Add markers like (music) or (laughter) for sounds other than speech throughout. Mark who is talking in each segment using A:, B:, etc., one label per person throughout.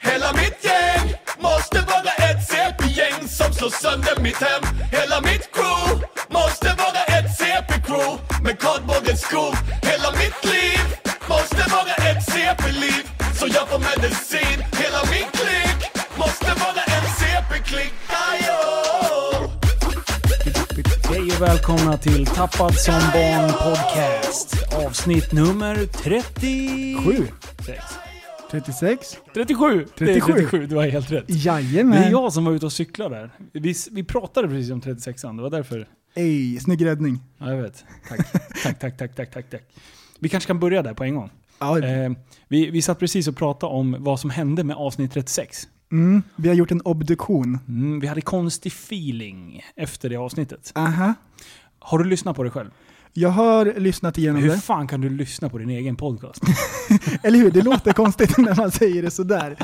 A: Hela mitt gäng måste vara ett CP-gäng som slår sönder mitt hem Hela mitt crew måste vara ett CP-crew med kardborrens skor Hela mitt liv måste vara ett CP-liv så jag får medicin Hela min klick måste vara en CP-klick Ajo!
B: Hej och välkomna till Tappad som barn podcast. Avsnitt nummer 37.
C: 36?
B: 37! Det är
C: 37.
B: 37, du har helt rätt. Det
C: Jajamän!
B: är jag som var ute och cyklade där. Vi, vi pratade precis om 36an, det var därför.
C: Ey, snygg räddning.
B: Ja, jag vet. Tack. tack, tack, tack, tack, tack, tack. Vi kanske kan börja där på en gång.
C: Ja,
B: Eh, vi, vi satt precis och pratade om vad som hände med avsnitt 36.
C: mm, vi har gjort en obduktion.
B: Mm, vi hade konstig feeling efter det avsnittet.
C: Aha.
B: Har du lyssnat på det själv?
C: Jag har lyssnat igenom
B: Hur
C: det.
B: fan kan du lyssna på din egen podcast?
C: Eller hur? Det låter (laughs) konstigt när man säger det sådär.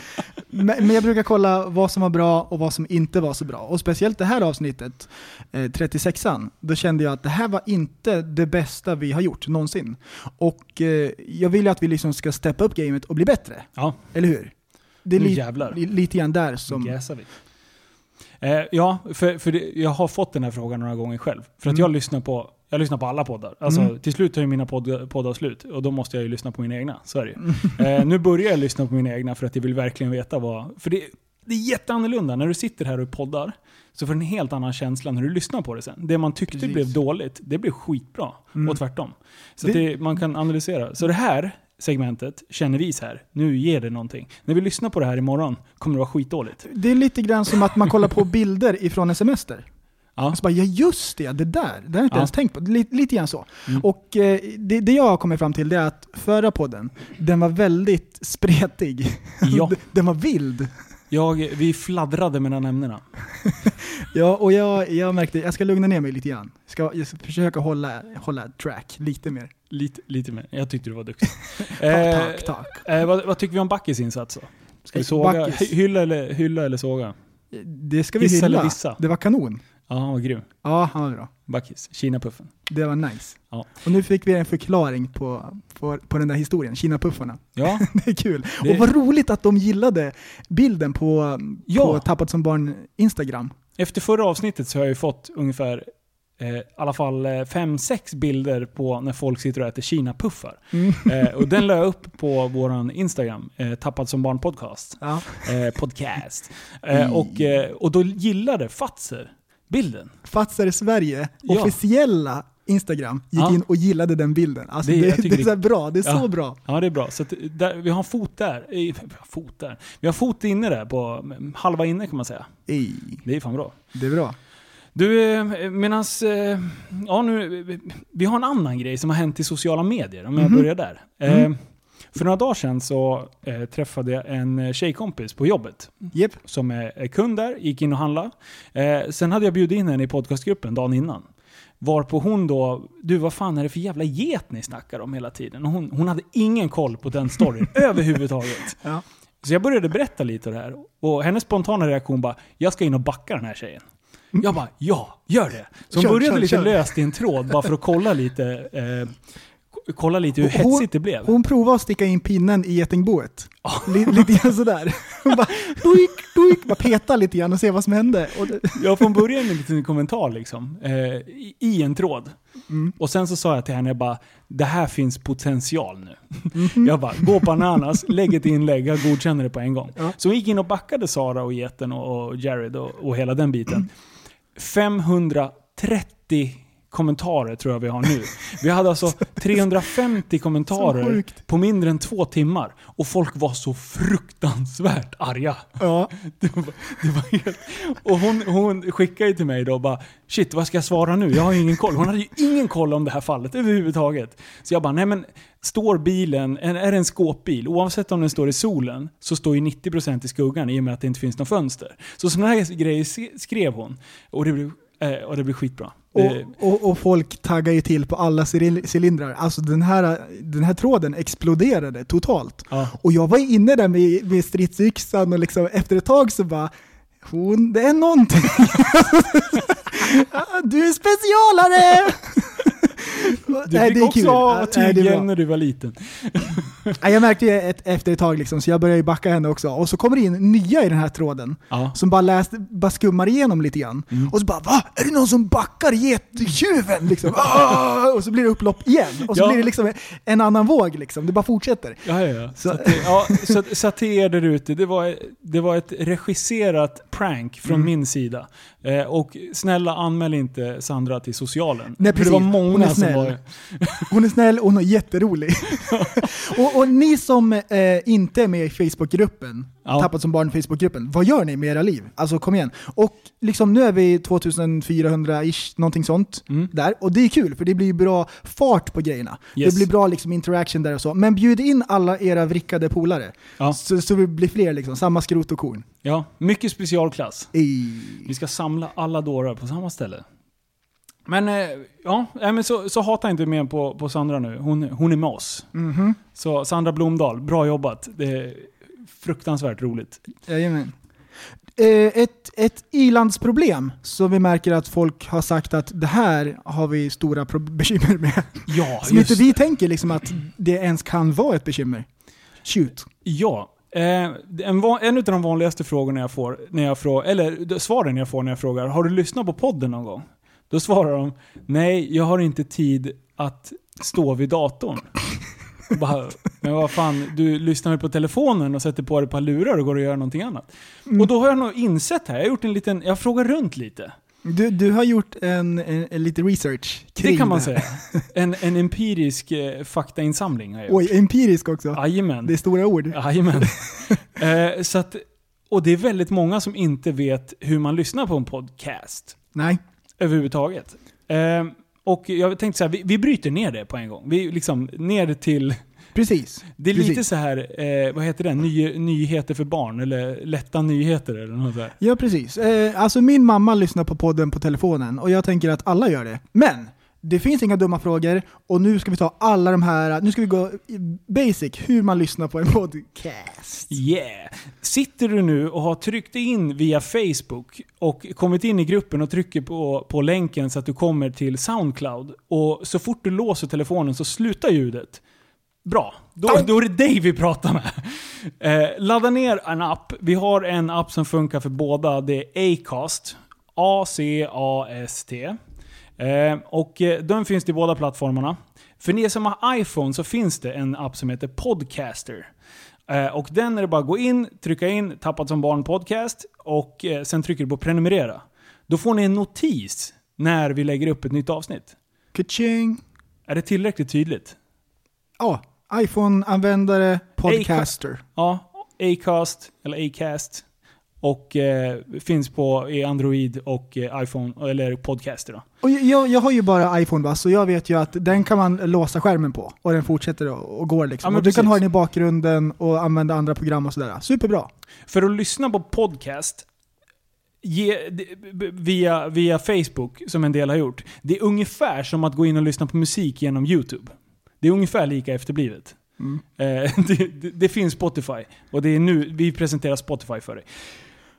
C: Men, men jag brukar kolla vad som var bra och vad som inte var så bra. Och speciellt det här avsnittet, eh, 36an, då kände jag att det här var inte det bästa vi har gjort någonsin. Och eh, jag vill ju att vi liksom ska steppa upp gamet och bli bättre.
B: Ja,
C: Eller hur? Det är
B: Nu
C: li-
B: jävlar.
C: li- lite grann där som...
B: gasar vi. Eh, ja, för, för det, jag har fått den här frågan några gånger själv. För att
C: Mm.
B: jag, lyssnar på, jag lyssnar på alla poddar. Alltså,
C: Mm.
B: Till slut tar ju mina podd, poddar slut och då måste jag ju lyssna på mina egna. Så är det ju.
C: Mm.
B: eh, Nu börjar jag lyssna på mina egna för att jag vill verkligen veta vad... För det, det är jätteannorlunda. När du sitter här och poddar så får du en helt annan känsla när du lyssnar på det sen. Det man tyckte
C: Precis.
B: blev dåligt, det blev skitbra.
C: Mm.
B: Och tvärtom. Så att
C: Det-
B: det, man kan analysera. Så det här segmentet känner vi så här. Nu ger det någonting. När vi lyssnar på det här imorgon kommer det vara skitdåligt.
C: Det är lite grann som att man (laughs) kollar på bilder ifrån en semester.
B: Ja.
C: Och så bara, ja just det, det där, det har jag inte
B: Ja.
C: ens tänkt på. Lite, lite grann så.
B: Mm.
C: Och eh, det, det jag har kommit fram till det är att förra podden, den var väldigt spretig. (laughs)
B: Ja.
C: D- den var vild.
B: Jag, vi fladdrade mellan ämnena.
C: Ja, och jag, jag märkte, jag ska lugna ner mig lite grann. Ska, jag ska försöka hålla, hålla track lite mer.
B: Lite, lite mer. Jag tyckte du var duktig.
C: (laughs) Tack,
B: Eh,
C: tack, tack.
B: eh, vad, vad tycker vi om Backes insats då? Ska vi
C: Eh,
B: såga?
C: Backes.
B: hy- Hylla eller, hylla eller såga?
C: Det ska vi
B: Hissa eller
C: hylla.
B: dissa?
C: Det var kanon.
B: Ja, han var grym.
C: Ja, han var bra.
B: Backis. Kinapuffen.
C: Det var nice.
B: Ja.
C: Och nu fick vi en förklaring på, på, på den där historien, Kina-puffarna. (laughs)
B: Ja,
C: Det är kul.
B: Det-
C: Och vad roligt att de gillade bilden på, på
B: ja.
C: Tappat som barn Instagram.
B: Efter förra avsnittet så har jag ju fått ungefär eh, i alla fall 5-6 bilder på när folk sitter och äter kinapuffar.
C: Mm.
B: Eh, och den la jag upp på våran Instagram, eh, Tappad som barn podcast.
C: (laughs) Ja.
B: Eh, podcast. Eh, och, eh, och då gillade Fatser bilden.
C: Fatser Sverige,
B: Ja.
C: officiella Instagram, gick
B: Ja.
C: in och gillade den bilden. Alltså
B: Det-
C: det,
B: jag
C: det,
B: tycker
C: är så här bra, det är
B: Ja.
C: så bra.
B: Ja, det är bra. Så att, där, vi har en fot där. Eh, Vi har fot där. Vi har fot inne där, på halva inne kan man säga.
C: Ej,
B: Det är fan bra.
C: det är bra.
B: Du, eh, medans... eh, Ja, nu... eh, Vi har en annan grej som har hänt i sociala medier, om jag
C: Mhm.
B: börjar där. Eh,
C: Mm.
B: För några dagar sedan så eh, träffade jag en eh, tjejkompis på jobbet
C: Jep.
B: som är är kund där, gick in och handlade. Eh, sen hade jag bjudit in henne i podcastgruppen dagen innan. Varpå hon då, du vad fan är det för jävla get ni snackar om hela tiden? Och hon, hon hade ingen koll på den
C: (laughs)
B: storyn överhuvudtaget.
C: Ja.
B: Så jag började berätta lite av det här. Och hennes spontana reaktion bara, jag ska in och backa den här tjejen. Jag bara, ja, gör det. Så hon
C: Mm. Kör,
B: började
C: kör,
B: lite
C: kör.
B: löst i en tråd bara för att kolla lite, eh, k- kolla lite hur
C: Hon-
B: hetsigt det blev.
C: Hon provade att sticka in pinnen i getingboet. Li- Lite grann sådär.
B: (laughs)
C: Hon bara, doik, doik, bara peta lite grann och se vad som hände.
B: (laughs)
C: Och det,
B: Jag från början en liten kommentar liksom, eh, i, i en tråd.
C: Mm.
B: Och sen så sa jag till henne bara, det här finns potential nu.
C: Mhm.
B: Jag bara, gå bananas, lägg ett inlägg, jag godkänner det på en gång.
C: Ja.
B: Så hon gick in och backade Sara och Geten och, och Jared och, och hela den biten. 530 kommentarer tror jag vi har nu. Vi hade alltså 350
C: (laughs) Så
B: kommentarer
C: sjukt.
B: på mindre än två timmar. Och folk var så fruktansvärt arga.
C: ja.
B: Det var, (laughs) det var helt... Och hon, hon skickade ju till mig då och bara Shit, vad ska jag svara nu? Jag har ju ingen koll. Hon hade ju ingen koll om det här fallet överhuvudtaget. Så jag bara, nej men står bilen, en- är det en skåpbil, oavsett om den står i solen, så står ju 90% i skuggan i och med att det inte finns något fönster. Så sådana här grejer se- skrev hon. Och det blev, eh, och det blev skitbra.
C: Och,
B: Det-
C: och, och folk taggar ju till på alla cyril- cylindrar. Alltså den här, den här tråden exploderade totalt.
B: ja.
C: Och jag var inne där med, med stridsyxan och liksom efter ett tag så bara hon, det är någonting. (laughs) Ah, du är specialare!
B: Du
C: Nej,
B: fick
C: det är
B: också
C: kul.
B: ha
C: Ah, nej, det är
B: tygen
C: bra.
B: när du var liten.
C: Nej, Jag märkte ju ett, efter ett tag liksom, så jag började ju backa henne också. Och så kommer det in nya i den här tråden.
B: Ja.
C: Som bara, läst, bara skummar igenom lite grann. Och så bara va? Är det någon som backar gettjuven? Liksom. Ah! och så blir det upplopp igen. Och så
B: Ja.
C: blir det liksom en annan våg liksom. Det bara fortsätter.
B: Ja, ja, ja. Så, att, det- ja, så, att- så att till er där ute, det var, det var ett regisserat prank från
C: Mm.
B: min sida. Eh, och snälla anmäl inte Sandra till socialen.
C: Nej,
B: För det
C: precis.
B: var
C: Hon är
B: många som
C: snäll.
B: var...
C: Hon är snäll och hon är
B: (laughs)
C: jätterolig. och, och ni som eh, inte är med i Facebookgruppen,
B: Ja.
C: Tappat som barn i Facebookgruppen, vad gör ni med era liv? Alltså kom igen. Och liksom nu är vi 2400-ish, någonting sånt
B: Mm.
C: där. Och det är kul för det blir ju bra fart på grejerna.
B: Yes.
C: Det blir bra liksom interaction där och så. Men bjud in alla era vrickade polare.
B: Ja.
C: Så, så vi blir fler liksom, samma skrot och korn.
B: Ja, mycket specialklass.
C: I...
B: Vi ska samla alla dårar på samma ställe. Men eh, ja, nej, men så, så hata inte mer på, på Sandra nu. Hon, hon är med oss. Så Sandra Blomdahl, bra jobbat. Det är fruktansvärt roligt.
C: Jajamän. Eh, Ett, ett i-landsproblem som vi märker att folk har sagt att det här har vi stora pro- (laughs) bekymmer med.
B: Ja,
C: Som inte vi tänker liksom att det ens kan vara ett bekymmer. Shoot.
B: Ja. Eh, en, va- en av de vanligaste frågorna jag får, när jag frågar, eller d- svaren jag får när jag frågar Har du lyssnat på podden någon gång? Då svarar de Nej, jag har inte tid att stå vid datorn. Bara, men vad fan, du lyssnar väl på telefonen och sätter på dig ett par lurar och går och gör någonting annat. Och då har jag nog insett här, jag har gjort en liten, jag frågar runt lite.
C: Du, du har gjort en, en, en lite research kring
B: Det kan man
C: här.
B: säga. En, en empirisk eh, faktainsamling har jag gjort.
C: Oj, empirisk också.
B: Jajamän.
C: Det är stora ord.
B: Jajamän. (laughs) eh, så att, och det är väldigt många som inte vet hur man lyssnar på en podcast
C: Nej.
B: överhuvudtaget. Eh, och jag tänkte så här, vi, vi bryter ner det på en gång. Vi liksom ner till...
C: Precis.
B: Det är lite
C: Precis.
B: så här, eh, vad heter det? Ny, nyheter för barn eller lätta nyheter eller något sådär.
C: Ja, precis. Eh, alltså min mamma lyssnar på podden på telefonen och jag tänker att alla gör det. Men! Det finns inga dumma frågor och nu ska vi ta alla de här, nu ska vi gå i basic, hur man lyssnar på en podcast.
B: Yeah! Sitter du nu och har tryckt in via Facebook och kommit in i gruppen och trycker på, på länken så att du kommer till Soundcloud och så fort du låser telefonen så slutar ljudet. Bra, då, då är det dig vi pratar med. Eh, ladda ner en app. Vi har en app som funkar för båda. Det är Acast. A-C-A-S-T. Eh, och eh, den finns till båda plattformarna. För ni som har iPhone så finns det en app som heter Podcaster. Eh, och den är det bara att gå in, trycka in Tappat som barn podcast och eh, sen trycker du på prenumerera. Då får ni en notis när vi lägger upp ett nytt avsnitt.
C: Kaching!
B: Är det tillräckligt tydligt?
C: Ja, iPhone-användare, podcaster.
B: Ja, Acast eller Acast. Och eh, finns på i Android och eh, iPhone, eller Podcaster då.
C: Och jag, jag har ju bara iPhone va, så jag vet ju att den kan man låsa skärmen på och den fortsätter och, och går
B: Ja,
C: liksom.
B: men
C: och du kan
B: precis.
C: ha den i bakgrunden och använda andra program och sådär. Superbra!
B: För att lyssna på podcast ge, d- b- via, via Facebook, som en del har gjort, det är ungefär som att gå in och lyssna på musik genom YouTube. Det är ungefär lika efterblivet. Eh, (laughs) det, det, det finns Spotify och det är nu vi presenterar Spotify för dig.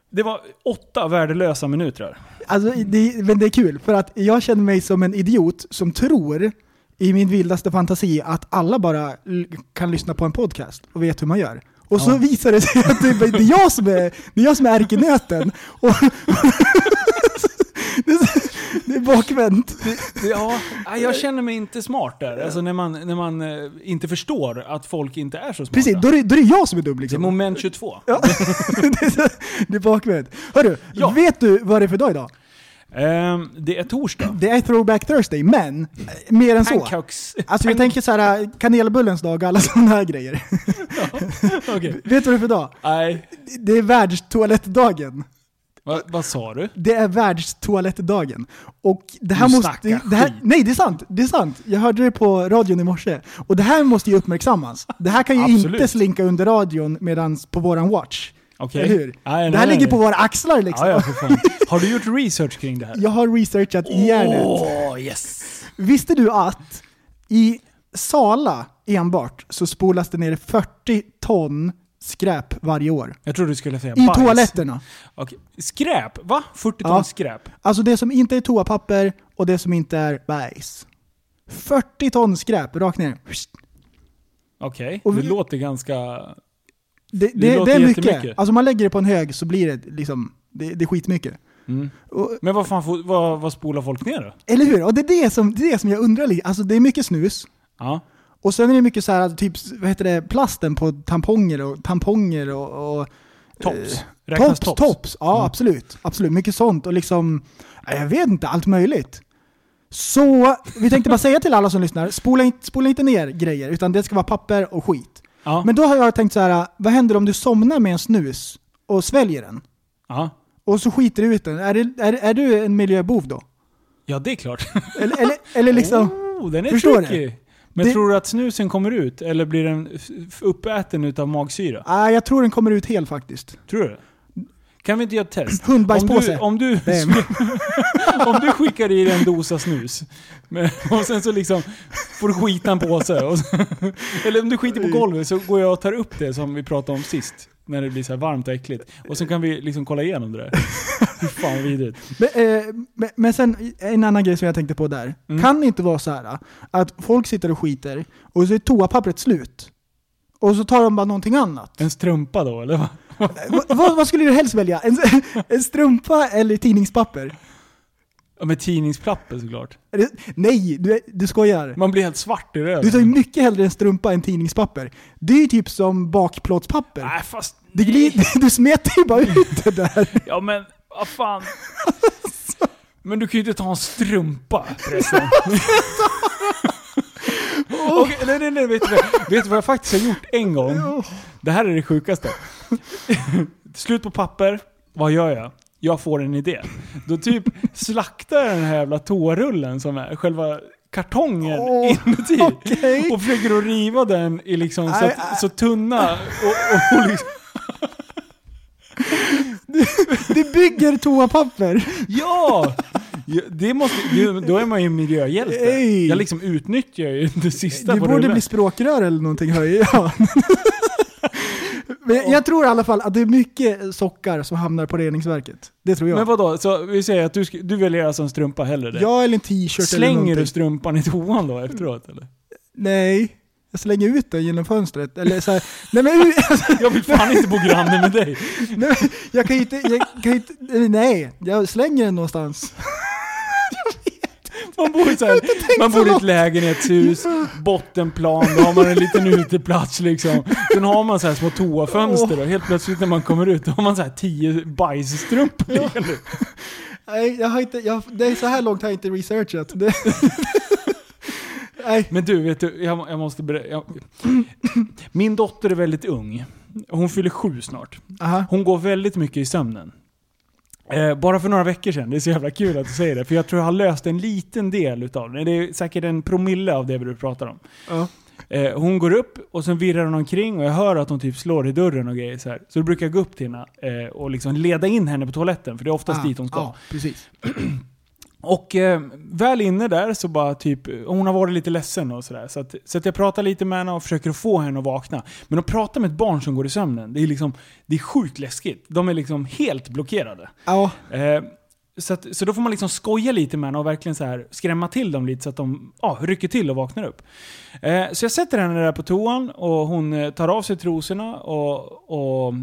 B: Det var åtta värdelösa minuter.
C: Alltså, det, men det är kul, för att jag känner mig som en idiot som tror i min vildaste fantasi att alla bara l- kan lyssna på en podcast och vet hur man gör. Och så
B: Ja.
C: visar det sig att det är, det är jag som är, det är, jag som är ärkenöten. Och, (laughs) det, är, så- det är bakvänt.
B: Ja, jag känner mig inte smart där. Alltså när man, när man eh, inte förstår att folk inte är så smarta.
C: Precis, då är, det, då är det jag som är dum
B: Det är
C: liksom.
B: moment 22.
C: Ja. Det är, så- (laughs) det är bakvänt. Hörru,
B: Ja.
C: vet du vad det är för dag idag?
B: Ehm, det är torsdag.
C: Det är throwback Thursday, men eh, mer än så.
B: Pancakes. (laughs)
C: Alltså jag tänker så här, kanelbullens dag och alla sådana här grejer. (laughs)
B: Okej.
C: Vet du vad det är för dag?
B: Nej.
C: Det är världstoalettdagen.
B: Va, vad sa du?
C: Det är världstoalettdagen. Och det här
B: Du
C: måste...
B: snackar
C: Det här,
B: skit.
C: nej, det är sant. Det är sant. Jag hörde det på radion i morse. Och det här måste ju uppmärksammas. Det här kan ju
B: Absolut.
C: inte slinka under radion medans på våran watch.
B: Okej.
C: Eller hur?
B: Nej,
C: det här
B: nej,
C: ligger
B: nej.
C: på våra axlar liksom.
B: Ja, ja, för fan. Har du gjort research kring det här?
C: Jag har researchat järnet.
B: Åh, yes!
C: Visste du att i Sala enbart så spolas det ner 40 ton skräp varje år?
B: Jag trodde du skulle säga
C: I
B: bajs.
C: toaletterna.
B: Okej. Skräp? Va? 40 ton
C: Ja.
B: skräp?
C: Alltså det som inte är toapapper och det som inte är bajs. 40 ton skräp rakt ner.
B: Okej,
C: Och
B: det
C: vi-
B: låter ganska...
C: Det,
B: Det
C: det, det,
B: låter
C: är
B: jättemycket.
C: mycket. Alltså om man lägger det på en hög så blir det liksom, det, det är skitmycket.
B: Mm.
C: Och,
B: Men vad fan, får- vad, vad spolar folk ner då?
C: eller hur? Och det är det som, det är det som jag undrar lite. Alltså det är mycket snus.
B: Ja.
C: Och sen är det mycket så här, typ, vad heter det, plasten på tamponger och tamponger och... och
B: Tops.
C: eh,
B: Räknas
C: tops,
B: tops?
C: tops. Ja,
B: Mm.
C: absolut. Absolut. Mycket sånt och liksom, ja, jag vet inte, allt möjligt. Så vi tänkte bara säga till alla som lyssnar, spola inte, spola inte ner grejer, utan det ska vara papper och skit.
B: Ja.
C: Men då har jag tänkt så här, vad händer om du somnar med en snus och sväljer den?
B: ja.
C: Och så skiter du ut den. Är, det, är, är du en miljöbov då?
B: ja, det är klart.
C: Eller, eller, eller liksom...
B: Oh, den är
C: Förstår du?
B: tricky. Men
C: Det-
B: tror du att snusen kommer ut eller blir den f- f- uppäten utav magsyra?
C: Nej, jag tror den kommer ut hel faktiskt.
B: Tror du det? Kan vi inte göra ett test? Om du,
C: (clears throat) Hundbajspåse.
B: om, du,
C: Nej,
B: (laughs) om du skickar i dig en dosa snus men, och sen så liksom får du skita en påse. Och så, (laughs) eller om du skiter på golvet så går jag och tar upp det som vi pratade om sist. När det blir så här varmt och äckligt. Och så kan vi liksom kolla igenom det där. Fy fan vad vidrigt.
C: Men, eh, men, men sen en annan grej som jag tänkte på där.
B: Mm.
C: Kan det inte vara så här eh, att folk sitter och skiter och så är toapappret slut? Och så tar de bara någonting annat. Eh,
B: En strumpa då eller? vad?
C: Va, vad- vad skulle du helst välja? En, (laughs) en strumpa eller tidningspapper?
B: Ja, med tidningspapper såklart.
C: Är det- Nej, du, du skojar.
B: Man blir helt svart i
C: Du tar
B: röven.
C: ju mycket hellre en strumpa än tidningspapper. Det är ju typ som bakplåtspapper.
B: Ah, Nej Äh, fast...
C: Det glider, (laughs) du smetar ju bara ut det där.
B: Ja men, vad fan. Men du kan ju inte ta en strumpa förresten.
C: (laughs)
B: Okej, nej, nej, nej, vet du, vad- vet du vad jag faktiskt har gjort en gång? Det här är det sjukaste. Slut på papper, vad gör jag? Jag får en idé. Då typ slaktar jag den här jävla toarullen som är själva kartongen
C: Åh,
B: (laughs) inuti.
C: okej.
B: Och försöker att riva den i liksom så,
C: Nej,
B: att, så tunna och, och liksom,
C: Du bygger toapapper.
B: Ja! Ja, Det måste, det- då är man ju miljöhjälte.
C: Ey.
B: Jag liksom utnyttjar ju det sista
C: Du
B: på
C: borde
B: rullen.
C: bli språkrör eller någonting höjer jag. (laughs) Men jag, jag tror i alla fall att det är mycket sockar som hamnar på reningsverket. Det tror jag.
B: Men vadå, så vi säger att du, sk- du väljer alltså en strumpa hellre? Det.
C: jag eller en t-shirt eller
B: Slänger
C: någonting.
B: du strumpan i toan då efteråt eller?
C: Nej, jag slänger ut den genom fönstret. Eller så här, (laughs) nej men u-
B: Jag vill fan inte bo granne med dig.
C: nej, men jag kan ju inte, jag kan ju inte, nej, jag slänger den någonstans.
B: Man bor i, så här, man bor i ett
C: något.
B: lägenhetshus, bottenplan, då har man en liten uteplats liksom. Sen har man så här små toafönster och helt plötsligt när man kommer ut då har man så här tio bajsstrumpor liggande.
C: Nej, jag har inte, jag, det är så här långt har jag inte researchat. Det, (laughs) nej,
B: Men du, vet du, jag, jag måste berätta. Jag, min dotter är väldigt ung. Hon fyller sju snart.
C: aha.
B: Hon går väldigt mycket i sömnen. Eh, bara för några veckor sedan, det är så jävla kul att du säger det, för jag tror jag har löst en liten del utav det. Det är säkert en promille av det du pratar om.
C: Ja.
B: Eh, hon går upp och sen virrar hon omkring och jag hör att hon typ slår i dörren och grejer så här. Så då brukar jag gå upp till henne eh, och liksom leda in henne på toaletten, för det är oftast
C: Ah,
B: dit hon ska.
C: Ja, precis.
B: Och eh, väl inne där så bara typ, hon har varit lite ledsen och sådär. Så, att, så att jag pratar lite med henne och försöker få henne att vakna. Men att prata med ett barn som går i sömnen, det är liksom, det är sjukt läskigt. De är liksom helt blockerade.
C: Ja,
B: Eh, så, att, så då får man liksom skoja lite med henne och verkligen så här skrämma till dem lite så att de ja, rycker till och vaknar upp. Eh, så jag sätter henne där på toan och hon eh, tar av sig trosorna och, och eh,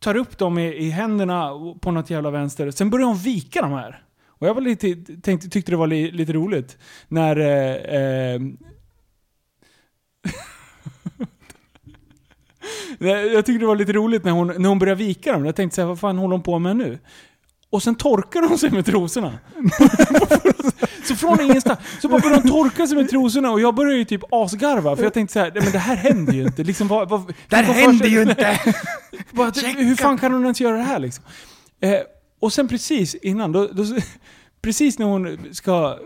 B: tar upp dem i, i händerna och- på något jävla vänster. Sen börjar hon vika de här. Och jag var lite, tänkte, tyckte det var li, lite roligt när... Eh, (laughs) eh, Nej, Jag tyckte det var lite roligt när hon, när hon började vika dem. Jag tänkte så här, vad fan håller hon på med nu? Och sen torkar hon sig med trosorna. (laughs) så från ingenstans. Så bara började hon torka sig med trosorna och jag började ju typ asgarva. För jag tänkte så här, "Nej, men det här händer ju inte. Liksom, vad, vad,
C: det här
B: vad
C: händer
B: förs-
C: ju inte!
B: (laughs) bara, typ, hur fan kan hon ens göra det här liksom? Eh, och sen precis innan, då, (laughs) då, precis när hon ska,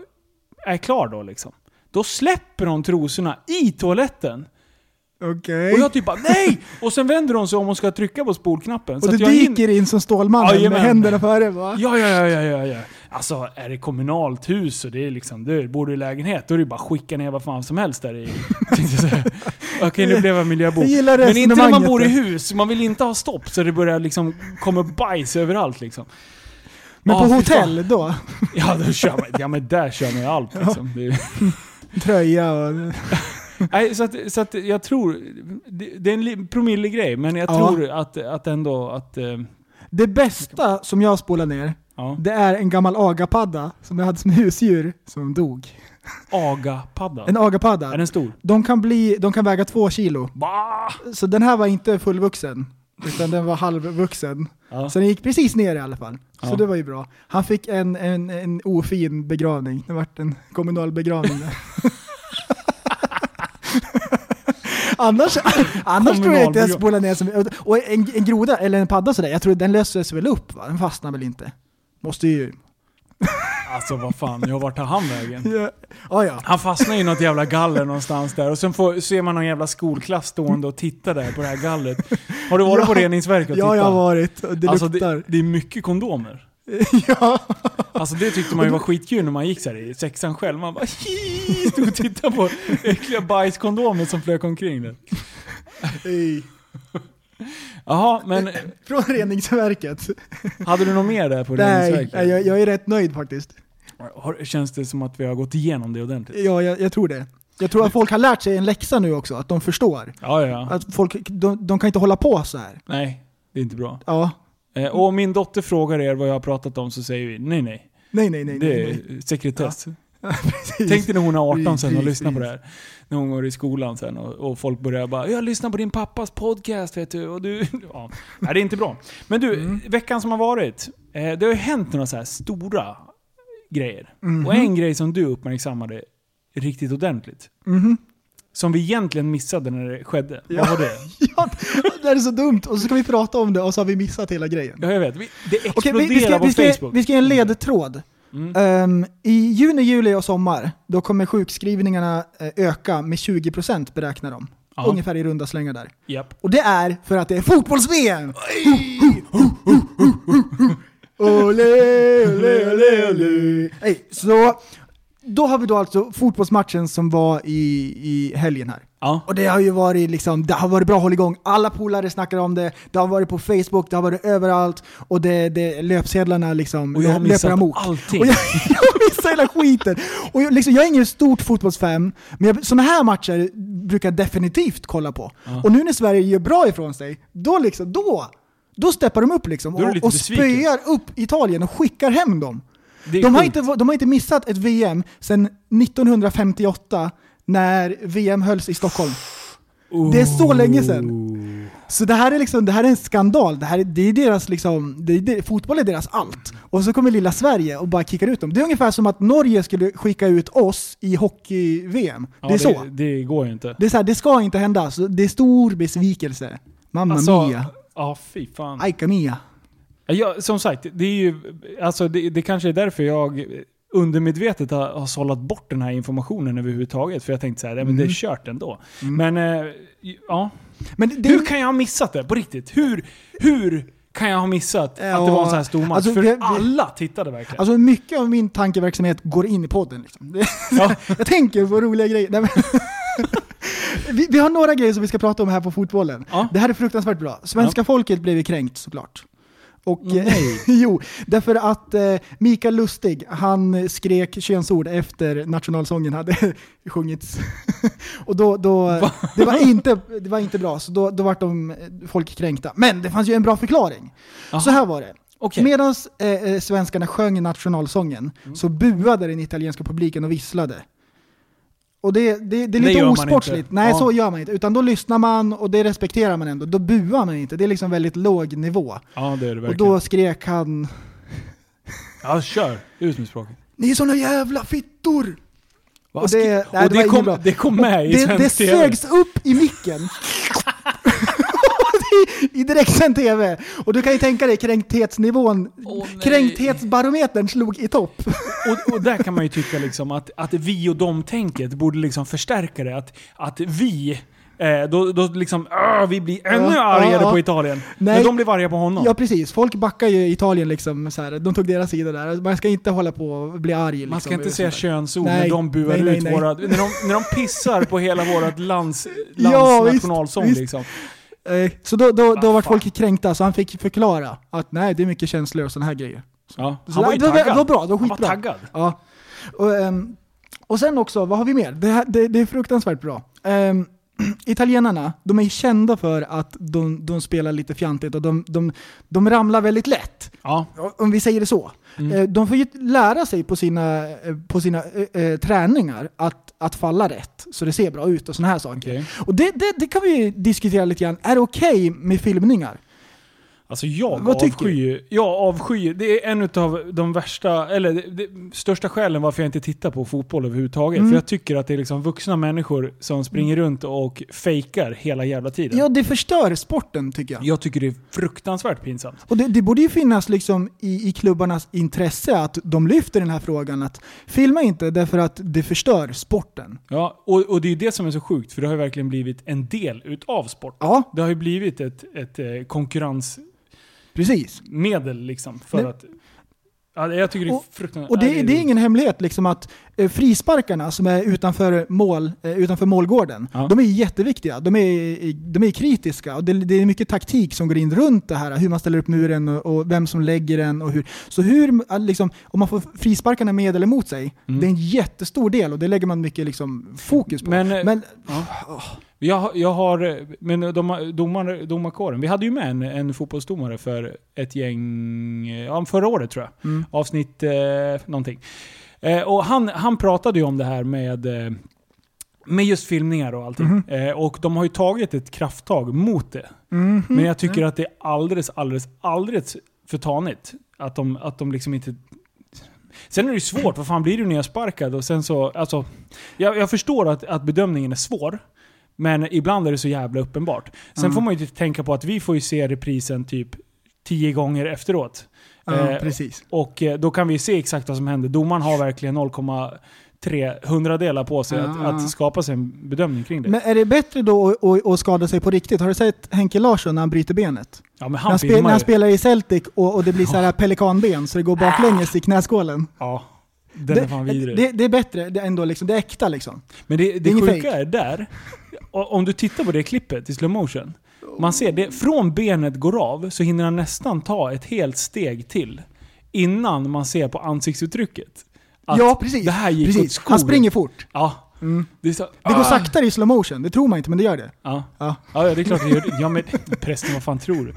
B: är klar då liksom. Då släpper hon trosorna i toaletten.
C: Okej.
B: Och jag typ bara NEJ! Och sen vänder hon sig om och ska trycka på spolknappen.
C: Och
B: att
C: du
B: jag hin-
C: dyker in som Stålmannen med
B: Jajamän.
C: händerna före va?
B: Ja, ja, ja, ja, ja, ja. Alltså, är det kommunalt hus och det är liksom, du bor du i lägenhet, då är det ju bara att skicka ner vad fan som helst där i. (laughs) tänkte jag säga. Okej, nu blev jag miljöbo.
C: Jag gillar
B: Men inte när man
C: resonemanget
B: bor i
C: där.
B: hus, man vill inte ha stopp så det börjar liksom komma bajs överallt liksom.
C: Men
B: Ja,
C: på
B: fy (laughs) fan.
C: hotell då? (laughs)
B: Ja, då kör man, ja men där kör man ju allt liksom. Det är-
C: Tröja och...
B: Nej, så att, så att jag tror... Det, det är en li- promillegrej, men jag
C: Ja.
B: tror att, att ändå att... eh,
C: Det bästa som jag spolar ner,
B: Ja.
C: det är en gammal agapadda som jag hade som husdjur som dog.
B: Aga-padda.
C: En agapadda.
B: Är den stor?
C: De kan, bli, de kan väga två kilo.
B: Bah!
C: Så den här var inte fullvuxen, utan den var halvvuxen.
B: Ja.
C: Så den gick precis ner i alla fall. Så
B: Ja.
C: det var ju bra. Han fick en, en, en ofin begravning. Det vart en kommunal begravning där. (laughs) annars annars tror jag inte
B: Kommunal
C: jag spolar ner som... Och en, en groda eller en padda sådär, jag tror den löses väl upp va? Den fastnar väl inte? Måste ju...
B: Alltså vad fan, jag vart tar han vägen?
C: Ja, ja. ja.
B: Han fastnar i något jävla galler någonstans där och sen får, ser man någon jävla skolklass stående och titta där på det här gallret. Har du varit på
C: Ja.
B: reningsverket och
C: Ja, jag
B: tittat?
C: har varit. och Det
B: alltså,
C: luktar.
B: det, det är mycket kondomer.
C: (laughs) ja.
B: Alltså det tyckte man ju var skitkul när man gick så här i sexan själv. Man bara "Hi", stod och tittade på äckliga bajskondomer som flög omkring där.
C: Ej.
B: Jaha, men
C: Från reningsverket.
B: hade du något mer där på
C: Nej,
B: reningsverket?
C: jag, jag är rätt nöjd faktiskt.
B: Har, känns det som att vi har gått igenom det ordentligt?
C: Ja, jag, jag tror det. Jag tror att folk har lärt sig en läxa nu också, att de förstår.
B: Ja, ja, ja.
C: Att folk, de, de kan inte hålla på så här.
B: Nej, det är inte bra.
C: Ja.
B: Eh, Och om min dotter frågar er vad jag har pratat om så säger vi nej, nej.
C: Nej, nej, nej.
B: Det
C: nej,
B: är
C: nej.
B: sekretess.
C: (laughs) Precis.
B: Tänk dig när hon är 18 sen och
C: Precis,
B: lyssnar på det
C: precis.
B: här. När hon går i skolan sen och, och folk börjar bara “Jag lyssnar på din pappas podcast vet du” och du... (laughs) Ja. Nej, det är inte bra. Men du,
C: Mm.
B: veckan som har varit. Eh, det har ju hänt några så här stora grejer.
C: Mhm.
B: Och en grej som du uppmärksammade riktigt ordentligt.
C: Mhm.
B: Som vi egentligen missade när det skedde.
C: Ja.
B: Vad var det?
C: Ja, det här är så dumt och så ska vi prata om det och så har vi missat hela grejen.
B: Ja, jag vet. Vi, det
C: Okej,
B: exploderar
C: vi, vi, ska,
B: på
C: vi, ska,
B: Facebook.
C: vi ska ge en ledtråd.
B: Mm.
C: Ehm, I juni, juli och sommar, då kommer sjukskrivningarna eh, öka med 20% beräknar de.
B: Ja.
C: Ungefär i runda slängar där.
B: Japp.
C: Och det är för att det är fotbolls-VM! Olé, olé, olé, olé. Nej, Så då har vi då alltså fotbollsmatchen som var i, i helgen här.
B: Ja.
C: Och det har ju varit liksom, det har varit bra hålligång. Alla polare snackar om det, det har varit på Facebook, det har varit överallt och det, det löpsedlarna liksom
B: Och jag har
C: eh,
B: missat
C: löper amok.
B: allting.
C: Och jag, (laughs) jag missar hela skiten. Och jag, liksom, jag är ingen stort fotbollsfan, men sådana här matcher brukar jag definitivt kolla på. Och nu när Sverige gör bra ifrån sig, då liksom, då, då steppar de upp liksom.
B: Då är du
C: Och,
B: lite
C: och
B: besviken.
C: spöar upp Italien och skickar hem dem.
B: Det är
C: De har,
B: sjukt.
C: inte, de har inte missat ett VM sedan 1958 när VM hölls i Stockholm. Det är så länge sedan. Så det här är, liksom, det här är en skandal. Det, här är, det är deras liksom, det är, det, fotboll är deras allt. Och så kommer lilla Sverige och bara kickar ut dem. Det är ungefär som att Norge skulle skicka ut oss i hockey-VM.
B: Oh. Ja,
C: det är så.
B: Det, det går ju inte.
C: Det, är så här, det ska inte hända. Så det är stor besvikelse. Mamma mia.
B: Alltså, Ja, fy fan.
C: Aika mia.
B: Ja, som sagt, det är ju, alltså det, det kanske är därför jag undermedvetet har, har sållat bort den här informationen överhuvudtaget. För jag tänkte så här, ja, men det
C: Mm.
B: är kört ändå. Men, eh, ja.
C: Men Mm. det,
B: Hur kan jag ha missat det? På riktigt? Hur, hur kan jag ha missat att det
C: Ja,
B: var en sån här stor match?
C: alltså,
B: för
C: det- det-
B: alla tittade verkligen.
C: Alltså mycket av min tankeverksamhet går in i podden. Liksom. Det-
B: Ja.
C: (laughs) Jag tänker på roliga grejer. Nej, men... (laughs) vi, vi har några grejer som vi ska prata om här på fotbollen.
B: Ja.
C: Det här är fruktansvärt bra. Svenska folket blev ju kränkt såklart. Och,
B: Mm.
C: Nej. (laughs) jo, därför att eh, Mikael Lustig, han skrek könsord efter nationalsången hade (laughs) sjungits. och då, då det, var inte, det var inte bra, så då, då vart de, eh, folk kränkta. Men det fanns ju en bra förklaring. Så här var det.
B: Okej. Mm.
C: Medan eh, eh, svenskarna sjöng nationalsången så buade den italienska publiken och visslade. Och det, det, det är
B: Det
C: lite
B: gör man
C: osportsligt.
B: inte.
C: Nej,
B: Ja.
C: så gör man inte. Utan då lyssnar man och det respekterar man ändå. Då buar man inte. Det är liksom väldigt låg nivå.
B: ja, det är det
C: Och
B: verkligen.
C: då skrek han
B: ja, kör. Ut med språket.
C: Ni är såna jävla fittor!
B: Va?
C: Och det-
B: Sk-
C: nej,
B: och
C: det var
B: det,
C: inget
B: kom,
C: bra.
B: det kom med i
C: Det,
B: svensk
C: det
B: TV.
C: sögs upp i micken. (laughs) I direktsänd TV. Och du kan ju tänka dig kränkthetsnivån,
B: Åh, nej.
C: kränkthetsbarometern slog i topp.
B: Och, och där kan man ju tycka liksom att, att vi och dom-tänket borde liksom förstärka det. Att, att vi, eh, då, då liksom, "Åh, vi blir ännu
C: Ja,
B: argare
C: ja,
B: på
C: ja.
B: Italien.
C: Nej.
B: Men de blir arga på honom.
C: Ja precis, folk backar ju Italien liksom så här. de tog deras sida där. Man ska inte hålla på och bli arg. Liksom,
B: Man ska inte
C: och
B: säga
C: sånt där.
B: könsord när
C: Nej,
B: de buar
C: nej, nej,
B: ut
C: nej.
B: våra... När de, när de pissar på hela vårt lands, lands
C: (laughs) Ja, visst,
B: nationalsång
C: visst.
B: liksom.
C: Eh, Så då, då, då
B: Va
C: vart
B: fan.
C: folk kränkta, så han fick förklara att nej, det är mycket känslor och sådana här grejer.
B: Ja,
C: Så
B: han var ju
C: det,
B: taggad.
C: det var bra, det var
B: han var
C: skitbra.
B: taggad.
C: Ja. Och, ehm, och sen också, vad har vi mer? Det, här, det, det är fruktansvärt bra. ehm, (clears throat) italienarna, de är kända för att de, de spelar lite fjantigt och de, de, de ramlar väldigt lätt.
B: Ja.
C: Om vi säger det så. Eh, De får ju lära sig på sina, eh, på sina eh, eh, träningar att, att falla rätt, så det ser bra ut och sådana här saker.
B: Okej.
C: Och det, det, det kan vi ju diskutera lite grann. Är det okej med filmningar?
B: Alltså jag
C: Vad tycker
B: avskyr ju- Jag avskyr, det är en av de värsta, eller det, det, största skälen varför jag inte tittar på fotboll överhuvudtaget.
C: Mm.
B: För jag tycker att det är liksom vuxna människor som springer runt och fejkar hela jävla tiden.
C: Ja, det förstör sporten tycker jag.
B: Jag tycker det är fruktansvärt pinsamt.
C: Och det, det borde ju finnas liksom i, i klubbarnas intresse att de lyfter den här frågan att filma inte därför att det förstör sporten.
B: Ja, och, och det är ju det som är så sjukt, för det har ju verkligen blivit en del utav sport.
C: Ja,
B: Det har ju blivit ett, ett eh, konkurrensmedel
C: precis.
B: liksom för
C: Nej.
B: att... Ja, jag tycker det är
C: Och-
B: fruktansvärt...
C: Och det,
B: Nej,
C: det är ingen hemlighet liksom att eh, frisparkarna som är utanför, mål, eh, utanför målgården,
B: Ja.
C: de är jätteviktiga. De är, de är kritiska och det, det är mycket taktik som går in runt det här. Hur man ställer upp muren och, och vem som lägger den och hur. Så hur, eh, liksom, om man får frisparkarna med eller mot sig,
B: Mm.
C: det är en jättestor del och det lägger man mycket liksom, fokus på.
B: Men, eh,
C: Men
B: Jag, har- jag har, men de, har- domar, domarkåren, vi hade ju med en, en fotbollsdomare för ett gäng, eh, ja, förra året tror jag. Avsnitt eh, någonting. Eh, och han, han pratade ju om det här med, eh, med just filmningar och allting. Eh, och de har ju tagit ett krafttag mot det.
C: mhm. Mm.
B: Men jag tycker att det är alldeles, alldeles, alldeles för tanigt. Att de, att de liksom inte... Sen är det ju svårt, vad fan blir du när jag är sparkad? Och sen så, alltså, jag, jag förstår att, att bedömningen är svår. Men ibland är det så jävla uppenbart. Sen
C: Mm.
B: får man ju inte tänka på att vi får ju se reprisen typ tio gånger efteråt.
C: ja,
B: Eh,
C: precis.
B: och eh, då kan vi se exakt vad som hände. Domaren har verkligen 0,3 hundradelar på sig
C: Ja,
B: att,
C: ja.
B: att skapa sig en bedömning kring det.
C: Mm. Men är det bättre då att- att, att skada sig på riktigt? Har du sett Henke Larsson när han bryter benet?
B: ja, men
C: När
B: han
C: han, spe, när
B: filmar
C: han
B: ju.
C: spelar i Celtic och, och det blir så här pelikanben så det går baklänges i knäskålen.
B: Ja, den är
C: Det,
B: fan
C: det,
B: vidrig.
C: det, är bättre, det är ändå liksom, det är äkta liksom.
B: men det, det,
C: det är ingen
B: sjuka
C: fake.
B: är där, o- om du tittar på det klippet i slow motion. Man ser, det, från benet går av så hinner han nästan ta ett helt steg till. Innan man ser på ansiktsuttrycket. att
C: ja, precis.
B: Det här gick åt
C: precis.
B: skogen.
C: Han springer fort.
B: Ja. Det, är så,
C: Det går
B: Ah!
C: saktare i slow motion, det tror man inte men det gör det.
B: Ja.
C: Ja.
B: Ja, ja, det är klart det gör det. Ja, men prästen, vad fan
C: (laughs)
B: tror du?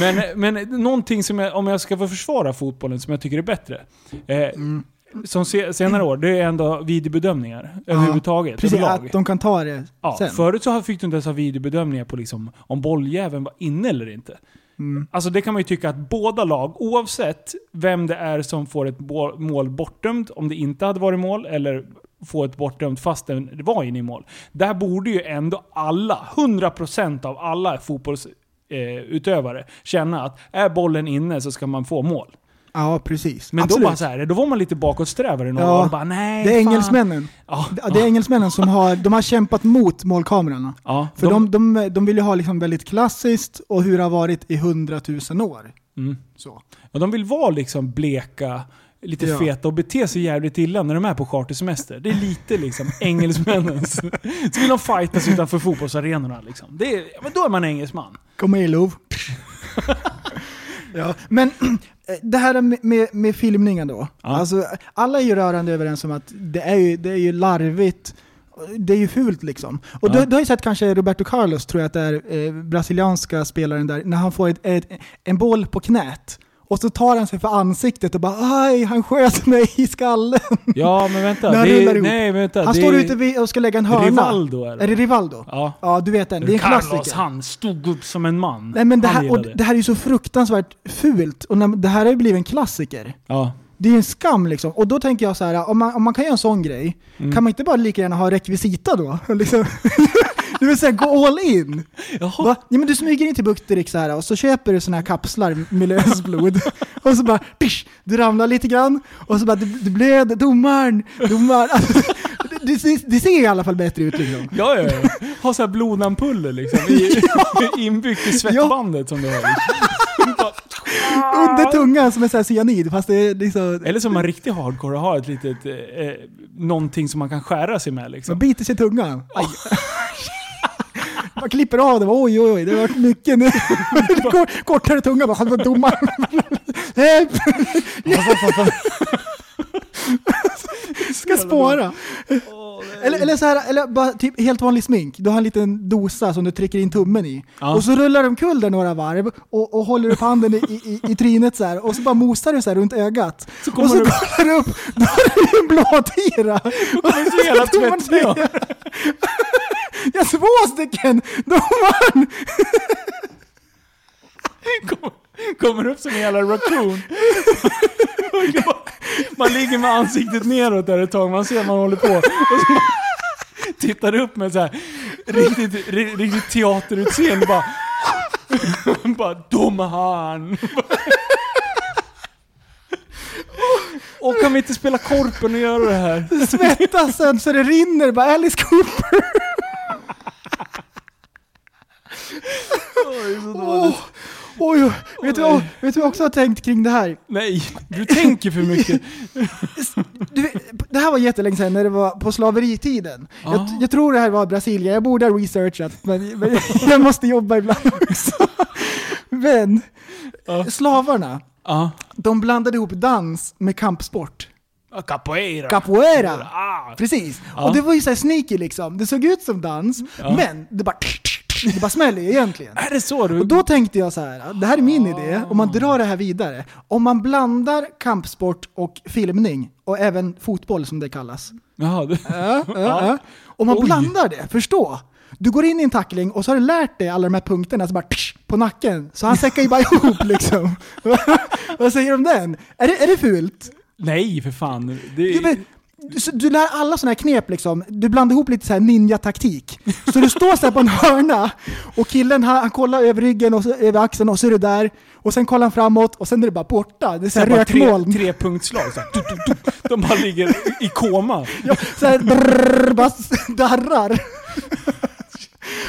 B: men, men någonting som jag, om jag ska få försvara fotbollen som jag tycker är bättre. Eh,
C: Mm.
B: Som se, senare år, det är ändå videobedömningar överhuvudtaget.
C: Precis,
B: överlag.
C: att de kan ta det
B: ja,
C: sen.
B: förut så fick du inte ens ha videobedömningar på liksom, om bolljäveln var inne eller inte.
C: Mm.
B: Alltså det kan man ju tycka att båda lag, oavsett vem det är som får ett bo- mål bortdömt, om det inte hade varit mål, eller får ett bortdömt fast det var inne i mål. Där borde ju ändå alla, 100% av alla fotbollsutövare eh, utövare känna att är bollen inne så ska man få mål.
C: Ja, precis.
B: Men
C: Absolut.
B: då, bara så här, då var man lite bakåtsträvare i några
C: Ja,
B: år. Bara, Nej,
C: det är
B: fan."
C: engelsmännen.
B: Ja,
C: Ja, Det är engelsmännen som har, de har kämpat mot målkamerorna.
B: ja,
C: För de, de, de, vill ju ha liksom väldigt klassiskt och hur det har varit i hundratusen år.
B: Mm.
C: Så.
B: Och de vill vara liksom bleka, lite
C: Ja.
B: feta och bete sig jävligt illa när de är på chartersemester. Det är lite (laughs) liksom engelsmännens... Så vill de fightas utanför fotbollsarenorna liksom. Det är, ja, men då är man engelsman.
C: Kom
B: (laughs)
C: med Lov. ja, men (clears throat) det här med, med, med filmningen då.
B: Ja.
C: Alltså, alla är ju rörande överens om att det är ju, det är ju larvigt. Det är ju fult liksom. Och
B: Ja.
C: du, du har ju sett kanske Roberto Carlos, tror jag att det är, eh, brasilianska spelaren där, när han får ett, ett, en boll på knät. Och så tar han sig för ansiktet och bara aj, han sköt mig i skallen.
B: Ja, men vänta.
C: När han
B: det
C: rullar
B: är,
C: ihop.
B: nej, vänta.
C: Han
B: det
C: står
B: är-
C: ute vid och ska lägga en hörna.
B: Rivaldo är det.
C: Är det Rivaldo?
B: Ja.
C: Ja, du vet den. Det är en
B: Carlos,
C: klassiker.
B: han stod upp som en man.
C: Nej men det
B: han
C: här, och
B: gillade
C: det här är ju så fruktansvärt fult och när- det här har ju blivit en klassiker.
B: Ja.
C: Det är en skam liksom. Och då tänker jag så här, om man, om man kan göra en sån grej, kan man inte bara lika gärna ha rekvisita då? (laughs) liksom. Det vill säga gå all in.
B: Jaha.
C: Va? Ja, men du smyger in till Bukterich så här och så köper du såna här kapslar med lösblod. (laughs) och så bara, pish, du ramlar lite grann och så bara, du, du blöder, domaren, domaren. (laughs) Alltså, det, det, det ser i alla fall bättre ut liksom.
B: Ja, ja, ja. Har såhär blodampuller liksom. (laughs) I, Inbyggt i svettbandet som du har. Liksom. Bara-
C: Under tungan som är så här cyanid fast det är liksom,
B: Eller som man riktigt hardcore har ett litet, eh, eh, någonting som man kan skära sig med liksom.
C: Man biter sig i tungan. Aj. Man klipper av det. Bara, oj, oj, oj. Det har varit mycket nu. (laughs) Kort- Kortare tunga bara. Han var domare. Hjälp! Ska spåra.
B: Åh, det
C: Eller, eller, så här, eller bara typ helt vanlig smink. Du har en liten dosa som du trycker in tummen i.
B: Ja.
C: Och så rullar du omkull där några varv och, och håller upp handen i, i, i, i trynet så här. Och så bara mosar du så här runt ögat.
B: Så kommer
C: och så
B: du-
C: kollar du upp, då har du ju en blåtira!
B: kommer så
C: (laughs)
B: jävla
C: Tummen
B: tvättig, ja.
C: ner. (laughs) Ja, två stycken! Domaren!
B: (laughs) Kommer- Kommer upp som en jävla raccoon. (laughs) Man ligger med ansiktet neråt där ett tag, man ser att man (laughs) håller på. Och så bara tittar upp med så här riktigt, ri- riktigt teaterutseende bara... (laughs) bara domaren. (laughs) Och kan vi inte spela korpen och göra det här?
C: Svettas sen så det rinner, bara Alice Cooper! Åh, Oj, oj, vet du, vet du vad jag också har tänkt kring det här?
B: Nej, du tänker för mycket.
C: Du, vet, det här var jättelänge sedan när det var på slaveritiden. Jag,
B: Ah.
C: jag tror det här var Brasilien, jag borde ha researchat men, men jag måste jobba ibland också. Men
B: Ah.
C: slavarna,
B: Ja.
C: de blandade ihop dans med kampsport.
B: Capoeira.
C: Capoeira!
B: Ah.
C: Precis! Och det var ju såhär sneaky liksom, det såg ut som dans, men det bara, det bara smäller ju egentligen.
B: Är det så du...
C: Och då tänkte jag så här, det här är min idé, om man drar det här vidare. Om man blandar kampsport och filmning, och även fotboll som det kallas.
B: Jaha, du...
C: Ja, ja, ja. Om man
B: Oj.
C: blandar det, förstå! Du går in i en tackling och så har du lärt dig alla de här punkterna, så bara tsch, på nacken. Så han säckar ju bara (laughs) ihop liksom. Vad säger du om den? Är det, är det fult?
B: Nej, för fan. Det...
C: Jo, men, du- så du lär alla sådana här knep liksom. Du blandar ihop lite så här ninja-taktik. Så du står så här på en hörna och killen han, han kollar över ryggen och så, över axeln och så är du där. Och sen kollar han framåt och sen är det bara borta. Det är så här
B: Det var tre,
C: rökmoln.
B: trepunktslag. Så här, tut, tut, tut. De bara ligger i koma.
C: Ja, så här brrrr, bara s- darrar.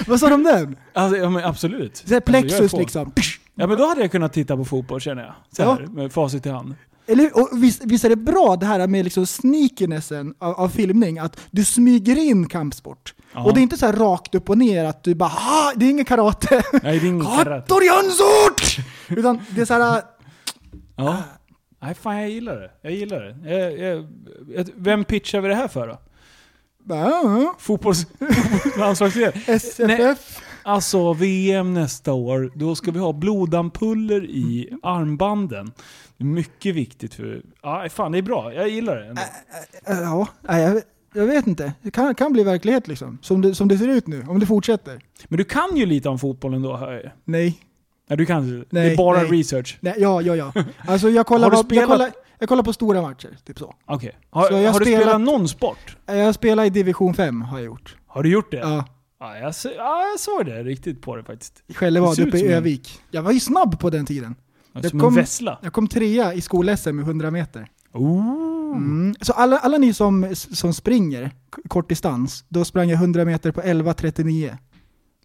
C: Vad sa du om den?
B: Alltså, ja, men absolut.
C: Så här
B: Alltså, jag är
C: plexus
B: på.
C: liksom.
B: Ja men då hade jag kunnat titta på fotboll känner jag. Så här,
C: Ja.
B: med facit i hand.
C: Eller hur? och visst, visst är det bra det här med liksom sneakinessen av, av filmning, att du smyger in kampsport.
B: Ja.
C: Och det är inte så här rakt upp och ner att du bara "Ah, det är ingen karate.
B: Nej, det är ingen karate.
C: Hattoriansort! Utan det är så här,
B: Ja. Nej fan jag gillar det. Jag gillar det. Jag, jag, jag, vem pitchar vi det här för då?
C: äh,
B: Fotbolls... (laughs) landslagsledare? Nej,
C: SFF.
B: Alltså VM nästa år, då ska vi ha blodampuller i armbanden. Det är Mycket viktigt för... Ja, fan det är bra. Jag gillar det ändå.
C: Äh, Ja, nej, jag, jag vet inte. Det kan, kan bli verklighet liksom. Som det, som det ser ut nu, om det fortsätter.
B: Men du kan ju lite om fotboll ändå hör jag ju.
C: Nej.
B: Nej du kan inte. Det är
C: Nej,
B: bara
C: nej.
B: research.
C: nej ja, ja, ja. Alltså jag kollar,
B: Har du
C: vad-
B: spelat-
C: jag, kollar, jag kollar på stora matcher, typ så.
B: Okej. Har,
C: Så jag
B: har du
C: spelat-
B: spelat någon sport?
C: Jag spelar i division 5, har jag gjort.
B: Har du gjort det?
C: Ja.
B: Ja, jag, så, ja, jag såg det riktigt på det faktiskt.
C: I Skällevad
B: Det ser ut
C: uppe i
B: som en-
C: Övik. Jag var ju snabb på den tiden.
B: Ja,
C: Jag
B: som
C: kom-
B: en vessla.
C: Jag kom trea i skol-SM med 100 meter.
B: Oh.
C: Mm. Så alla, alla ni som, som springer k- kort distans, då sprang jag 100 meter på 11.39.
B: Är det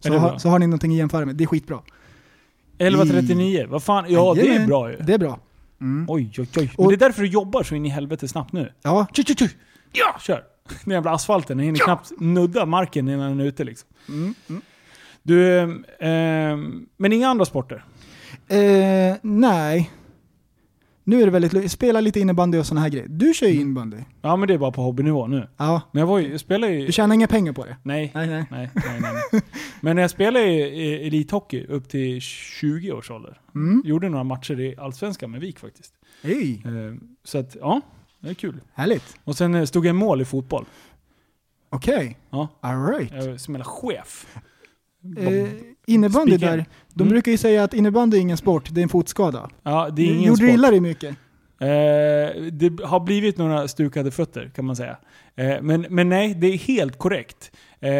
C: Så,
B: bra?
C: ha, så har ni någonting att jämföra med. Det är skitbra.
B: 11.39, vad fan. Ja, det är
C: Jajamän.
B: bra ju.
C: Det är bra.
B: Oj, oj, oj. Men
C: Och-
B: det är därför du jobbar så in i helvete snabbt nu.
C: Ja. Tju, tju, tju.
B: Ja! Kör! Den jävla asfalten, den hinner knappt nudda marken innan den är ute liksom.
C: Mm,
B: Du, ehm, ehm, men inga andra sporter?
C: Eh, nej. Nu är det väldigt lugnt. Spela lite innebandy och sådana här grejer. Du
B: Mm.
C: kör ju innebandy.
B: Ja men det är bara på hobbynivå nu.
C: Ja.
B: Men jag var ju, jag spelade ju...
C: Du tjänar inga pengar på det?
B: Nej.
C: Nej, nej.
B: Nej, nej, nej. nej. Men jag spelade i i elithockey upp till 20 års ålder.
C: Mm.
B: Gjorde några matcher i Allsvenskan med Vik faktiskt.
C: Hej.
B: Eh, Så att, ja, det är kul.
C: Härligt.
B: Och sen eh, stod jag i mål i fotboll.
C: Okej.
B: Ja,
C: All right.
B: jag var som jävla chef.
C: Eh, innebandy
B: Spikar.
C: där, de
B: Mm.
C: brukar ju säga att innebandy är ingen sport, det är en fotskada.
B: Ja, det är ingen
C: Gjorde
B: sport.
C: du illa dig mycket?
B: Eh, det har blivit några stukade fötter kan man säga. Eh, men, men nej, det är helt korrekt. Eh,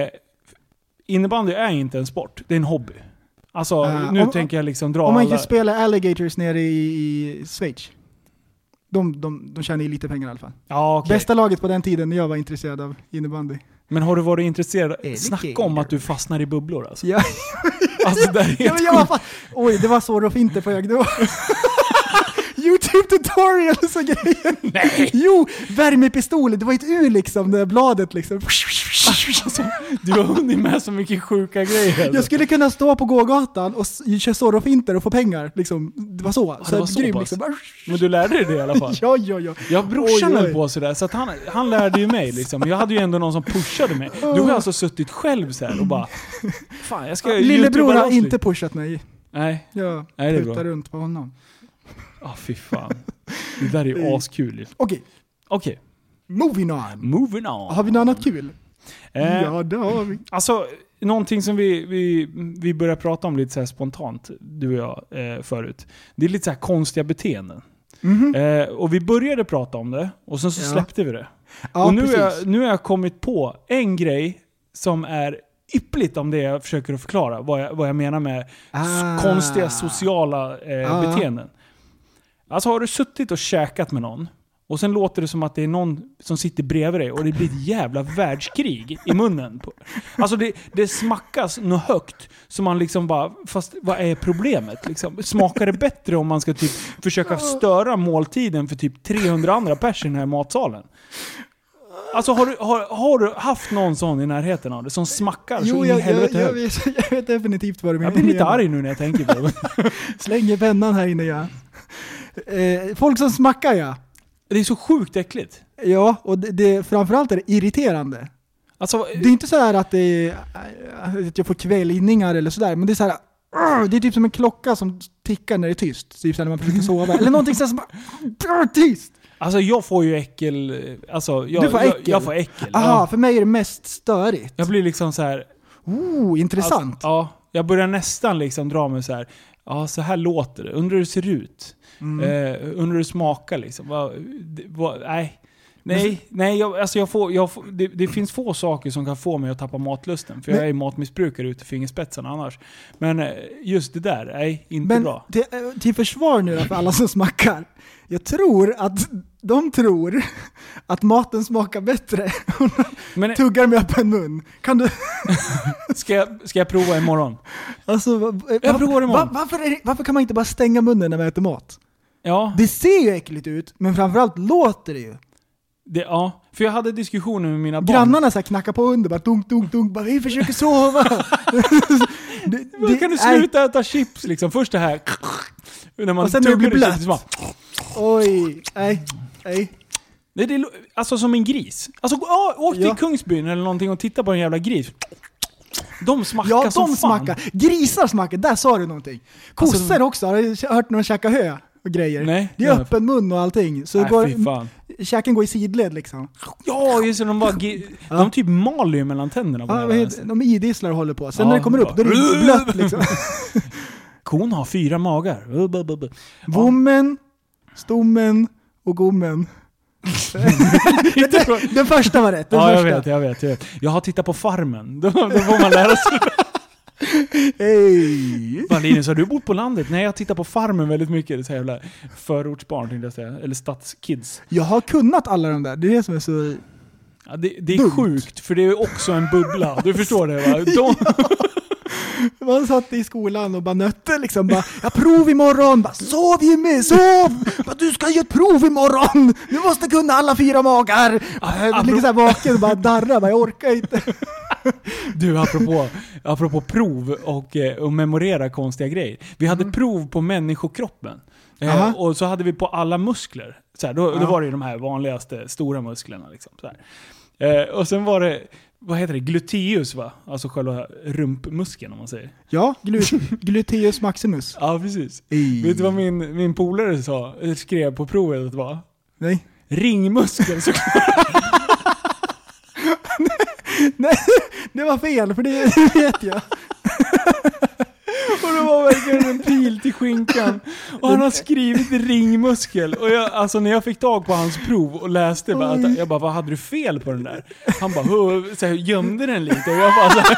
B: innebandy är inte en sport, det är en hobby. Alltså,
C: Ah,
B: nu
C: om-
B: tänker jag liksom dra
C: Om man
B: alla...
C: inte spelar alligators nere i, i Schweiz. De, de, de tjänar ju lite pengar i alla fall.
B: Ja, okej.
C: Bästa laget på den tiden när jag var intresserad av
B: (laughs)
C: innebandy.
B: Men har du varit intresserad?
C: Alligator.
B: Snacka om att du fastnar i bubblor alltså.
C: Ja,
B: Alltså det där är
C: ja, men
B: helt
C: jag var
B: sjukt.
C: fan, oj, det var så Rolf inte på väg då. (laughs) YouTube skrev tutorials och grejer. Nej! Jo, värmepistol. Det var ett U liksom, det där
B: (laughs)
C: bladet liksom.
B: Du har hunnit med så mycket sjuka grejer. alltså.
C: Jag skulle kunna stå på gågatan och s- köra Zorro-finter och få pengar. Liksom. Det var så.
B: det var
C: här
B: så
C: grym,
B: pass.
C: liksom.
B: Men du lärde dig det i alla fall.
C: Ja, ja, ja.
B: Jag har brorsan
C: Oj, oj.
B: höll på sådär, så att han, han lärde ju mig liksom. Jag hade ju ändå någon som pushade mig. Du har ju alltså suttit själv så här och bara... Fan, jag ska liksom."
C: Lillebror
B: youtuba
C: har
B: wrestling."
C: inte pushat mig.
B: Nej,
C: Jag
B: Nej, det är
C: puttar
B: bra.
C: runt på honom.
B: ah fy fan. (laughs) Det där är ju askul ju.
C: Okej,
B: Okej,
C: moving on.
B: moving on.
C: Har vi något annat kul?
B: Eh,
C: Ja, det har vi.
B: Alltså, någonting som vi, vi, vi började prata om lite så här spontant, du och jag, eh, förut. Det är lite så här konstiga beteenden. Eh, och vi började prata om det, och sen så
C: Ja.
B: släppte vi det.
C: Ja,
B: och nu,
C: precis.
B: har jag, nu har jag kommit på en grej som är yppligt om det jag försöker att förklara, vad jag, vad jag menar med s-
C: Ah.
B: konstiga sociala eh,
C: Ah.
B: beteenden. Alltså har du suttit och käkat med någon, och sen låter det som att det är någon som sitter bredvid dig och det blir ett jävla världskrig i munnen. På. Alltså det, det smackas något högt, så man liksom bara, fast vad är problemet? Liksom, smakar det bättre om man ska typ försöka störa måltiden för typ 300 andra personer i den här matsalen? Alltså har du, har, har du haft någon sån i närheten av dig som smackar så
C: Jo,
B: in Alltså, i
C: jag, jag,
B: helvete
C: jag,
B: högt?
C: vet, (laughs) jag vet definitivt vad du menar.
B: Jag blir lite arg nu när jag tänker
C: (laughs)
B: på det.
C: Slänger pennan här inne ja. Eh, folk som smackar ja.
B: Det är så sjukt äckligt.
C: Ja, och det, det, framförallt är det irriterande.
B: Alltså,
C: Det är inte så här att, det är, eh, att jag får kvällningar eller sådär, men det är så här. "Arr!" Det är typ som en klocka som tickar när det är tyst. Typ så här när man
B: (laughs)
C: försöker sova. Eller någonting sånt som bara... "Arr, Tyst!
B: alltså jag får ju äckel... Alltså, jag,
C: Du får
B: jag,
C: äckel?
B: jag får äckel.
C: Aha,
B: Ja.
C: för mig är det mest störigt.
B: Jag blir liksom så här...
C: Oh, intressant.
B: Alltså, ja, jag börjar nästan liksom dra mig så här. Ja, så här låter det. Undrar hur det ser ut.
C: Mm.
B: Eh, undrar hur det smakar liksom. Vad- det- vad- nej. Nej, nej jag, alltså jag får, jag får, det, det finns få saker som kan få mig att tappa matlusten. För jag
C: Men-
B: är matmissbrukare ut i fingerspetsarna annars. Men eh, just det där, nej, inte
C: Men
B: bra.
C: till, eh, till försvar nu då för alla som smackar. Jag tror att de tror att maten smakar bättre.
B: Men eh,
C: Tuggar med öppen mun. Kan du...
B: ska jag, ska jag prova imorgon?
C: Alltså, va, va-
B: Jag provar imorgon.
C: va, varför, är det, varför kan man inte bara stänga munnen när man äter mat?
B: Ja,
C: Det ser ju äckligt ut, men framförallt låter det ju.
B: det, ja. För jag hade diskussioner med mina barn.
C: Grannarna så här knackar på under, bara dunk, dunk, dunk, bara vi
B: (laughs)
C: försöker sova. det,
B: Då kan du
C: är-
B: sluta äta chips liksom? Först det här... (laughs) När man
C: Och sen när det
B: tuggar
C: blir
B: i chips,
C: blött.
B: bara-
C: Oj, nej, nej.
B: Nej, det, lo- alltså som en gris. Alltså gå- ja, åk till
C: Ja.
B: Kungsbyn eller någonting och titta på en jävla gris. De smackar
C: Ja,
B: som
C: de
B: fan. Alltså,
C: smackar. Grisar smackar, där sa du någonting. Kossor också, har du hört när de käkar hö och grejer?
B: Nej,
C: det är
B: nej.
C: öppen mun och allting, så
B: Nej, fy
C: går,
B: fan.
C: käken går i sidled liksom.
B: Ja, just det. De, bara, ge- de typ maler ju mellan tänderna på
C: Ja,
B: den
C: vad
B: jävla
C: heter-
B: vänstern.
C: de idisslar och håller på. Sen
B: alltså- Ja,
C: när det kommer upp, då är det
B: bara- (laughs)
C: blött liksom.
B: Kon har fyra
C: (laughs)
B: magar. Uh, bu, bu, bu.
C: Vommen, stommen och gommen.
B: (laughs) Inte-
C: Den första var rätt. Den
B: Ja, jag
C: första.
B: vet, jag vet, jag vet. Jag har tittat på Farmen. (laughs) Då, då får man lära sig. (laughs)
C: Hej!
B: Bara, Linus, har du bott på landet? Nej, jag tittar på Farmen väldigt mycket. Det är så jävla förortsbarn, tänkte jag säga. Eller stadskids.
C: Jag har kunnat alla de där, det är det som är så...
B: Ja, det, det är
C: Dumt.
B: sjukt, för det är också en bubbla. Du förstår det
C: (laughs)
B: va? De,
C: Man satt i skolan och bara nötte liksom. Bara, jag har prov imorgon! Bara, sov Jimmy, sov! Bara, du ska ge ett prov imorgon! Du måste kunna alla fyra magar! Jag ligger såhär vaken och bara darrar, bara, jag orkar inte.
B: Du, apropå, apropå prov och, eh, och memorera konstiga grejer. Vi hade prov på människokroppen. Eh,
C: Aha.
B: Och så hade vi på alla muskler. Så här, då, då var det ju de här vanligaste stora musklerna. Liksom, så här. Eh, och sen var det, vad heter det, gluteus va? Alltså själva rumpmuskeln om man säger.
C: Ja, glu- gluteus maximus.
B: Ja, precis.
C: Ej.
B: Vet du vad min, min polare sa, eh, skrev på provet att det var?
C: Nej.
B: Ringmuskeln såklart.
C: Nej, (laughs) det var fel för det det vet jag.
B: Och det var verkligen en pil till skinkan. Och han har skrivit ringmuskel. Och jag, alltså när jag fick tag på hans prov och läste, bara, att, jag bara vad hade du fel på den där? Han bara "Huh", så här, gömde den lite och jag bara så här,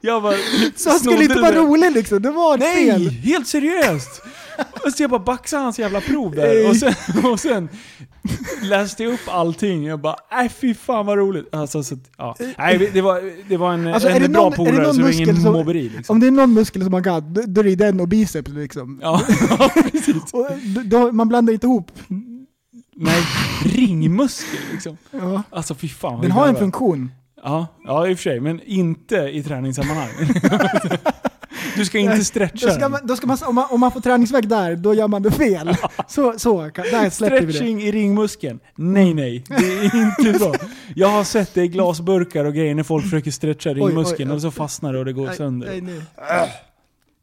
B: Jag bara
C: Så han skulle
B: snodde
C: inte vara
B: den.
C: rolig liksom, det var
B: Nej,
C: fel.
B: helt seriöst! Och så jag bara baxade hans jävla prov där. Och sen, och sen läste jag upp allting. Jag bara, nej fy fan vad roligt. Alltså, så, att, ja. Nej, det var, det var en,
C: Alltså,
B: en
C: är det någon-
B: bra
C: är det
B: polare,
C: någon
B: så det var
C: muskel
B: ingen
C: som-
B: mobberi. Liksom.
C: Om det är någon muskel som man kan, då då är det den och biceps liksom.
B: Ja, (laughs) ja, precis.
C: Och då- då, man blandar inte ihop.
B: Nej, ringmuskel liksom.
C: Ja.
B: Alltså fy fan. vad
C: Den
B: vi
C: har en
B: garvar.
C: funktion.
B: Ja, ja, i och för sig. Men inte i träningssammanhang. (laughs) du ska inte
C: Nej,
B: stretcha
C: Då ska
B: den.
C: man, då ska man, om, man, om man får träningsvärk där, då gör man
B: (laughs)
C: det fel. Så, så kan- där släpper vi det.
B: Stretching i ringmuskeln? Nej, nej. Det är
C: (laughs)
B: inte bra. Jag har sett det i glasburkar och grejer när folk försöker stretcha ringmuskeln
C: oj.
B: och så fastnar det och det går
C: Nej, nej,
B: sönder.
C: nej.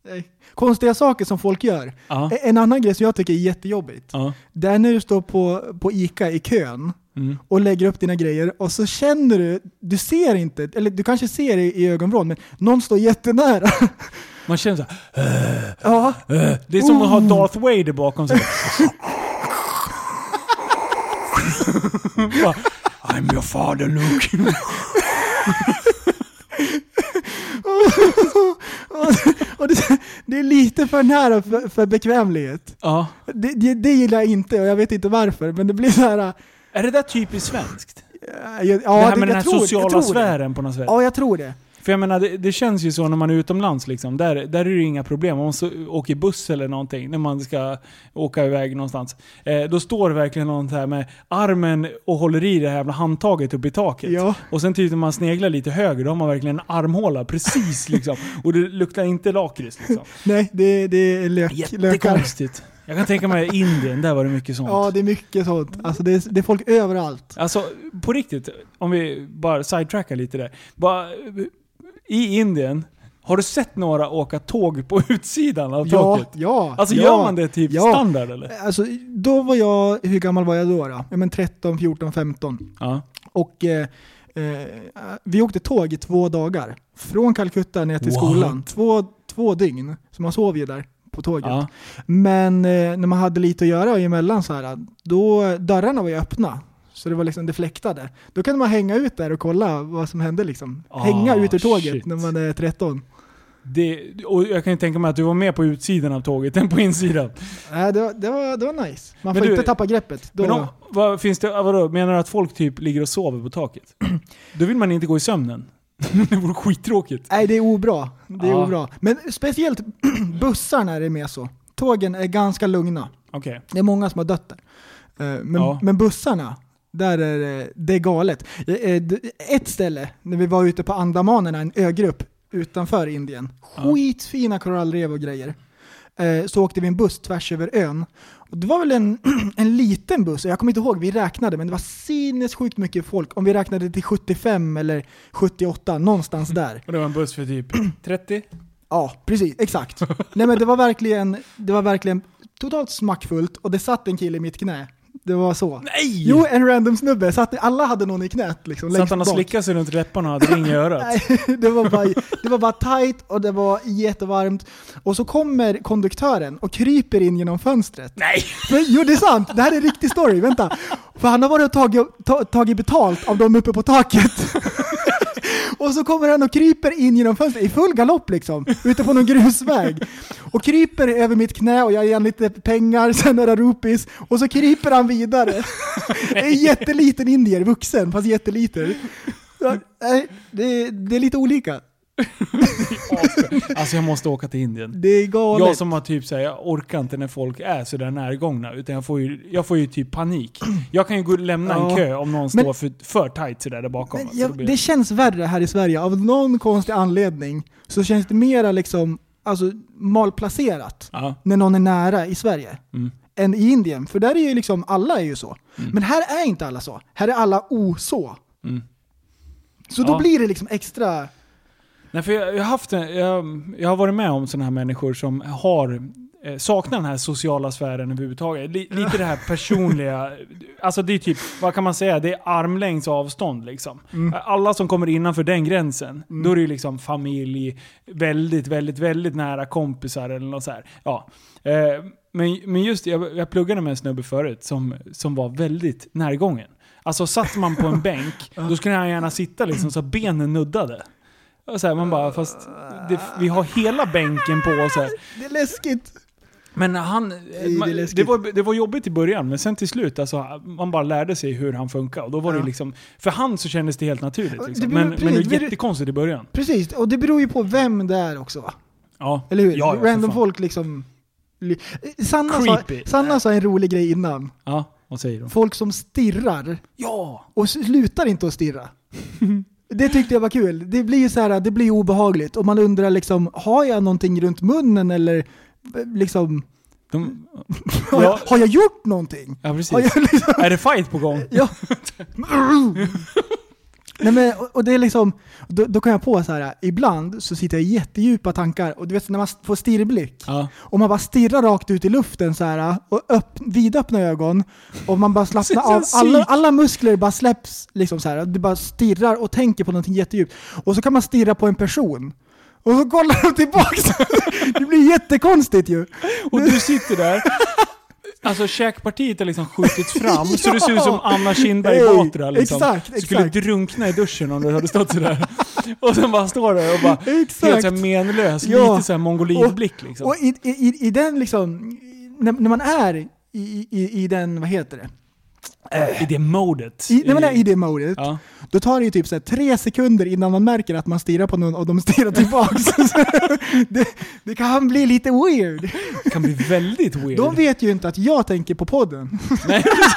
C: Nej. Konstiga saker som folk gör.
B: Ja.
C: E- En annan grej som jag tycker är jättejobbigt.
B: Ja.
C: Det är när du står på, på ICA i kön
B: Mm.
C: och lägger upp dina grejer och så känner du, du ser inte, eller du kanske ser i, i ögonvrån, men någon står jättenära. (laughs)
B: Man känner så här, "Äh,
C: Ja,
B: Det är som att ha
C: Oh.
B: Darth Vader bakom
C: (laughs)
B: sig. (laughs) Bara, I'm your father Luke. (laughs)
C: och det, det är lite för nära för, för bekvämlighet.
B: ja.
C: Det, det, det gillar jag inte och jag vet inte varför, men det blir så här... äh,
B: Är det där typiskt svenskt?
C: Ja, Eh, jag,
B: det
C: ja,
B: här med den här
C: jag tror,
B: sociala
C: jag tror Det.
B: sfären på något sätt.
C: Ja, jag tror det.
B: För jag menar, det, det känns ju så när man är utomlands liksom. Där, där är det ju inga problem. Om man så, åker buss eller någonting, när man ska åka iväg någonstans. Eh, då står det verkligen någon så här med armen och håller i det här jävla handtaget uppe i taket.
C: Ja.
B: Och sen typ när man sneglar lite höger, då har man verkligen en armhåla precis (laughs) liksom. Och det luktar inte lakrits liksom.
C: Nej, det, det är lök, lökar.
B: Jättekonstigt. Jag kan tänka mig Indien, där var det mycket sånt.
C: Ja, det är mycket sånt. Alltså, det, är, det är folk överallt.
B: Alltså på riktigt, om vi bara sidetrackar lite där. Bara, I Indien, har du sett några åka tåg på (laughs) utsidan av
C: Ja,
B: taket?
C: ja.
B: Alltså
C: ja,
B: gör man det typ
C: ja.
B: standard eller?
C: Alltså, då var jag, hur gammal var jag då? då? Ja, men 13, 14, 15.
B: Ja.
C: Och eh, eh, vi åkte tåg i två dagar. Från Calcutta ner till
B: What?
C: skolan. Två, två dygn. Så man sov ju där på tåget.
B: ja.
C: Men eh, när man hade lite att göra emellan så här, då dörrarna var ju öppna. Så det var liksom det fläktade. Då kunde man hänga ut där och kolla vad som hände liksom.
B: Ah,
C: hänga ut ur tåget
B: shit.
C: när man är 13.
B: Det, och jag kan ju tänka mig att du var mer på utsidan av tåget än på insidan.
C: Nej, Äh, det, var, det, var, det var nice. Man
B: Men
C: får
B: du-
C: inte tappa greppet. (laughs) Då,
B: Men om, vad, finns det, ah, vadå, menar du att folk typ ligger och sover på
C: (clears throat)
B: taket? Då vill man inte gå i sömnen. (laughs) det vore skittråkigt.
C: Nej, det är obra. Det är
B: Ja.
C: obra. Men speciellt (clears throat) bussarna är det med så. Tågen är ganska lugna.
B: Okej.
C: Det är många som har dött där. Eh, Men,
B: Ja.
C: men bussarna, där är det, det är galet. Eh, eh, d- Ett ställe, när vi var ute på Andamanerna, en ögrupp utanför Indien.
B: Ja.
C: Skitfina korallrev och grejer. Eh, Så åkte vi en buss tvärs över ön. Och det var väl en, (clears throat) en liten buss, jag kommer inte ihåg, vi räknade, men det var sinnessjukt mycket folk. Om vi räknade till 75 eller 78, någonstans där.
B: Och det var en buss för typ 30?
C: Ja, precis. Exakt. Nej men det var verkligen, det var verkligen totalt smackfullt och det satt en kille i mitt knä. Det var så.
B: Nej!
C: Jo, en random snubbe. Satt, alla hade någon i knät liksom.
B: Så att
C: längst
B: han har
C: bak.
B: slickat sig runt läpparna och hade ring i örat.
C: (laughs) Nej, det var, bara, det var bara tight och det var jättevarmt. Och så kommer konduktören och kryper in genom fönstret.
B: Nej!
C: Men, jo, det är sant. Det här är en riktig story. Vänta. För han har varit och tagit, ta, tagit betalt av dem uppe på taket. (laughs) Och så kommer han och kryper in genom fönstret i full galopp liksom, ute på någon grusväg. Och kryper över mitt knä och jag ger han lite pengar, (laughs) sen några rupees. Och så kryper han vidare. Det är en jätteliten indier, vuxen, fast jätteliten. Ja, nej, Det, det är lite olika.
B: Alltså jag måste åka till Indien.
C: Det är galet.
B: Jag som har typ såhär, jag orkar inte när folk är sådär närgångna. Utan jag får ju, jag får ju typ panik. Jag kan ju gå och lämna
C: Ja.
B: en kö om någon
C: Men-
B: står för, för tight sådär där bakom.
C: Men
B: va. Så
C: jag,
B: då blir
C: det känns värre här i Sverige. Av någon konstig anledning så känns det mera liksom, alltså, malplacerat
B: ja.
C: när någon är nära i Sverige
B: Mm.
C: än i Indien. För där är ju liksom, alla är ju så. Men här är inte alla så. Här är alla oså.
B: Mm.
C: Så då
B: Ja.
C: blir det liksom extra...
B: Nej, för jag, jag, har haft, en- jag, jag har varit med om sådana här människor som har eh, saknar den här sociala sfären överhuvudtaget. Li, lite det här personliga. Alltså det är typ, vad kan man säga? Det är armlängds avstånd liksom. Alla som kommer innanför den gränsen, då är det ju liksom familj, väldigt, väldigt, väldigt nära kompisar eller något så här. Ja. Eh, men, men just det, jag, jag pluggade med en snubbe förut som, som var väldigt närgången. Alltså satt man på en bänk, då skulle han gärna sitta liksom så att benen nuddade. Och så här, man bara, fast det, vi har hela bänken på oss här.
C: Det är läskigt.
B: Men han,
C: är
B: man,
C: läskigt.
B: det, var, det var jobbigt i början, men sen till slut, alltså, man bara lärde sig hur han funkar. Och då var
C: Ja.
B: det liksom, för han så kändes det helt naturligt.
C: Det
B: Liksom.
C: beror-
B: men,
C: precis,
B: men det
C: det
B: var
C: beror-
B: jättekonstigt i början.
C: Precis, och det beror ju på vem det är också va?
B: Ja.
C: Eller hur?
B: Ja, ja, för
C: Random
B: fan.
C: folk liksom... li- Sanna sa,
B: Creepy.
C: Sanna sa en rolig grej innan.
B: Ja, vad säger du?
C: Folk som stirrar
B: Ja!
C: och slutar inte att stirra. Det tyckte jag var kul. Det blir så här, det blir obehagligt och man undrar liksom, har jag någonting runt munnen eller eh, liksom,
B: De,
C: har, jag,
B: ja,
C: har jag gjort någonting?
B: ja, precis.
C: Har jag liksom,
B: Är det fight på gång?
C: ja. Nej men, och- och det är liksom, då, då kan jag på så här, ibland så sitter jag i jättedjupa tankar och du vet när man får stirrblick
B: Ja.
C: och man bara stirrar rakt ut i luften så här och öpp, vidöppna ögon och man bara slappnar av.
B: Precis, en
C: Alla,
B: psyk.
C: alla muskler bara släpps liksom så här. Du bara stirrar och tänker på någonting jättedjupt. Och så kan man stirra på en person. Och så kollar de tillbaks. (laughs) Det blir jättekonstigt ju.
B: Och du sitter där. Alltså käkpartiet har liksom skjutits fram så det ser ut som Anna Kinberg
C: Hey,
B: Batra liksom.
C: exakt, exakt.
B: Skulle drunkna i duschen om du hade stått sådär. Och sen bara står där och bara
C: Exakt.
B: helt såhär menlös,
C: Ja.
B: lite såhär mongolidblick liksom.
C: Och i, i, i- i den liksom, när, när man är i, i, i- i den, vad heter det?
B: I det modet.
C: I, när man är i det modet,
B: Ja.
C: då tar det ju typ så här tre sekunder innan man märker att man stirrar på någon och de stirrar tillbaks. (laughs) det, det kan bli lite weird.
B: Det kan bli väldigt weird.
C: De vet ju inte att jag tänker på podden.
B: Nej, precis.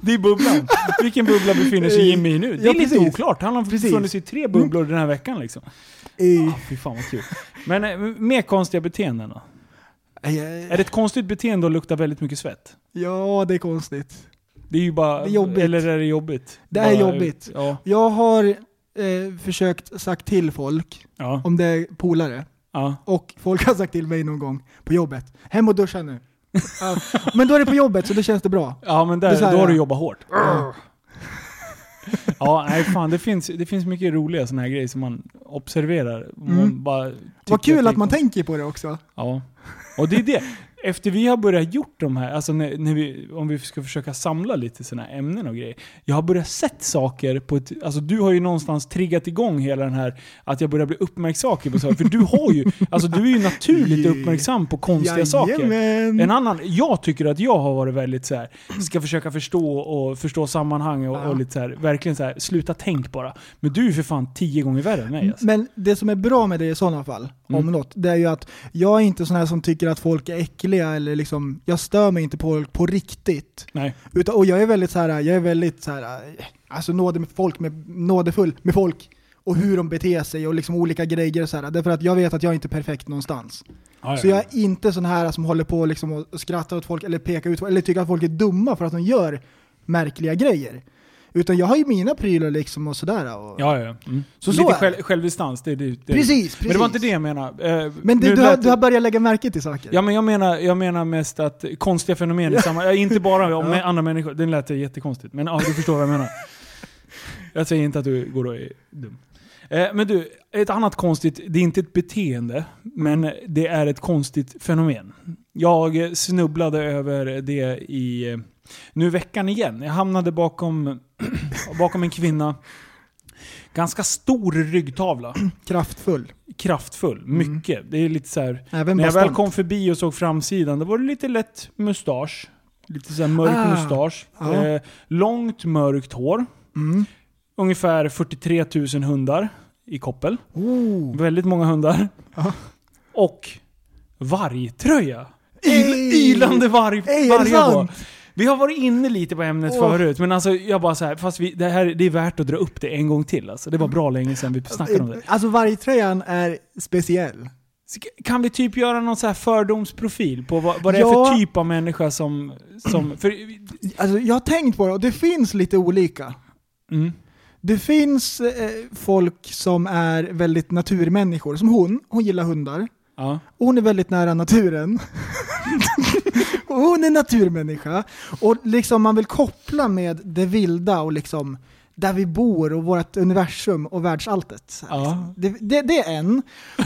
B: det är bubblan. Vilken bubbla befinner sig Jimmy i nu? Det är
C: Ja,
B: lite
C: precis.
B: oklart. Han har
C: Precis. Mm.
B: funnits i tre bubblor den här veckan liksom. Ah, fy fan vad kul. Men eh, mer konstiga beteenden då? Är
C: Eh,
B: det ett konstigt beteende att lukta väldigt mycket svett?
C: Ja, det är konstigt.
B: Det är ju bara...
C: Det är jobbigt.
B: Eller är det jobbigt?
C: Det är
B: Bara-
C: jobbigt.
B: Ja.
C: Jag har eh, försökt sagt till folk,
B: Ja.
C: om det är polare,
B: ja.
C: och folk har sagt till mig någon gång på jobbet, hem och duscha nu. Ja, Men då är det på jobbet så då känns det bra.
B: Ja men
C: Det är
B: där,
C: så här,
B: då har du
C: ja.
B: jobbat hårt. Ja, nej fan. Det finns, det finns mycket roliga sådana här grejer som man observerar. Man
C: Mm.
B: bara tycker
C: Vad kul
B: det
C: att man
B: är-
C: tänker på det också.
B: Ja. Och det är det. Efter vi har börjat gjort de här, alltså när, när vi, om vi ska försöka samla lite sådana här ämnen och grejer. Jag har börjat sett saker på ett, alltså du har ju någonstans triggat igång hela den här, att jag börjar bli uppmärksam på saker. För du har ju, alltså du är ju naturligt uppmärksam på konstiga saker. En
C: Jajamän!
B: annan, jag tycker att jag har varit väldigt så här. ska försöka förstå och förstå sammanhang och,
C: Ja.
B: och lite så här, verkligen så här, sluta tänk bara. Men du är ju för fan tio gånger värre än mig alltså.
C: Men det som är bra med det i sådana fall,
B: Mm.
C: om något, det är ju att jag är inte sån här som tycker att folk är äckliga eller liksom, jag stör mig inte på folk på riktigt.
B: Nej.
C: Utan, och jag är väldigt så här, jag är väldigt så här, eh, alltså nåde med folk, med, nådefull med folk och hur de beter sig och liksom olika grejer och så här. Därför att jag vet att jag är inte är perfekt någonstans. Så jag är inte sån här som håller på liksom och skrattar åt folk eller pekar ut folk eller tycker att folk är dumma för att de gör märkliga grejer. Utan jag har ju mina prylar liksom och sådär. Och,
B: Ja, ja. ja. Mm.
C: Så
B: Lite
C: så är
B: själv, självdistans, det är det, det. är-
C: Precis,
B: Men det var
C: precis.
B: inte det jag menade. Eh,
C: Men
B: nu
C: det, du, har,
B: lät-
C: du har börjat lägga märke till saker.
B: Ja, men jag menar, jag menar mest att konstiga fenomen i samma... eh, Inte bara om med andra människor, den lät jättekonstigt. Men ja, du förstår vad jag menar. Jag säger inte att du går och är dum. Eh, Men du, ett annat konstigt, det är inte ett beteende, men det är ett konstigt fenomen. Jag eh, snubblade över det i, eh, nu i veckan igen. Jag hamnade bakom, (clears throat) bakom en kvinna, ganska stor ryggtavla,
C: Kraftfull.
B: kraftfull, mycket. Det är lite så här,
C: Även
B: när jag väl
C: bastant.
B: kom förbi och såg framsidan, då var det lite lätt mustasch. Lite såhär mörk
C: Ah,
B: mustasch.
C: ja.
B: Eh, långt mörkt hår.
C: Mm.
B: Ungefär 43 000 hundar i koppel.
C: Oh.
B: Väldigt många hundar.
C: Ja.
B: Och vargtröja.
C: Ey!
B: Y- ylande varg,
C: Ey, är det
B: vargar på.
C: sant?
B: Vi har varit inne lite på ämnet
C: Åh.
B: förut, men alltså jag bara så här, fast vi, det här det är värt att dra upp det en gång till alltså. Det var bra länge sedan vi snackade om det.
C: Alltså vargtröjan är speciell.
B: Ska- Kan vi typ göra någon så här fördomsprofil på vad, vad det är
C: Ja.
B: för typ av människa som... som för,
C: Alltså, jag har tänkt på det och det finns lite olika.
B: mm,
C: Det finns eh, folk som är väldigt naturmänniskor, som hon. Hon gillar hundar.
B: ja.
C: Och hon är väldigt nära naturen. (laughs) och hon är naturmänniska. Och liksom man vill koppla med det vilda och liksom där vi bor och vårt universum och världsalltet. Så här,
B: Ja.
C: liksom. det, det, det är en.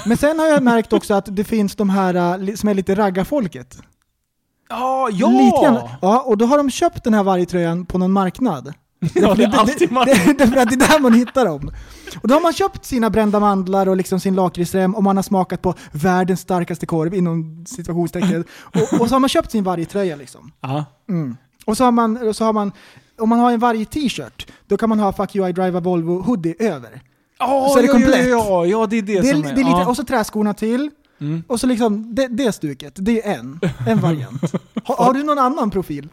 C: Men sen har jag märkt också att det finns de här äh, li- som är lite raggarfolket.
B: ja!
C: Lite grann. ja! Och då har de köpt den här vargtröjan på någon marknad.
B: Ja, det är
C: Därför
B: alltid man... (laughs)
C: det, (laughs) det, därför att det är där man hittar dem. Och då har man köpt sina brända mandlar och liksom sin lakritsrem och man har smakat på världens starkaste korv inom
B: (laughs)
C: situationstecken. Och, och så har man köpt sin vargtröja liksom.
B: Ja.
C: Mm. Och så har man, och så har man om man har en varje t-shirt, då kan man ha Fuck you I drive a Volvo hoodie över.
B: Ja,
C: Så är det
B: ja,
C: komplett.
B: Ja, ja, ja, det är det,
C: Det är,
B: som
C: det är lite,
B: ja.
C: Och så träskorna till.
B: Mm.
C: Och så liksom det, det stuket, det är en,
B: (laughs)
C: en variant. Har, har du någon annan profil?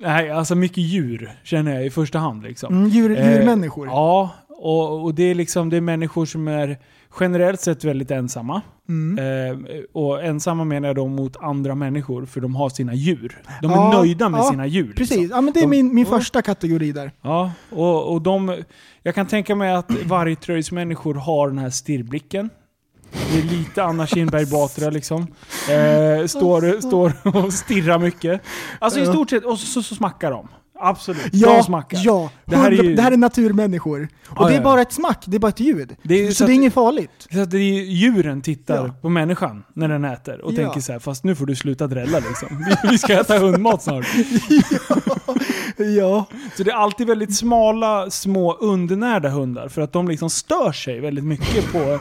B: Nej, alltså mycket djur känner jag i första hand. Liksom.
C: Mm, djur, djurmänniskor?
B: Eh, ja, och, och det, är liksom, det är människor som är generellt sett väldigt ensamma.
C: Mm.
B: Eh, och ensamma menar jag då mot andra människor, för de har sina djur. De är
C: Ja,
B: nöjda med
C: ja,
B: sina djur. liksom.
C: Precis, ja, men det är
B: De-
C: min, min
B: Ja.
C: första kategori där.
B: Ja, och, och de, jag kan tänka mig att vargtröjsmänniskor har den här stirrblicken. Det är lite Anna Kinberg Batra liksom. Eh, står, står och stirrar mycket. Alltså i stort sett, och så, så, så smackar de. Absolut, de
C: Ja,
B: smackar.
C: ja.
B: Det här är ju-
C: det här är naturmänniskor. Och
B: Ja,
C: det är
B: ja,
C: bara ett smack, det är bara ett ljud.
B: Det är-
C: så,
B: så
C: det är
B: att-
C: inget farligt.
B: Så att det är, djuren tittar
C: Ja.
B: på människan när den äter och
C: Ja.
B: tänker så här, fast nu får du sluta drälla liksom. Vi- Vi ska äta hundmat snart.
C: Ja.
B: Så det är alltid väldigt smala, små, undernärda hundar för att de liksom stör sig väldigt mycket på...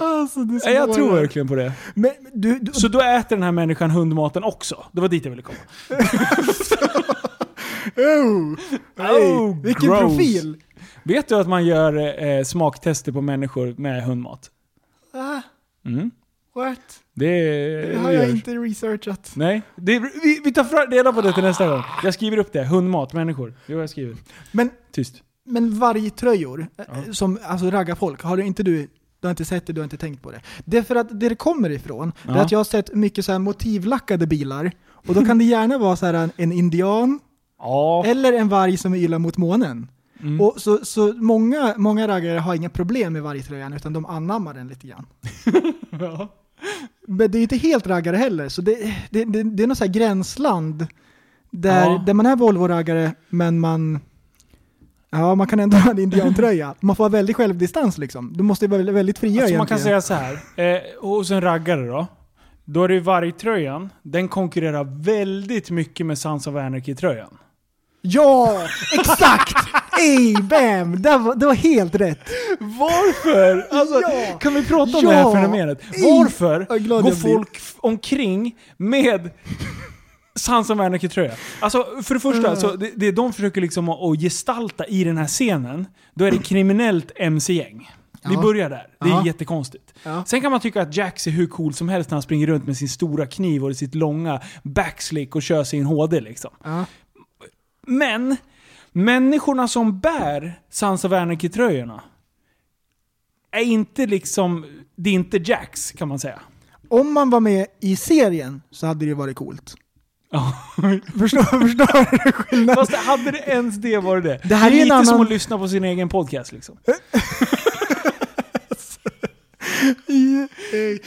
C: Alltså, det är så
B: Nej, jag
C: bra.
B: tror verkligen på det.
C: Men du, du,
B: Så då äter den här människan hundmaten också? Det var dit jag ville komma.
C: oh,
B: Oh,
C: vilken
B: gross.
C: profil!
B: Vet du att man gör eh, smaktester på människor med hundmat?
C: Ah,
B: Mm.
C: what?
B: Det,
C: Det har
B: det
C: jag
B: görs.
C: inte researchat.
B: Nej, det, vi, vi tar fram, reda på det till nästa gång. Jag skriver upp det. Hundmat, människor. Jo, jag skriver.
C: Men,
B: Tyst.
C: men vargtröjor, eh, som alltså raggarfolk, har du inte du du har inte sett det, du har inte tänkt på det. Det är för att det det kommer ifrån, det
B: Ja.
C: är att jag har sett mycket så här motivlackade bilar. Och då kan det gärna vara så här en, en indian,
B: Ja.
C: Eller en varg som är illa mot månen.
B: Mm.
C: Och så, så många, många raggare har inga problem med vargtröjan utan de anammar den lite grann.
B: (laughs) Ja.
C: Men det är ju inte helt raggare heller, så det, det, det, det är något så här gränsland där,
B: Ja.
C: där man är Volvo-raggare men man Ja, man kan ändå (laughs) ha en indiantröja. Man får ha väldigt självdistans liksom. Du måste ju vara väldigt- väldigt fria
B: Alltså,
C: egentligen.
B: man kan säga så här. Eh, hos en raggare då. Då är det ju vargtröjan. Den konkurrerar väldigt mycket med Sons of Anarchy-tröjan.
C: Ja,
B: (laughs)
C: exakt! Ey, bam! Det var, det var helt rätt.
B: Varför? Alltså,
C: Ja.
B: Kan vi prata om
C: Ja.
B: det här fenomenet? Varför
C: Vad glad
B: går
C: jag blir.
B: folk f- omkring med Sons of Anarchy-tröja? Alltså, för det
C: Mm.
B: första, så det, det de försöker liksom att, att gestalta i den här scenen, då är det kriminellt mc-gäng. Vi
C: Ja.
B: börjar där. Det är
C: Ja.
B: jättekonstigt.
C: Ja.
B: Sen kan man tycka att Jax är hur cool som helst när han springer runt med sin stora kniv och sitt långa backslick och kör sin HD liksom.
C: Ja.
B: Men, människorna som bär Sons of Anarchy-tröjorna är inte liksom, det är inte Jacks kan man säga.
C: Om man var med i serien så hade det ju varit coolt.
B: Ja.
C: Förstår, (laughs) förstår du skillnaden?
B: (laughs) Fast hade det ens det varit det?
C: Det här är
B: det är
C: en
B: lite som
C: annan-
B: att lyssna på sin egen podcast liksom.
C: Men eh,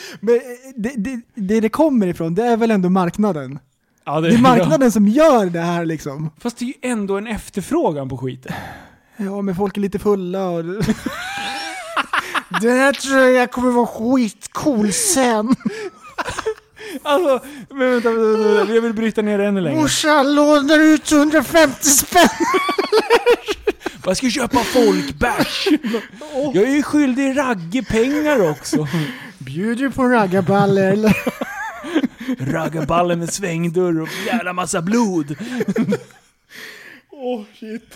C: det, det, det det kommer ifrån, det är väl ändå marknaden?
B: Ja,
C: (laughs) Det är marknaden som gör det här liksom.
B: Fast det är ju ändå en efterfrågan på
C: (laughs)
B: skiten.
C: Ja, men folk är lite fulla och... (laughs) Den här tröjan kommer vara skitcool sen.
B: Alltså, men vänta, vänta, vänta, jag vill bryta ner det ännu längre.
C: Morsan lånar ut 150 spänn.
B: Jag ska köpa
C: (laughs)
B: folkbärs! Jag är ju skyldig Ragge pengar också.
C: Bjuder du på en raggarballe eller?
B: Raggarballen med svängdörr och jävla massa blod.
C: Åh, shit.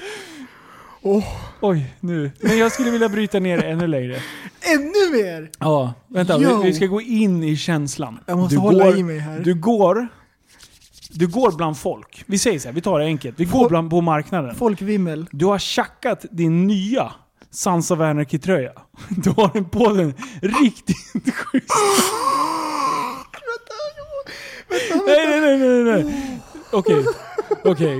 B: Oj, nu. Men jag skulle vilja bryta ner det ännu längre.
C: Ännu mer!
B: (laughs) Ja, vänta.
C: Yo.
B: Vi, vi ska gå in i känslan.
C: Jag måste hålla i mig här.
B: Du går... Du går bland folk. Vi säger så här, vi tar det enkelt. Vi går bland, på marknaden.
C: Folkvimmel.
B: Du har tjackat din nya Sons of Anarchy-tröja. Du har den på den riktigt schysst. Nej, nej, nej, nej, nej, nej. Okej. Okej.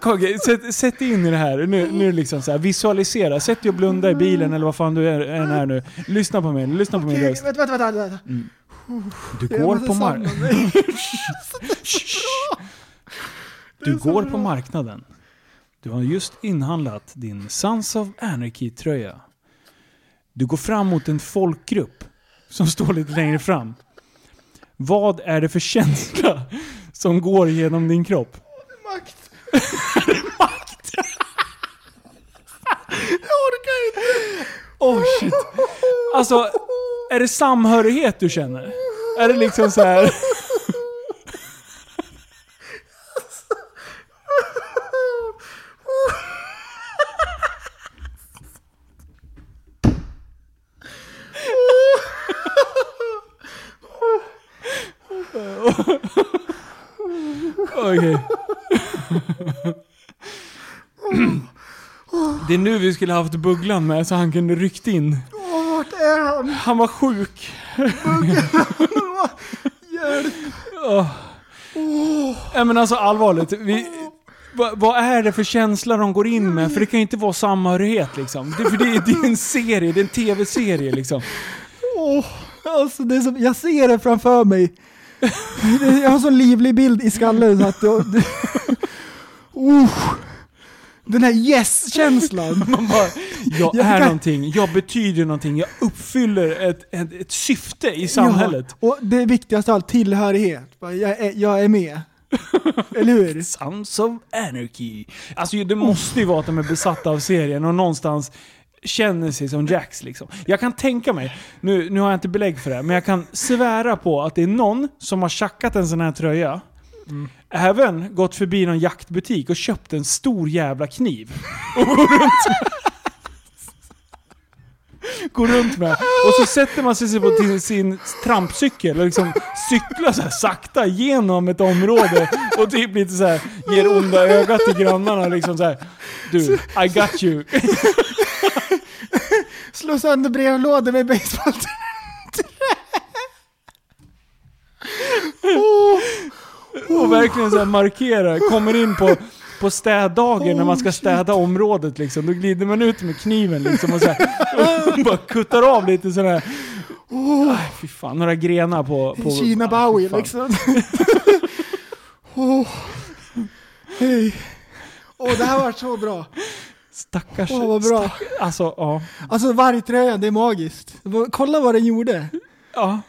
B: Kage, sätt, sätt dig in i det här. Nu, nu liksom så här. Visualisera. Sätt dig och blunda i bilen eller vad fan du är- än är nu. Lyssna på mig. Lyssna på min
C: Okej,
B: röst.
C: vänta, vänta, vänta. vänta.
B: Du
C: Jag
B: går
C: måste
B: på
C: samla
B: mark...
C: mig.
B: Du går på marknaden. Du har just inhandlat din Sons of Anarchy-tröja. Du går fram mot en folkgrupp som står lite längre fram. Vad är det för känsla som går genom din kropp?
C: Makt. (laughs)
B: Oh shit. Alltså, är det samhörighet du känner? Är det liksom så här... Okej. Det är nu vi skulle haft Bugglan med så han kunde ryckt in.
C: Åh, vart är han?
B: Han var sjuk.
C: Hjälp!
B: Nej men alltså allvarligt. Vi, va, vad är det för känsla de går in med? För det kan ju inte vara samhörighet liksom. Det, för det, är- det är en serie, det är en tv-serie liksom.
C: Åh, alltså det är som, jag ser det framför mig. (laughs) Det- Jag har så livlig bild i skallen så att... Jag, (laughs) det, Usch. den här (laughs) yes-känslan.
B: Man bara, jag
C: Jag
B: är
C: kan-
B: någonting, jag betyder någonting, jag uppfyller ett, ett, ett syfte i samhället.
C: Ja, och det viktigaste av allt, tillhörighet. Bara, Jag är, jag är (laughs) med. Eller hur?
B: Sounds of Anarchy. Alltså ju- det måste ju vara att de är besatta av serien och någonstans känner sig som Jax liksom. Jag kan tänka mig, nu, nu har jag inte belägg för det, här, men jag kan svära på att det är någon som har tjackat en sån här tröja, även gått förbi någon jaktbutik och köpt en stor jävla kniv. Och går runt med. Går runt med. Och så sätter man sig så på till sin trampcykel och liksom cyklar så här sakta genom ett område och typ lite så här ger onda ögat till grannarna liksom så här. Du, I got you. (laughs)
C: Slå sönder brevlådor med basebollträ.
B: Och verkligen så här markerar, kommer in på, på städdagen när man
C: Oh,
B: ska städa området liksom. Då glider man ut med kniven liksom och, så här, (laughs) och bara kuttar av lite sådana här...
C: Oh.
B: Aj, fy fan, några grenar på... på
C: Kina
B: aj,
C: Bowie
B: fy fan.
C: liksom. (laughs) Åh, Hej. Åh, det här var så bra.
B: Stackars...
C: Åh, vad bra.
B: Stack, alltså, ja.
C: Alltså vargtröjan, det är magiskt. Vad- Kolla vad den gjorde.
B: Ja.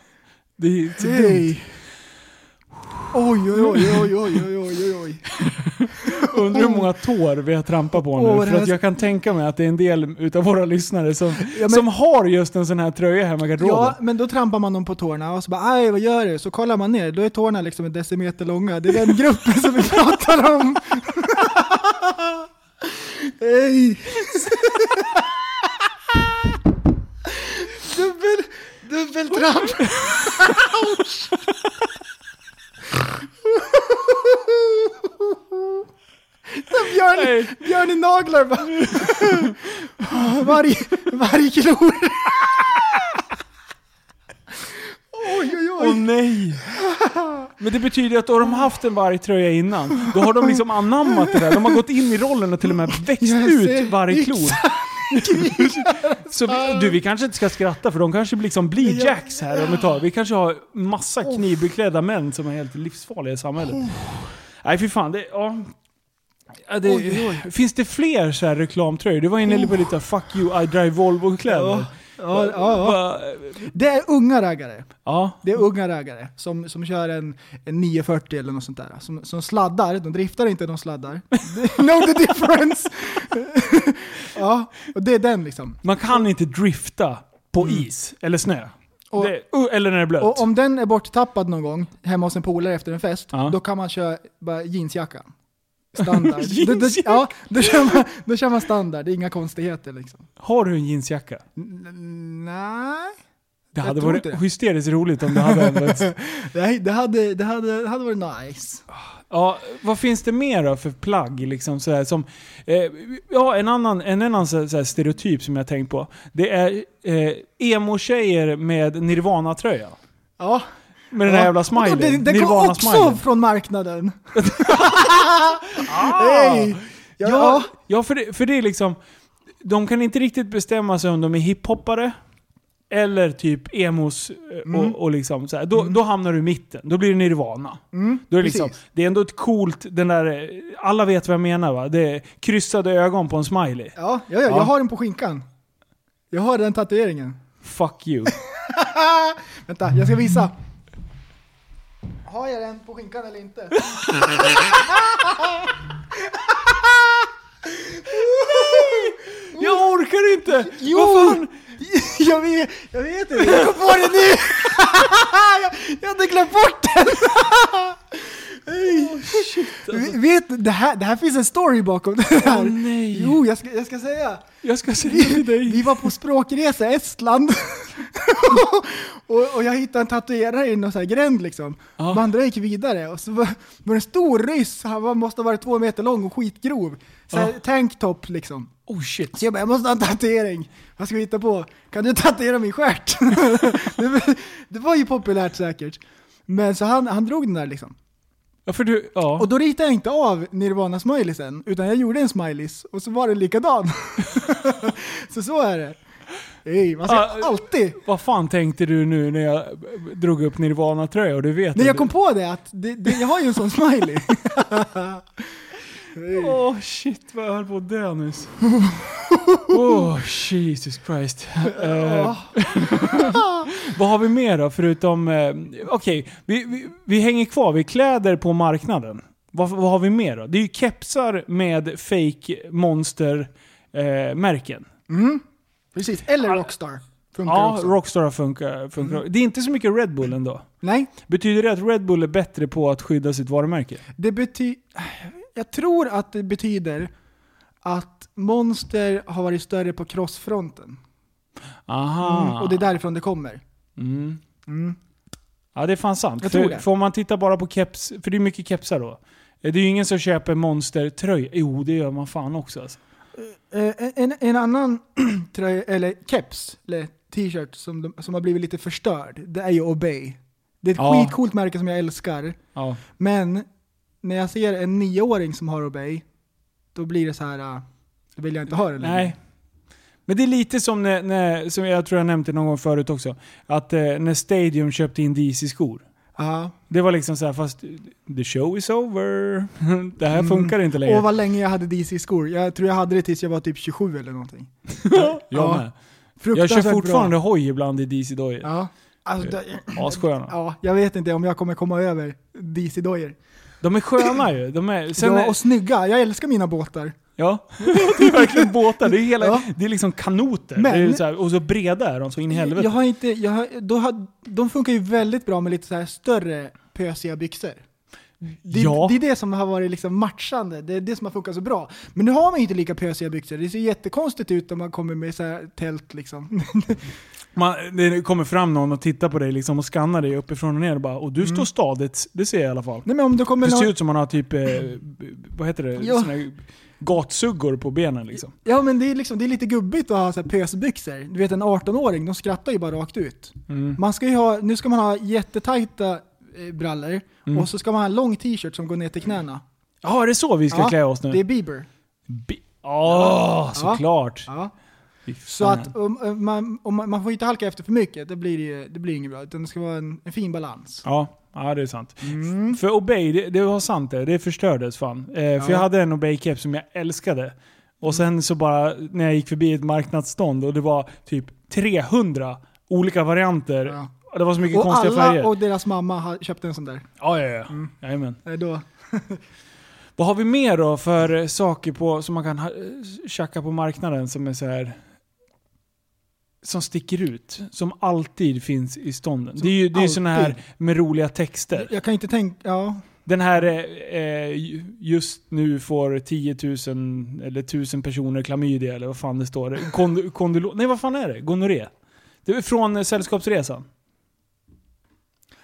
B: Det är så dumt.
C: Hej. Oj, oj, oj, oj, oj, oj, oj, oj.
B: Undrar hur många tår vi har trampat på nu.
C: Åh, det
B: för
C: här-
B: att jag kan tänka mig att det är en del utav våra lyssnare som,
C: men-
B: som har just en sån här tröja hemma i garderoben.
C: Ja, men då trampar man dem på tårna och så bara aj vad gör du? Så kollar man ner, då är tårna liksom en decimeter långa. Det är den gruppen som vi pratar (laughs) om. Hej! (laughs) Dubbel, dubbeltramp! När (laughs) Björn,
B: Nej.
C: björn i naglar bara... (laughs) Varg, vargklor! (laughs) Oj, oj,
B: Åh
C: oj!
B: nej! Men det betyder att då har de haft en vargtröja innan, då har de liksom anammat det där. De har gått in i rollen och till och med växt
C: Jag ser
B: ut vargklor. Så vi, du, vi kanske inte ska skratta för de kanske liksom blir
C: Ja. Oh.
B: jacks här om ett tag. Vi kanske har massa knivbeklädda män som är helt livsfarliga i samhället. Nej fy fan, det... Ja. Ja, det
C: Oj, Oh.
B: Finns det fler så här reklamtröjor? Du var inne på lite 'fuck you, I drive Volvo'-kläder.
C: Ja, ja, ja. Det är unga raggare.
B: ja.
C: Det är unga raggare som, som kör en, en 940 eller något sånt där. Som, som sladdar, de driftar inte, de sladdar. (laughs) Know the difference! (laughs) ja, och det är den liksom.
B: Man kan inte drifta på is eller snö.
C: Mm. Och-
B: det, uh, eller när det är blött.
C: Och om den är borttappad någon gång hemma hos en polare efter en fest,
B: Ja.
C: då kan man köra bara jeansjacka.
B: (laughs)
C: Standard.
B: Jeansjacka?
C: Då- då- ja, då kör, man, då kör man standard, det är inga konstigheter liksom.
B: Har du en jeansjacka?
C: N- Nej,
B: Det
C: Jag
B: hade
C: tror
B: varit
C: inte det.
B: hysteriskt roligt om du hade använt.
C: (laughs) Nej, det hade, det hade, det hade varit nice.
B: ja, vad finns det mer då för plagg? Liksom, så här, som, eh, ja, en annan, en annan så här, så här, stereotyp som jag tänkt på. Det är eh, emo-tjejer med nirvana-tröja.
C: Ja.
B: Med den här
C: Ja.
B: jävla
C: Och Det,
B: smileyn.
C: det kom också
B: Nirvana-smileyn.
C: från marknaden. Hej! Ja,
B: Ja, ja för, det, för det är liksom... De kan inte riktigt bestämma sig om de är hiphoppare eller typ emos eh,
C: Mm.
B: och, och liksom så här. Då, då hamnar du i mitten. Då blir det nirvana. då är det, liksom,
C: Mm, precis.
B: det är ändå ett coolt, den där, eh, alla vet vad jag menar va? Det är kryssade ögon på en smiley.
C: ja, ja, ja,
B: Ja.
C: jag har den på skinkan. Jag har den tatueringen.
B: Fuck
C: (laughs)
B: you.
C: Vänta, jag ska visa. Har jag den på skinkan eller (laughs) inte?
B: jag orkar inte!
C: Jo!
B: Vad fan?
C: Jag vet, jag vet inte, jag kom på det nu! (laughs) jag, jag hade glömt bort (laughs) den! Oh, V- Vet, det här, det här finns en story bakom det här.
B: Åh, nej.
C: Jo, jag ska, jag ska säga.
B: Jag ska säga till
C: Vi
B: dig.
C: var på språkresa i Estland. (laughs) och, och jag hittade en tatuerare i någon sån här gränd liksom.
B: Ja.
C: De andra gick vidare och så var, var det en stor ryss, han var, måste ha varit två meter lång och skitgrov. Så här,
B: Ja.
C: Tanktop liksom.
B: Oh shit.
C: Så jag bara, jag måste ha en tatuering. Vad ska vi hitta på? Kan du tatuera min stjärt? (laughs) det, det var ju populärt säkert. Men så han, han drog den där liksom.
B: Ja, för du, ja.
C: Och då ritade jag inte av Nirvana-smileysen, utan jag gjorde en smileys och så var den likadan. (laughs) så så är det. Ey, man ska
B: Ah,
C: alltid...
B: Vad fan tänkte du nu när jag drog upp Nirvana-tröja och du vet
C: Nej,
B: att
C: jag
B: du-
C: kom på det att det, det, jag har ju en sån smiley.
B: Åh oh, shit vad jag höll på att dö
C: (laughs)
B: nyss. Åh Jesus Christ. Eh, vad har vi mer då förutom, eh, okej vi, vi, vi hänger kvar vid kläder på marknaden. Vad, vad har vi mer då? Det är ju kepsar med fake monster eh, märken.
C: (laughs) Precis, eller Rockstar. Funkar
B: Ja,
C: också. Mm.
B: Rockstar funkar. funkar. Det är inte så mycket Red Bull ändå.
C: Nej,
B: Betyder det att Red Bull är bättre på att skydda sitt varumärke?
C: det betyder... Jag tror att det betyder att Monster har varit större på crossfronten.
B: Aha.
C: Och det är därifrån det kommer.
B: Mm. Ja, det är fan sant.
C: Jag
B: för,
C: tror det.
B: för om man tittar bara på keps, för det är mycket kepsar då. Eh, Det är ju ingen som köper monstertröja. Jo, det gör man fan också alltså.
C: Eh, en, en annan (clears throat) tröja, eller keps, eller t-shirt som, de, som har blivit lite förstörd, det är ju Obey. Det är ett
B: Ja.
C: skitcoolt märke som jag älskar,
B: Ja.
C: men när jag ser en nioåring som har Obey, då blir det så här, ah, då vill jag inte ha det längre.
B: Nej. Men det är lite som när, när som jag tror jag nämnt det någon gång förut också, att eh, när Stadium köpte in DC-skor.
C: Ja.
B: Det var liksom så här, fast the show is over. (laughs) Det här funkar inte längre.
C: Och Mm. vad länge jag hade DC-skor. Jag tror jag hade det tills jag var typ 27 eller någonting.
B: (laughs) jag,
C: ja,
B: med. jag kör
C: bra.
B: fortfarande hoj ibland i DC-dojor.
C: Ja. Alltså, det,
B: Assköna.
C: ja, jag vet inte om jag kommer komma över DC-dojor.
B: De är sköna ju. De
C: (laughs)
B: är, sen
C: Ja,
B: är-
C: och snygga. Jag älskar mina båtar.
B: Ja, (laughs) det är verkligen båtar. Det är, hela,
C: Ja.
B: det är liksom kanoter.
C: Men-
B: det är så här, och så breda är de så in i helvete.
C: Jag har inte, jag har, då har, de funkar ju väldigt bra med lite så här större pösiga byxor. Det,
B: Ja.
C: det är det som har varit liksom matchande, det är det som har funkat så bra. Men nu har man ju inte lika pösiga byxor, det ser jättekonstigt ut om man kommer med så här tält liksom. (laughs)
B: Man, det kommer fram någon och tittar på dig liksom, och skannar dig uppifrån och ner och bara och du står stadigt, det ser jag i alla fall.
C: Mm. Nej men om det kommer
B: Det ser
C: någon,
B: ut som man har typ, eh, vad heter det,
C: Ja.
B: såna här gatsuggor på benen liksom.
C: ja men det är, liksom, det är lite gubbigt att ha så här pösbyxor. Du vet en 18-åring, de skrattar ju bara rakt ut.
B: Mm.
C: Man ska ju ha, nu ska man ha jättetajta eh, brallor
B: Mm.
C: och så ska man ha en lång t-shirt som går ner till knäna.
B: Ja, är det så vi ska
C: Ja,
B: klä oss
C: Det är
B: nu?
C: Bieber.
B: Bi- Åh, såklart!
C: Ja.
B: Fy
C: Så
B: fan.
C: att om, om man, om man, man får inte halka efter för mycket, det blir, ju- det blir inget bra. Utan det ska vara en, en fin balans.
B: Ja, ja det är sant. För Obey, det, det var sant det. Det förstördes fan. Eh, för
C: Mm. Ja.
B: jag hade en Obey-keps som jag älskade. Och sen så bara, när jag gick förbi ett marknadsstånd och det var typ 300 olika varianter.
C: Ja.
B: Och Det var så mycket
C: Och
B: konstiga
C: alla
B: färger.
C: och deras mamma har köpt en sån där.
B: Ja, ja, ja. Jajamän.
C: Eh, Då,
B: Vad har vi mer då för eh, saker på, som man kan ha, eh, tjacka på marknaden som är så här som sticker ut, som alltid finns i stånden. det är ju, det är ju såna här
C: alltid.
B: med roliga texter.
C: jag kan inte tänka, ja.
B: Den här eh, eh, just nu får 10 000 eller 1000 personer klamydia eller vad fan det står. Kond, kondilo, nej vad fan är det? Gonorré? Det är från eh, Sällskapsresan.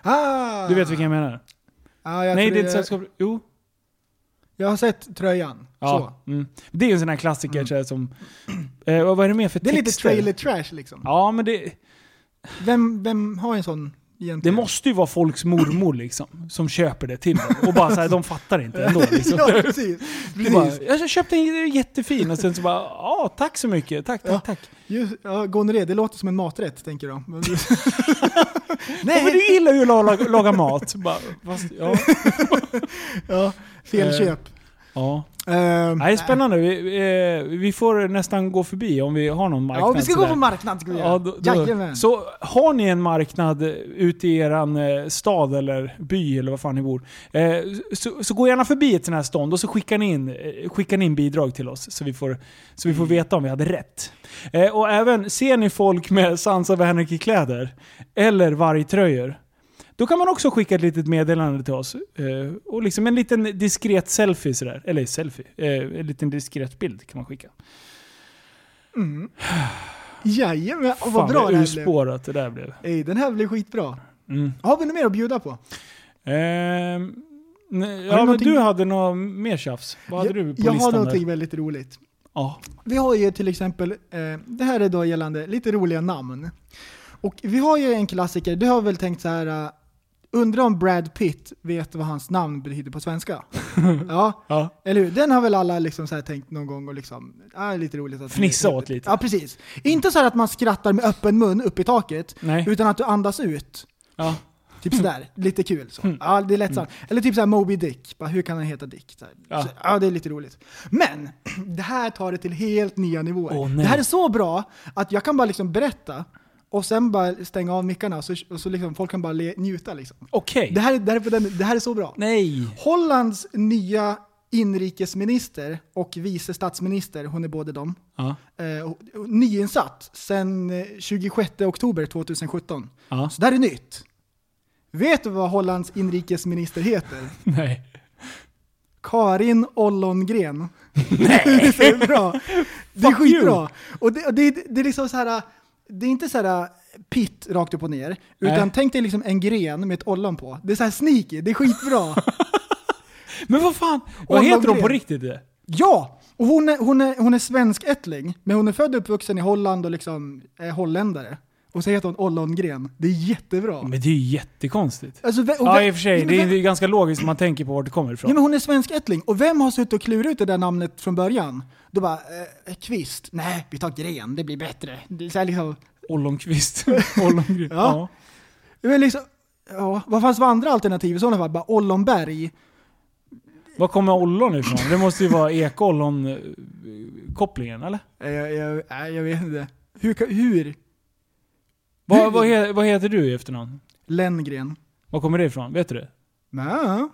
C: Ah!
B: Du vet vilken jag menar?
C: Ja, Ah, jag,
B: nej
C: tror
B: det är inte
C: jag-
B: Sällskapsresan. Jo.
C: jag har sett tröjan. Så. Mm.
B: Ja. Mm. Det är en sån här klassiker så här, som... (clears throat) Eh, vad vad är det mer för
C: Det är lite
B: texter?
C: trailer trash liksom.
B: Ja men det,
C: Vem, vem har en sån egentligen?
B: det måste ju vara folks mormor liksom. Som köper det till dem. Och bara såhär, de fattar inte ändå liksom.
C: (laughs) Ja, precis.
B: (laughs) Det är bara,
C: precis.
B: jag köpte en jättefin och sen så bara, ja tack så mycket, tack tack
C: Ja.
B: tack.
C: Just, ja, gonorré, det låter som en maträtt tänker jag.
B: (laughs)
C: Men-
B: Ja, men du gillar ju (laughs) att laga, laga mat. Bara, fast, ja.
C: ja, fel
B: Eh.
C: köp.
B: Ja.
C: Eh,
B: Nej, spännande. Vi, eh, vi får nästan gå förbi om vi har någon marknad.
C: Ja, vi ska gå
B: sådär.
C: på marknad ska vi göra.
B: Ja, då, då.
C: Jajamän.
B: Så har ni en marknad eh, ute i eran eh, stad eller by eller vad fan ni bor. Eh, så, så gå gärna förbi ett sånt här stånd och så skickar ni in, eh, skickar ni in bidrag till oss så vi, får, så vi
C: Mm.
B: får veta om vi hade rätt. Eh, och även, ser ni folk med Sansa Wernicke-kläder eller vargtröjor då kan man också skicka ett litet meddelande till oss. Eh, och liksom en liten diskret selfie sådär. Eller selfie. Eh, en liten diskret bild kan man skicka.
C: Mm. (sighs) Jajamän, och vad
B: Fan,
C: bra
B: vad
C: det här blev.
B: urspårat det där blev.
C: Ey, den här blev skitbra.
B: Mm.
C: Har vi något mer att bjuda på?
B: Ehm, nej, ja, men
C: någonting-
B: du hade något mer tjafs. Vad hade du på
C: jag har
B: listan
C: någonting
B: där?
C: väldigt roligt.
B: Ja.
C: Vi har ju till exempel, eh, det här är då gällande lite roliga namn. Och vi har ju en klassiker, du har väl tänkt så här, eh, undrar om Brad Pitt vet vad hans namn betyder
B: (laughs)
C: på svenska? ja,
B: ja.
C: eller hur? Den har väl alla liksom så här tänkt någon gång och liksom, ah, lite roligt att...
B: Fnissa åt lite.
C: Ja, precis. Inte så här att man skrattar med öppen mun upp i taket,
B: Nej.
C: utan att du andas ut.
B: ja.
C: Typ
B: Mm.
C: sådär, lite kul. Så. Ja, det är lättsamt. Eller typ såhär Moby Dick, bara, hur kan han heta Dick? Så här.
B: Ja.
C: Så, ja, det är lite roligt. Men, (clears throat) det här tar det till helt nya nivåer.
B: Åh, nej.
C: det här är så bra att jag kan bara liksom berätta och sen bara stänga av mickarna och så, och så liksom, folk kan bara le, njuta liksom.
B: Okej.
C: Det här, är- det, här är på den, det här är så bra.
B: Nej.
C: Hollands nya inrikesminister och vice statsminister, hon är både dem,
B: Ja. (laughs)
C: eh, och- och nyinsatt sen eh, 26 oktober 2017.
B: Ja.
C: Så det här är nytt. Vet du vad Hollands inrikesminister heter?
B: Nej.
C: Karin Ollongren. Nej! (laughs) det är bra. Det är
B: Fuck you.
C: skitbra. Och det, och det, det är liksom så här, det är inte så här pitt rakt upp och ner, utan
B: Nej.
C: tänk dig liksom en gren med ett ollon på. Det är så här sneaky, det är skitbra.
B: Men vad fan? Vad
C: Ollongren.
B: heter de på riktigt? det?
C: ja! Och hon är, hon är, hon är svenskättling, men hon är född och uppvuxen i Holland och liksom är holländare. Och så heter hon Ollongren. Det är jättebra.
B: Men det är ju jättekonstigt.
C: Alltså, ve- och
B: Ja
C: ve-
B: i och för sig,
C: men
B: det är
C: ve-
B: ju ganska logiskt om man tänker på vart det kommer
C: Ja,
B: ifrån.
C: men hon är svenskättling. Och vem har suttit och klurat ut det där namnet från början? Då bara, eh, kvist. Nej, vi tar gren, det blir bättre. Det är så här liksom,
B: Ollonqvist. (laughs)
C: (laughs)
B: Ollongren.
C: Ja. det är liksom, ja, vad fanns det för andra alternativ i sådana fall? Bara Ollonberg?
B: Var kommer ollon ifrån? Det måste ju vara ekollon-kopplingen, eller?
C: Eh, jag, jag, nej, jag vet inte. Hur? ka- hur?
B: Vad, vad, he, vad heter du i efternamn?
C: Lenngren?
B: Var kommer det ifrån? Vet du det?
C: Nä.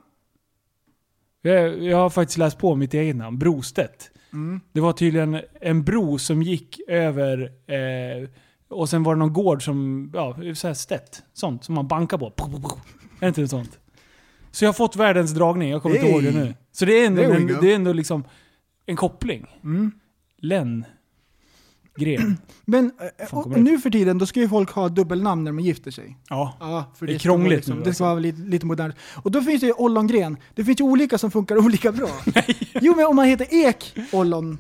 B: Jag, jag har faktiskt läst på mitt eget namn, Brostedt.
C: Mm.
B: Det var tydligen en bro som gick över eh, och sen var det någon gård som, ja, så här stätt. Sånt som man bankar på. Pop, pop, pop. Är det inte det sånt? Så jag har fått världens dragning, jag kommer inte ihåg
C: Hey.
B: det nu. Så det är ändå,
C: There we
B: en,
C: go. Mm.
B: det är ändå liksom en koppling. Len. Gren.
C: Men eh,
B: Fan,
C: och,
B: kommer det?
C: nu för tiden, då ska ju folk ha dubbelnamn när de gifter sig.
B: Ja.
C: (clears throat) Ja, för
B: Det
C: det,
B: är
C: ska vara
B: krångligt
C: liksom,
B: nu,
C: Det
B: alltså.
C: ska vara lite, lite modernt. Och då finns det ju ollongren. Det finns ju olika som funkar (laughs) olika bra. Jo, men om man heter ek ollongren,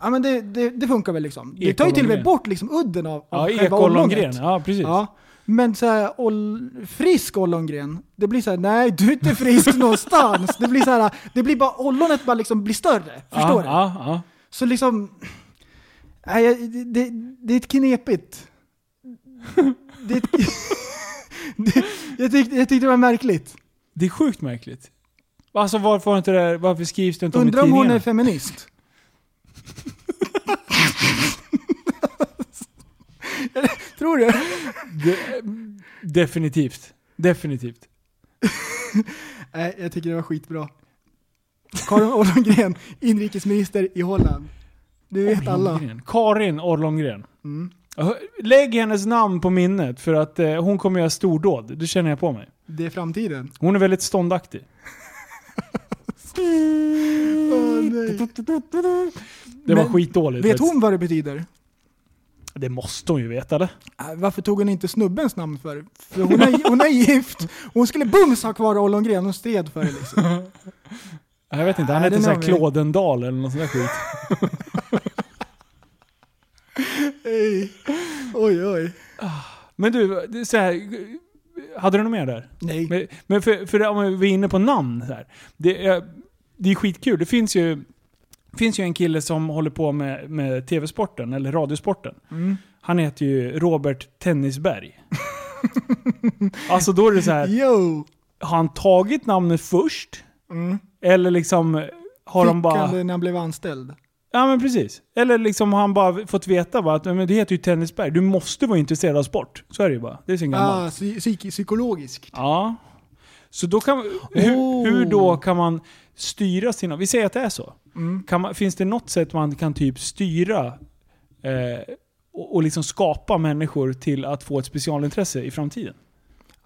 C: ja men det, det, det funkar väl liksom. Det tar ju till och
B: Ekollongren.
C: med bort liksom udden av, av
B: Ja,
C: själva
B: ekollongren.
C: ollonet.
B: Ja, precis.
C: Ja, men så här, oll, frisk ollongren, det blir så här, nej du är inte (laughs) frisk någonstans. Det blir så här, det blir bara, ollonet bara liksom blir större. Förstår
B: ja,
C: du?
B: Ja, ja.
C: Så liksom... Nej, jag- det, det, det är ett knepigt... Det, är ett- (laughs) det, jag, tyckte, jag tyckte det var märkligt.
B: Det är sjukt märkligt. Alltså varför, har inte det, här- varför skrivs det inte om i
C: Undrar om hon
B: tidningarna?
C: är feminist? (laughs) Tror du?
B: Definitivt. Definitivt.
C: Nej, jag tycker det var skitbra. Karin Ollongren, inrikesminister i Holland. Du vet alla.
B: Ollongren. Karin Orlongren. Lägg hennes namn på minnet för att eh, hon kommer göra stordåd. Det känner jag på mig.
C: Det är framtiden.
B: Hon är väldigt ståndaktig.
C: Åh, nej.
B: Det var
C: Men
B: skitdåligt.
C: Vet
B: faktiskt.
C: hon vad det betyder?
B: Det måste hon ju veta eller?
C: Äh, Varför tog hon inte snubbens namn för? för hon, är, hon är gift. Hon skulle bums ha kvar Ollongren. Hon stred för det liksom.
B: Nej, Jag vet inte, han heter
C: Nej, den
B: såhär
C: har vi.
B: Klådendal eller något sånt där skit.
C: Ej. Oj, oj.
B: Men du, det är så här, hade du något mer där?
C: Nej.
B: Men, men för, för om vi är inne på namn så här. Det är, det är skitkul. Det finns ju, finns ju en kille som håller på med, med tv-sporten, eller radiosporten.
C: Mm.
B: Han heter ju Robert Tennisberg. (laughs) alltså då är det så här,
C: Yo!
B: har han tagit namnet först? Eller liksom, har de
C: Mm. Fick
B: bara...
C: han det när han blev anställd?
B: Ja men precis. Eller liksom har han bara fått veta bara att men det heter ju Tennisberg, du måste vara intresserad av sport. Så är det ju bara. Det är sin gammal.
C: Ah, psy- psyk- psykologiskt.
B: Ja. Så då kan, hur,
C: Oh.
B: hur då kan man styra sina... Vi säger att det är så.
C: Mm.
B: Kan man, finns det något sätt man kan typ styra eh, och, och liksom skapa människor till att få ett specialintresse i framtiden?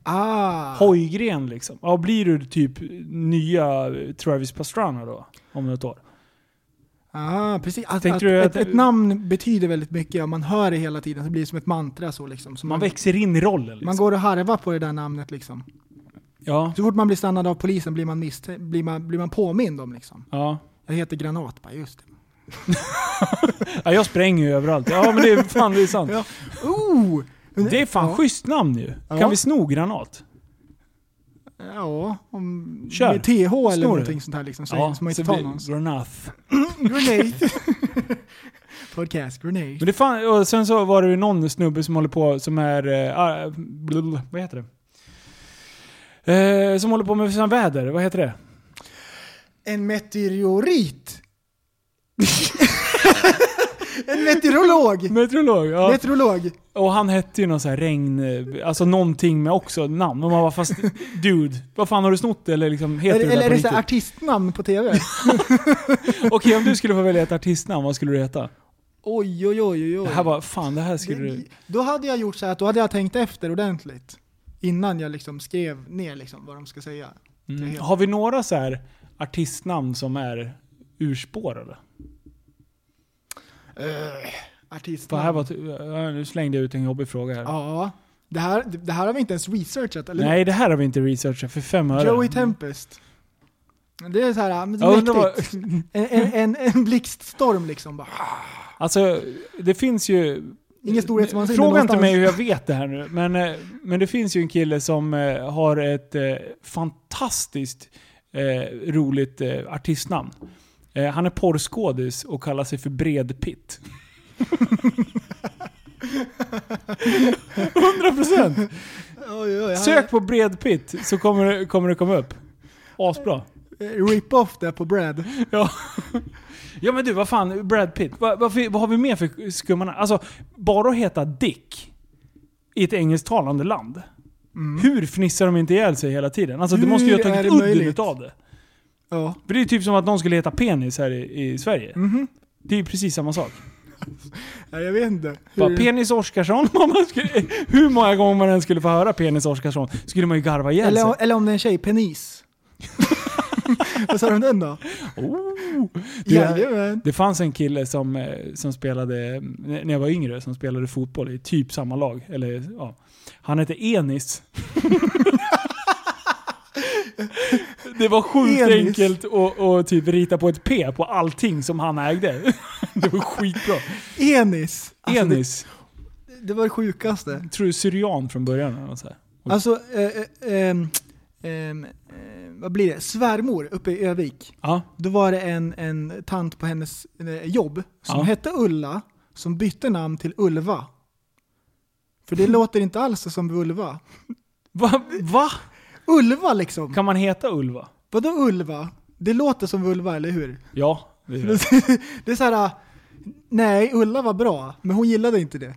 C: Ah.
B: Hojgren liksom. Ja, blir du typ nya Travis Pastrana då? Om något år.
C: Ah, precis. Att,
B: Tänkte
C: att,
B: du att-
C: ett, ett namn betyder väldigt mycket och man hör det hela tiden. Det blir som ett mantra så liksom. Så
B: Man växer in i rollen liksom.
C: man går och harvar på det där namnet liksom.
B: ja.
C: Så fort man blir stannad av polisen blir man, misst- blir man, blir man påmind om liksom.
B: Ja.
C: Jag heter Granat, bara just det.
B: ja, jag spränger ju överallt. Ja, men det är fan det är sant.
C: (laughs) Ja. Oh!
B: Det är fan
C: ja.
B: schysst namn ju.
C: Ja.
B: Kan vi sno granat?
C: Ja, om,
B: Kör.
C: med TH eller
B: Snor du?
C: någonting sånt här liksom. Så, som man inte
B: så
C: tar
B: blir-
C: någons.
B: Granath.
C: (laughs) Grenade. Podcast, grenade.
B: Men det fan, och sen så var det ju någon snubbe som håller på som är... eh, ah, blul, vad heter det? Eh, som håller på med sån väder, vad heter det?
C: En meteorit! (laughs) en meteorolog!
B: Meteorolog? Ja.
C: Meteorolog!
B: och han hette ju någon sån här regn... eh, Alltså någonting med också namn. Och man var fast... dude, vad fan har du snott det? Eller liksom, heter
C: Eller,
B: du
C: eller är
B: det
C: det
B: på
C: så här
B: riktigt?
C: artistnamn
B: (laughs)
C: på TV?
B: Okej, om du skulle få välja ett artistnamn, vad skulle du heta?
C: oj, oj, oj, oj, oj.
B: Det här var fan, det här skulle du...
C: Det- Då hade jag gjort så här att då hade jag tänkt efter ordentligt. Innan jag liksom skrev ner liksom vad de ska säga.
B: Mm. Har vi några så här artistnamn som är urspårade?
C: Uh,
B: För
C: artistnamn.
B: Äh. här var, ja, nu slängde jag ut en jobbig fråga här.
C: Ja. Det här, det här har vi inte ens researchat, eller
B: Nej, det här har vi inte researchat för fem öre.
C: Joey Tempest. Det är så här, ja, men det
B: Jag
C: är
B: undrar vad-
C: mäktigt. En, en, en, en blixtstorm liksom bara.
B: Alltså, det finns ju...
C: Ingen storhetsvansinne
B: Fråga inte
C: någonstans.
B: mig hur jag vet det här nu, men, eh, men det finns ju en kille som eh, har ett eh, fantastiskt eh, roligt eh, artistnamn. Eh, han är porrskådis och kallar sig för
C: (laughs)
B: Bredpitt. 100%!
C: Oj, oj, han-
B: Sök på Bredpitt så kommer, det- kommer det komma upp. Asbra.
C: eh, Rip off det på Brad.
B: Ja. (laughs) ja men du, vad fan, Brad Pitt. Vad, vad, fi- vad har vi mer för skumma namn? Alltså, bara att heta Dick i ett engelsktalande land. Hur fnissar de inte ihjäl sig hela tiden? Alltså det måste ju ha
C: Mm. Hur är
B: tagit
C: det
B: udden
C: möjligt?
B: utav det.
C: Ja.
B: För det är ju typ som att någon skulle heta penis här i, i Sverige.
C: Mhm.
B: Det är ju precis samma sak.
C: ja, jag vet inte.
B: Bara,
C: Hur-
B: penis Oskarsson, (laughs) om man skulle, hur många gånger man än skulle få höra penis Oskarsson skulle man ju garva ihjäl sig.
C: eller, eller om det är en
B: (laughs)
C: tjej, penis. Vad sa de om den då?
B: Oh. Du,
C: Jajamän.
B: Det fanns en kille som, eh, som spelade, eh, när jag var yngre, som spelade fotboll i typ samma lag. Eller, ja. Han hette Enis. (laughs) Det var sjukt
C: Enis.
B: enkelt att, att typ rita på ett P på allting som han ägde. (laughs) Det var skitbra.
C: Enis. Alltså,
B: Enis.
C: Det, det var det sjukaste.
B: tror du syrian från början? Eller något så här.
C: Alltså, eh, eh, ehm, ehm, eh, vad blir det? Svärmor uppe i Övik.
B: Ja.
C: Då var det en, en tant på hennes eh, jobb som
B: Ja.
C: hette Ulla, som bytte namn till Ulva. För det låter inte alls som Ulva.
B: Va? Va?
C: Ulva liksom!
B: Kan man heta Ulva?
C: Vadå Ulva? Det låter som Ulva, eller hur?
B: Ja. Det är det.
C: (laughs) Det är så här. äh, nej Ulla var bra, men hon gillade inte det.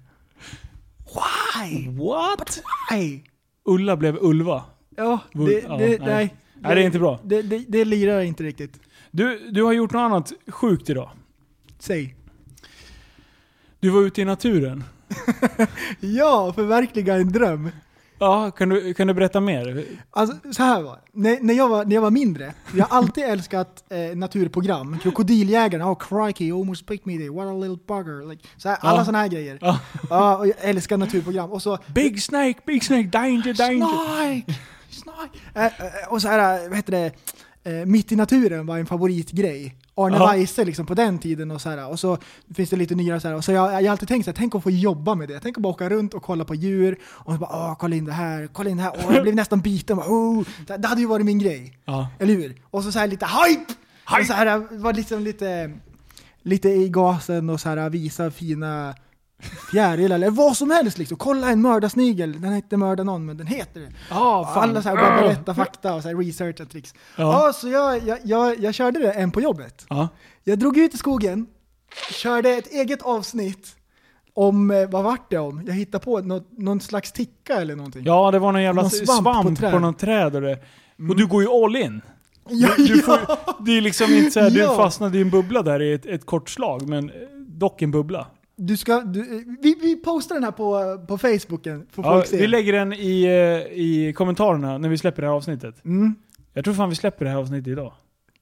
C: Why?
B: What?
C: Nej.
B: Ulla blev Ulva.
C: Ja, det,
B: Vul-
C: det,
B: ja,
C: nej.
B: nej. Nej, det är inte bra.
C: Det, det, det lirar inte riktigt.
B: Du, du har gjort något annat sjukt idag.
C: Säg.
B: Du var ute i naturen.
C: Ja, förverkliga en dröm.
B: Ja, kan du, kan du berätta mer?
C: Alltså så här var det. när, när, jag var, när jag var mindre, jag
B: (laughs)
C: har alltid älskat eh, naturprogram. Krokodiljägarna, oh crikey, you almost picked me there, what a little bugger. Like, så här, Alla
B: Ja.
C: sådana här grejer.
B: Ja.
C: Ja, och jag älskar naturprogram. Och så
B: Big Snake, Big Snake, danger, danger.
C: Snark! Snark! Eh, eh, och så här, vad heter det? Eh, Mitt i naturen var en favoritgrej. Arne
B: Ja.
C: Weise liksom på den tiden och så här. Och så finns det lite nyare så här. Och så jag, jag har alltid tänkt så här, tänk att få jobba med det. Tänk att bara åka runt och kolla på djur. Och så bara, ah, kolla in det här, kolla in det här. Åh, jag blev nästan biten. Bara, oh. Så här, Det hade ju varit min grej.
B: Ja.
C: Eller hur? Och så, så här lite hype! Och så här, var liksom lite, lite i gasen och så här visa fina fjäril eller vad som helst liksom. Kolla en mördarsnigel, den heter mörda någon men den heter det.
B: Ja,
C: Och
B: fan.
C: Alla så här bara berätta fakta och så här researcha tricks.
B: Ja.
C: Ja, så jag, jag, jag, jag körde det en på jobbet.
B: Ja.
C: Jag drog ut i skogen, körde ett eget avsnitt om, eh, vad vart det om? Jag hittade på något, någon slags ticka eller någonting.
B: ja, det var någon jävla
C: Någon
B: svamp, på,
C: svamp på träd.
B: något träd. Och, det. och du går ju all in.
C: ja,
B: Du
C: ja.
B: får, det är liksom inte så här, du
C: Ja.
B: fastnade i en bubbla där i ett, ett kort slag, men eh, dock en bubbla.
C: Du ska, du, eh, vi, vi postar den här på, eh, på Facebooken, får
B: Ja,
C: folk se.
B: vi lägger den i, eh, i kommentarerna när vi släpper det här avsnittet.
C: mm.
B: Jag tror fan vi släpper det här avsnittet idag.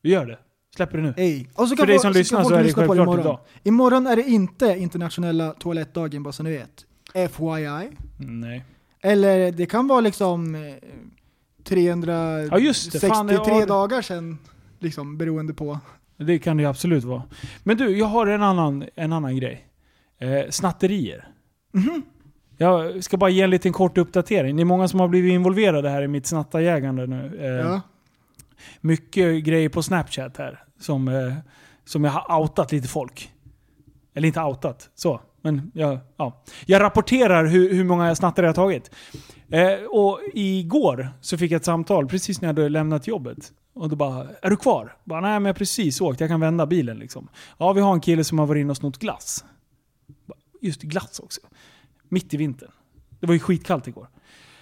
B: Vi gör det. Släpper det nu.
C: Ey. Och
B: För
C: så kan
B: dig
C: folk-
B: som
C: kan
B: lyssnar
C: folk
B: så är det
C: lyssna på
B: självklart
C: imorgon.
B: idag.
C: Imorgon är det inte internationella toalettdagen, bara så ni vet. FYI.
B: Nej.
C: Eller det kan vara liksom eh,
B: Ja, just det.
C: 363
B: Fan, Eh, det- ja, det-
C: dagar sedan, liksom, beroende på.
B: Det kan det ju absolut vara. Men du, jag har en annan, en annan grej. Eh, snatterier. Jag ska bara ge en liten kort uppdatering. Det är många som har blivit involverade här i mitt snattarjägande nu. Eh,
C: Ja.
B: Mycket grejer på Snapchat här som, eh, som jag har outat lite folk. Eller inte outat, så. Men jag, ja. jag rapporterar hur, hur många snattare jag har tagit. Eh, och igår så fick jag ett samtal precis när jag hade lämnat jobbet. Och då bara, är du kvar? Bara, Nej, men jag har precis åkt, jag kan vända bilen liksom. Ja, vi har en kille som har varit inne och snott glass. Bara, Just glass också. Mitt i vintern. Det var ju skitkallt igår.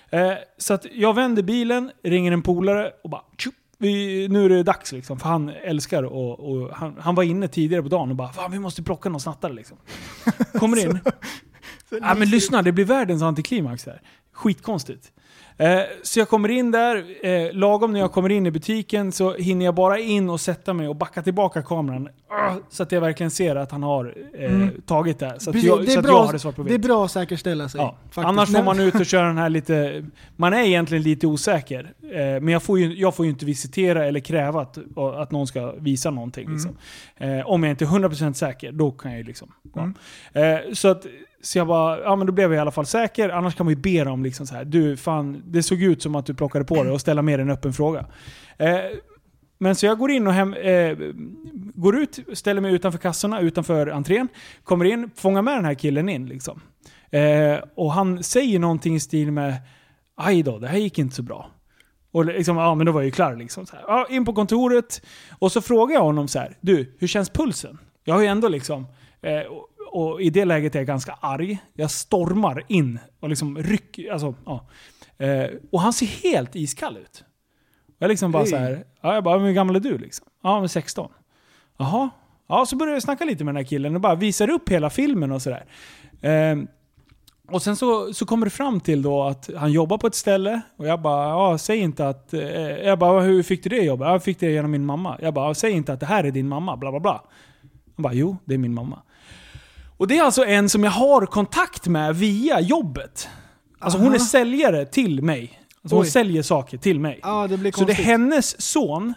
B: Eh, så att jag vänder bilen, ringer en polare och bara tjup, vi, nu är det dags liksom. För han älskar och, och han, han var inne tidigare på dagen och bara Fan, vi måste plocka någon snattare
C: (laughs)
B: liksom. Kommer in. ja men lyssna, det blir världens antiklimax här. Skitkonstigt. Eh, så jag kommer in där, eh, lagom när jag kommer in i butiken så hinner jag bara in och sätta mig och backa tillbaka kameran. ah, Så att jag verkligen ser att han har eh, tagit det här. Så att,
C: Mm. Precis,
B: jag,
C: det,
B: så
C: är
B: att jag
C: bra,
B: har det svart på vitt.
C: det är bra att säkerställa sig.
B: Ja.
C: faktiskt.
B: Annars får
C: Nej,
B: man ut och köra den här lite... Man är egentligen lite osäker. Eh, men jag får, ju, jag får ju inte visitera eller kräva att, och- att någon ska visa någonting.
C: Mm.
B: Liksom. Eh, om jag inte är 100% säker, då kan jag ju liksom... Ja.
C: Mm.
B: Eh, så att... Så jag bara, ja men då blev jag i alla fall säker. Annars kan man ju be dem liksom så här. Du fan, det såg ut som att du plockade på det och ställa med dig en öppen fråga. Eh, men så jag går in och hem, eh, går ut, ställer mig utanför kassorna, utanför entrén. Kommer in, fångar med den här killen in liksom. Eh, och han säger någonting i stil med Aj då, det här gick inte så bra. Och liksom, ja men då var jag ju klar liksom. Så här. Ja, in på kontoret. Och så frågar jag honom så här, du, hur känns pulsen? Jag har ju ändå liksom, eh, och, och i det läget är jag ganska arg. Jag stormar in och liksom rycker, alltså ja. Eh, och han ser helt iskall ut. Jag liksom bara
C: Hej.
B: så här, ja, jag bara, men hur gammal är du liksom? Ja, men 16. Jaha. Ja, så började jag snacka lite med den här killen och bara visar upp hela filmen och sådär. Ehm, och sen så, så kommer det fram till då att han jobbar på ett ställe och jag bara, ja, säg inte att... Eh, jag bara, hur fick du det jobbet? Ja, Jag fick det genom min mamma. Jag bara, ja, säg inte att det här är din mamma, bla bla bla. Han bara, jo, det är min mamma. Och det är alltså en som jag har kontakt med via jobbet. Alltså hon
C: Aha.
B: är säljare till mig. Alltså hon
C: Oj.
B: säljer saker till mig.
C: Ja, det blir
B: Så det
C: konstigt.
B: är hennes son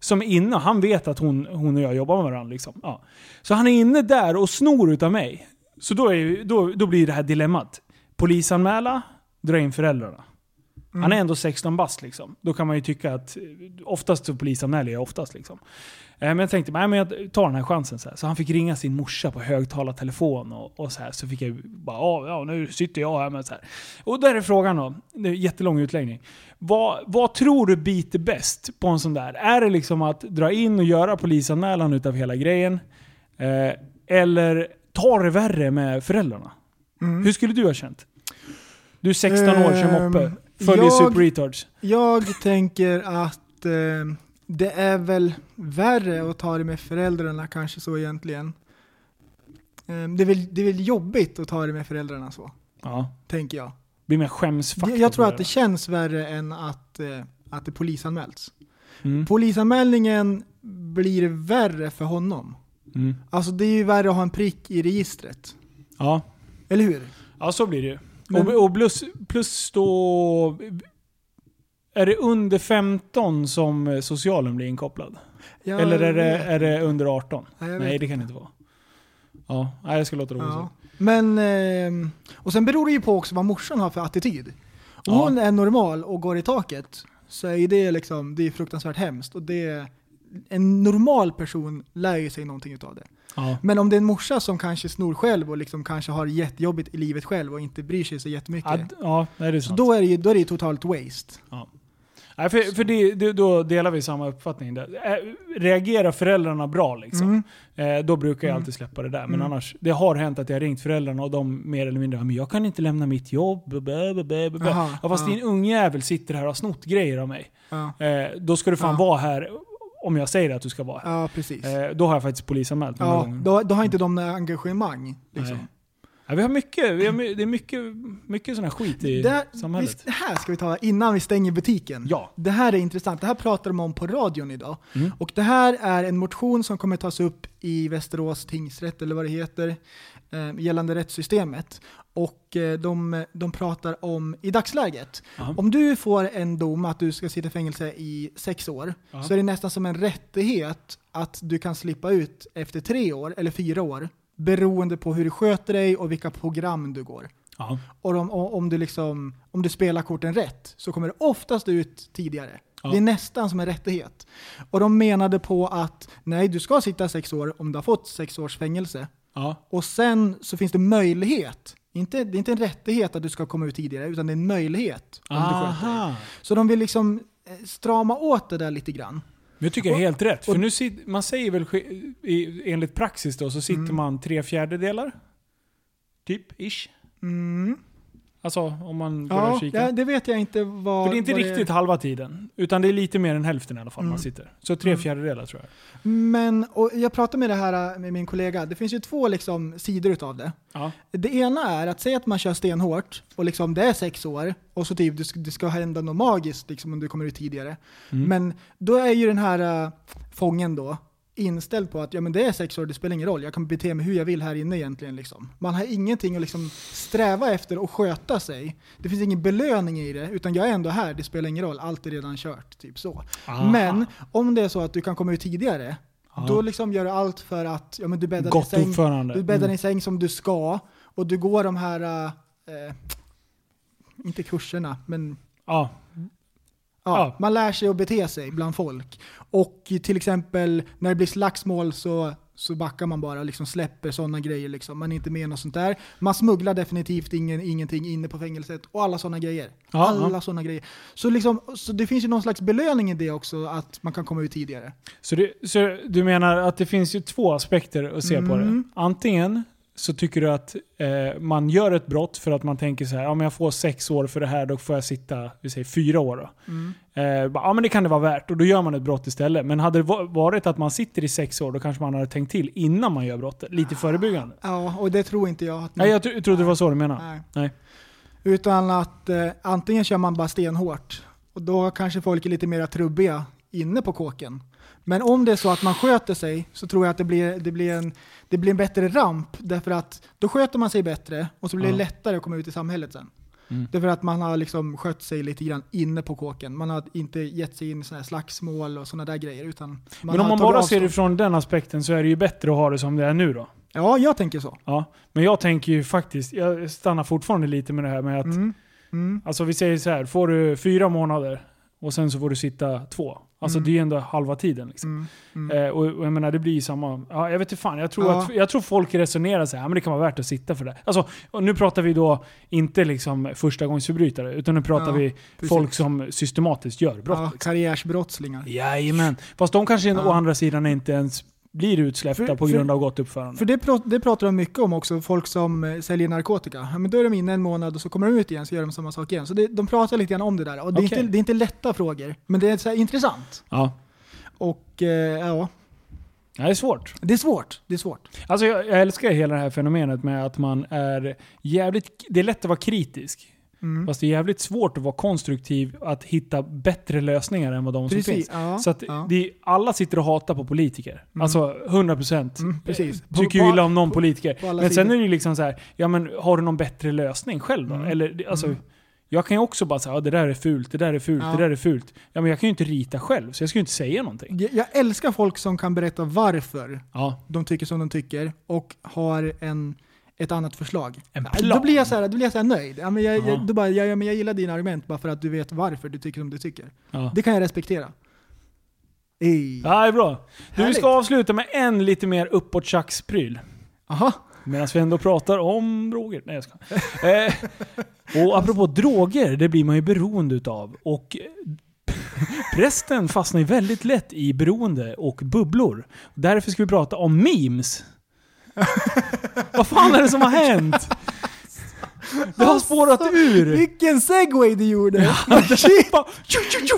B: som är inne, och han vet att hon, hon och jag jobbar med varandra. Liksom. Ja. Så han är inne där och snor utav mig. Så då, är, ju- då, då blir det här dilemmat. Polisanmäla, dra in föräldrarna. Han är ändå 16 bast liksom. Då kan man ju tycka att eh, oftast så polisanmäler jag oftast liksom. Eh, Men jag tänkte, nej men jag tar den här chansen. Så, här. så han fick ringa sin morsa på högtalartelefon och, och så här. Så fick jag bara, "Ja, ja nu sitter jag här med så här. Och där är frågan då, det är en jättelång utläggning. Vad, vad tror du biter bäst på en sån där? Är det liksom att dra in och göra polisanmälan utav hela grejen? Eh, eller tar det värre med föräldrarna?
C: Mm.
B: Hur skulle du ha känt? Du är 16 år, kör
C: Ehm,
B: moppe, följer
C: jag-
B: Super Retards.
C: Jag tänker att eh, det är väl värre att ta det med föräldrarna kanske så egentligen. Eh, det, är väl, det är väl jobbigt att ta det med föräldrarna så,
B: Ja.
C: tänker jag.
B: Blir mer skämsfaktor.
C: Jag, jag tror
B: på
C: att det känns värre än att, eh, att det polisanmäls.
B: Mm.
C: Polisanmälningen blir värre för honom.
B: Mm.
C: Alltså det är ju värre att ha en prick i registret.
B: Ja.
C: Eller hur?
B: ja, så blir det ju.
C: Men-
B: Och, och plus, plus då... Är det under 15 som eh, socialen blir inkopplad?
C: Jag
B: Eller är det,
C: vet.
B: är det under 18?
C: Ja, jag
B: Nej,
C: vet
B: det kan det inte vara. Ja, nej, jag ska låta det vara så.
C: Ja. Men, ehm, och sen beror det ju på också vad morsan har för attityd. Om
B: Ja.
C: hon är normal och går i taket så är ju det liksom, det är fruktansvärt hemskt och det, en normal person lär ju sig någonting utav det.
B: Ja.
C: Men om det är en morsa som kanske snor själv och liksom kanske har jättejobbigt i livet själv och inte bryr sig så jättemycket.
B: Ad, ja, nej, det är
C: så
B: sant.
C: då är det ju då är det ju totalt waste.
B: Nej, för för det, det, då delar vi samma uppfattning. Där. Eh, Reagerar föräldrarna bra
C: Mm.
B: liksom, eh, då brukar jag alltid släppa det där. Men annars, det har hänt att jag har ringt föräldrarna och de mer eller mindre men jag kan inte lämna mitt jobb. Bä, bä, bä, bä, bä.
C: Aha,
B: ja, fast
C: ja.
B: din ungjävel sitter här och har snott grejer av mig.
C: Ja,
B: Eh, då ska du fan
C: Ja.
B: vara här om jag säger att du ska vara här.
C: ja precis.
B: Eh, då har jag faktiskt polisanmält många
C: Ja,
B: gånger.
C: då, då har inte de några engagemang. Liksom.
B: Nej. Ja, vi har mycket, vi har, my- det är mycket, mycket sån här skit i
C: Det, här,
B: samhället.
C: vi- det här ska vi ta innan vi stänger butiken.
B: Ja.
C: Det här är intressant. Det här pratar de om på radion idag.
B: Mm.
C: Och det här är en motion som kommer tas upp i Västerås tingsrätt, eller vad det heter, eh, gällande rättssystemet. Och eh, de, de pratar om, i dagsläget,
B: Aha.
C: om du får en dom att du ska sitta i fängelse i sex år,
B: Ja.
C: så är det nästan som en rättighet att du kan slippa ut efter tre år, eller fyra år, beroende på hur du sköter dig och vilka program du går.
B: Ja.
C: Och om, och om, du liksom, om du spelar korten rätt så kommer det oftast ut tidigare.
B: Ja.
C: Det är nästan som en rättighet. Och de menade på att nej, du ska sitta sex år om du har fått sex års fängelse.
B: Ja.
C: Och sen så finns det möjlighet. Inte, det är inte en rättighet att du ska komma ut tidigare, utan det är en möjlighet om du sköter dig.
B: Aha.
C: Så de vill liksom eh, strama åt det där lite grann.
B: Men jag tycker det är helt rätt. För
C: och-
B: nu sit, man säger väl sk- i- enligt praxis då så sitter man tre fjärdedelar? Typ, ish.
C: Mm.
B: Alltså om man börjar
C: Ja,
B: kika.
C: det, det vet jag inte vad...
B: För det är inte
C: vad
B: riktigt halva tiden. Utan det är lite mer än hälften i alla fall
C: Mm.
B: man sitter. Så tre fjärdedelar tror jag.
C: Men, och jag pratade med det här eh, med min kollega, det finns ju två liksom, sidor utav det.
B: Ja.
C: Det ena är att säga att man kör stenhårt och liksom det är sex år och så typ det ska, det ska hända något magiskt liksom om du kommer ut tidigare.
B: Mm.
C: Men då är ju den här äh, fången då inställd på att ja men det är sex år, det spelar ingen roll. Jag kan bete mig hur jag vill här inne egentligen liksom. Man har ingenting att liksom sträva efter och sköta sig. Det finns ingen belöning i det utan jag är ändå här, det spelar ingen roll, allt är redan kört. Typ så.
B: Aha.
C: Men om det är så att du kan komma ut tidigare
B: Ja.
C: Då liksom gör du allt för att ja, men du bäddar
B: Gott
C: din säng,
B: uppförande.
C: du bäddar
B: Mm.
C: din säng som du ska och du går de här, eh, eh, inte kurserna, men
B: Ja.
C: ja,
B: Ja.
C: man lär sig att bete sig bland folk. Och till exempel när det blir slagsmål så, så backar man bara, liksom släpper sådana grejer. Liksom. Man är inte med i något sånt där. Man smugglar definitivt ingen, ingenting inne på fängelset och alla sådana grejer.
B: Ja,
C: alla
B: ja.
C: sådana grejer. Så, liksom, så det finns ju någon slags belöning i det också, att man kan komma ut tidigare.
B: Så, det, så du menar att det finns ju två aspekter att se på det.
C: Mm.
B: Antingen så tycker du att eh, man gör ett brott för att man tänker så här, om jag får sex år för det här då får jag sitta, vi säger fyra år då. Eh, bara, ja men det kan det vara värt och då gör man ett brott istället. Men hade det va- varit att man sitter i sex år då kanske man hade tänkt till innan man gör brottet. Lite förebyggande.
C: Ja, och det tror inte jag att
B: Nej jag tro- trodde det var så du menade.
C: Nej.
B: Nej.
C: Utan att eh, antingen kör man bara stenhårt och då kanske folk är lite mer trubbiga inne på kåken. Men om det är så att man sköter sig så tror jag att det blir, det blir, en, det blir en bättre ramp därför att då sköter man sig bättre och så blir det
B: Ja.
C: lättare att komma ut i samhället sen.
B: Mm.
C: Därför att man har liksom skött sig lite grann inne på kåken. Man har inte gett sig in i såna här slagsmål och sådana där grejer. Utan man
B: Men om
C: har
B: man
C: tagit
B: bara
C: avstånd.
B: ser det från den aspekten så är det ju bättre att ha det som det är nu då.
C: Ja, jag tänker så.
B: Ja. Men jag tänker ju faktiskt, jag stannar fortfarande lite med det här med att
C: Mm. Mm.
B: Alltså vi säger så här, får du fyra månader och sen så får du sitta två. Alltså
C: Mm.
B: det är ju ändå halva tiden. Liksom.
C: Mm. Mm.
B: Eh, och, och jag menar det blir ju samma. Ja, jag vet inte fan, jag tror,
C: Ja.
B: att, jag tror folk resonerar så här, "Ja, men det kan vara värt att sitta för det. Alltså, och nu pratar vi då inte liksom förstagångsförbrytare, utan nu pratar
C: Ja,
B: vi
C: precis.
B: folk som systematiskt gör brott. liksom.
C: Ja, karriärsbrottslingar.
B: Jajamän. Fast de kanske
C: Ja.
B: å andra sidan inte ens blir utsläppta
C: För-
B: på
C: för-
B: grund av gott uppförande.
C: För det, pra- det pratar de mycket om också, folk som eh, säljer narkotika. Ja, men då är de inne en månad och så kommer de ut igen så gör de samma sak igen. Så det, de pratar lite grann om det där. Och det, är
B: Okej.
C: inte, det är inte lätta frågor, men det är så här intressant.
B: ja.
C: Och eh, ja,
B: Ja, Det är svårt.
C: det är svårt. Det är svårt.
B: Alltså jag, jag älskar hela det här fenomenet med att man är jävligt... Det är lätt att vara kritisk.
C: Mm.
B: Fast det är jävligt svårt att vara konstruktiv, att hitta bättre lösningar än vad de som
C: Precis.
B: finns.
C: Ja,
B: Så att
C: ja.
B: det, alla sitter och hatar på politiker. Alltså 100%.
C: Mm, precis. På-
B: eh, Tycker ju
C: på-
B: illa om någon politiker.
C: på alla
B: men sen
C: sidor.
B: är det ju liksom så här, ja men har du någon bättre lösning själv då?
C: Mm.
B: Eller, det- alltså, Jag kan ju också bara säga, ja, det där är fult, det där är fult,
C: Ja.
B: det där är fult. Ja men jag kan ju inte rita själv, så jag ska ju inte säga någonting.
C: Jag, jag älskar folk som kan berätta varför
B: Ja,
C: de tycker som de tycker och har en, ett annat förslag.
B: en
C: Ja,
B: plan.
C: Då blir jag så här, då blir jag så här nöjd. Ja, men jag,
B: Ja.
C: jag, då bara, jag, ja, men jag gillar dina argument bara för att du vet varför du tycker som du tycker.
B: ja.
C: Det kan jag respektera. Ey.
B: Ja, det är bra. Du
C: Härligt.
B: ska avsluta med en lite mer uppåt pryl
C: Aha.
B: Medan vi ändå pratar om droger. Nej jag ska. Eh, och apropå droger, det blir man ju beroende utav. Och eh, prästen fastnar ju väldigt lätt i beroende och bubblor. Därför ska vi prata om memes. Vad fan är det som har hänt? Det har spårat ur.
C: Vilken segway du gjorde! (laughs) Shit!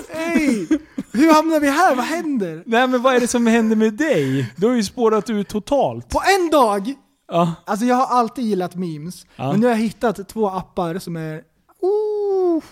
C: Ey. Hur hamnar vi här? Vad händer?
B: Nej men vad är det som händer med dig? Du har ju spårat ur totalt.
C: På en dag!
B: Ja.
C: Alltså jag har alltid gillat memes,
B: Ja.
C: men nu har jag hittat två appar som är... Oh,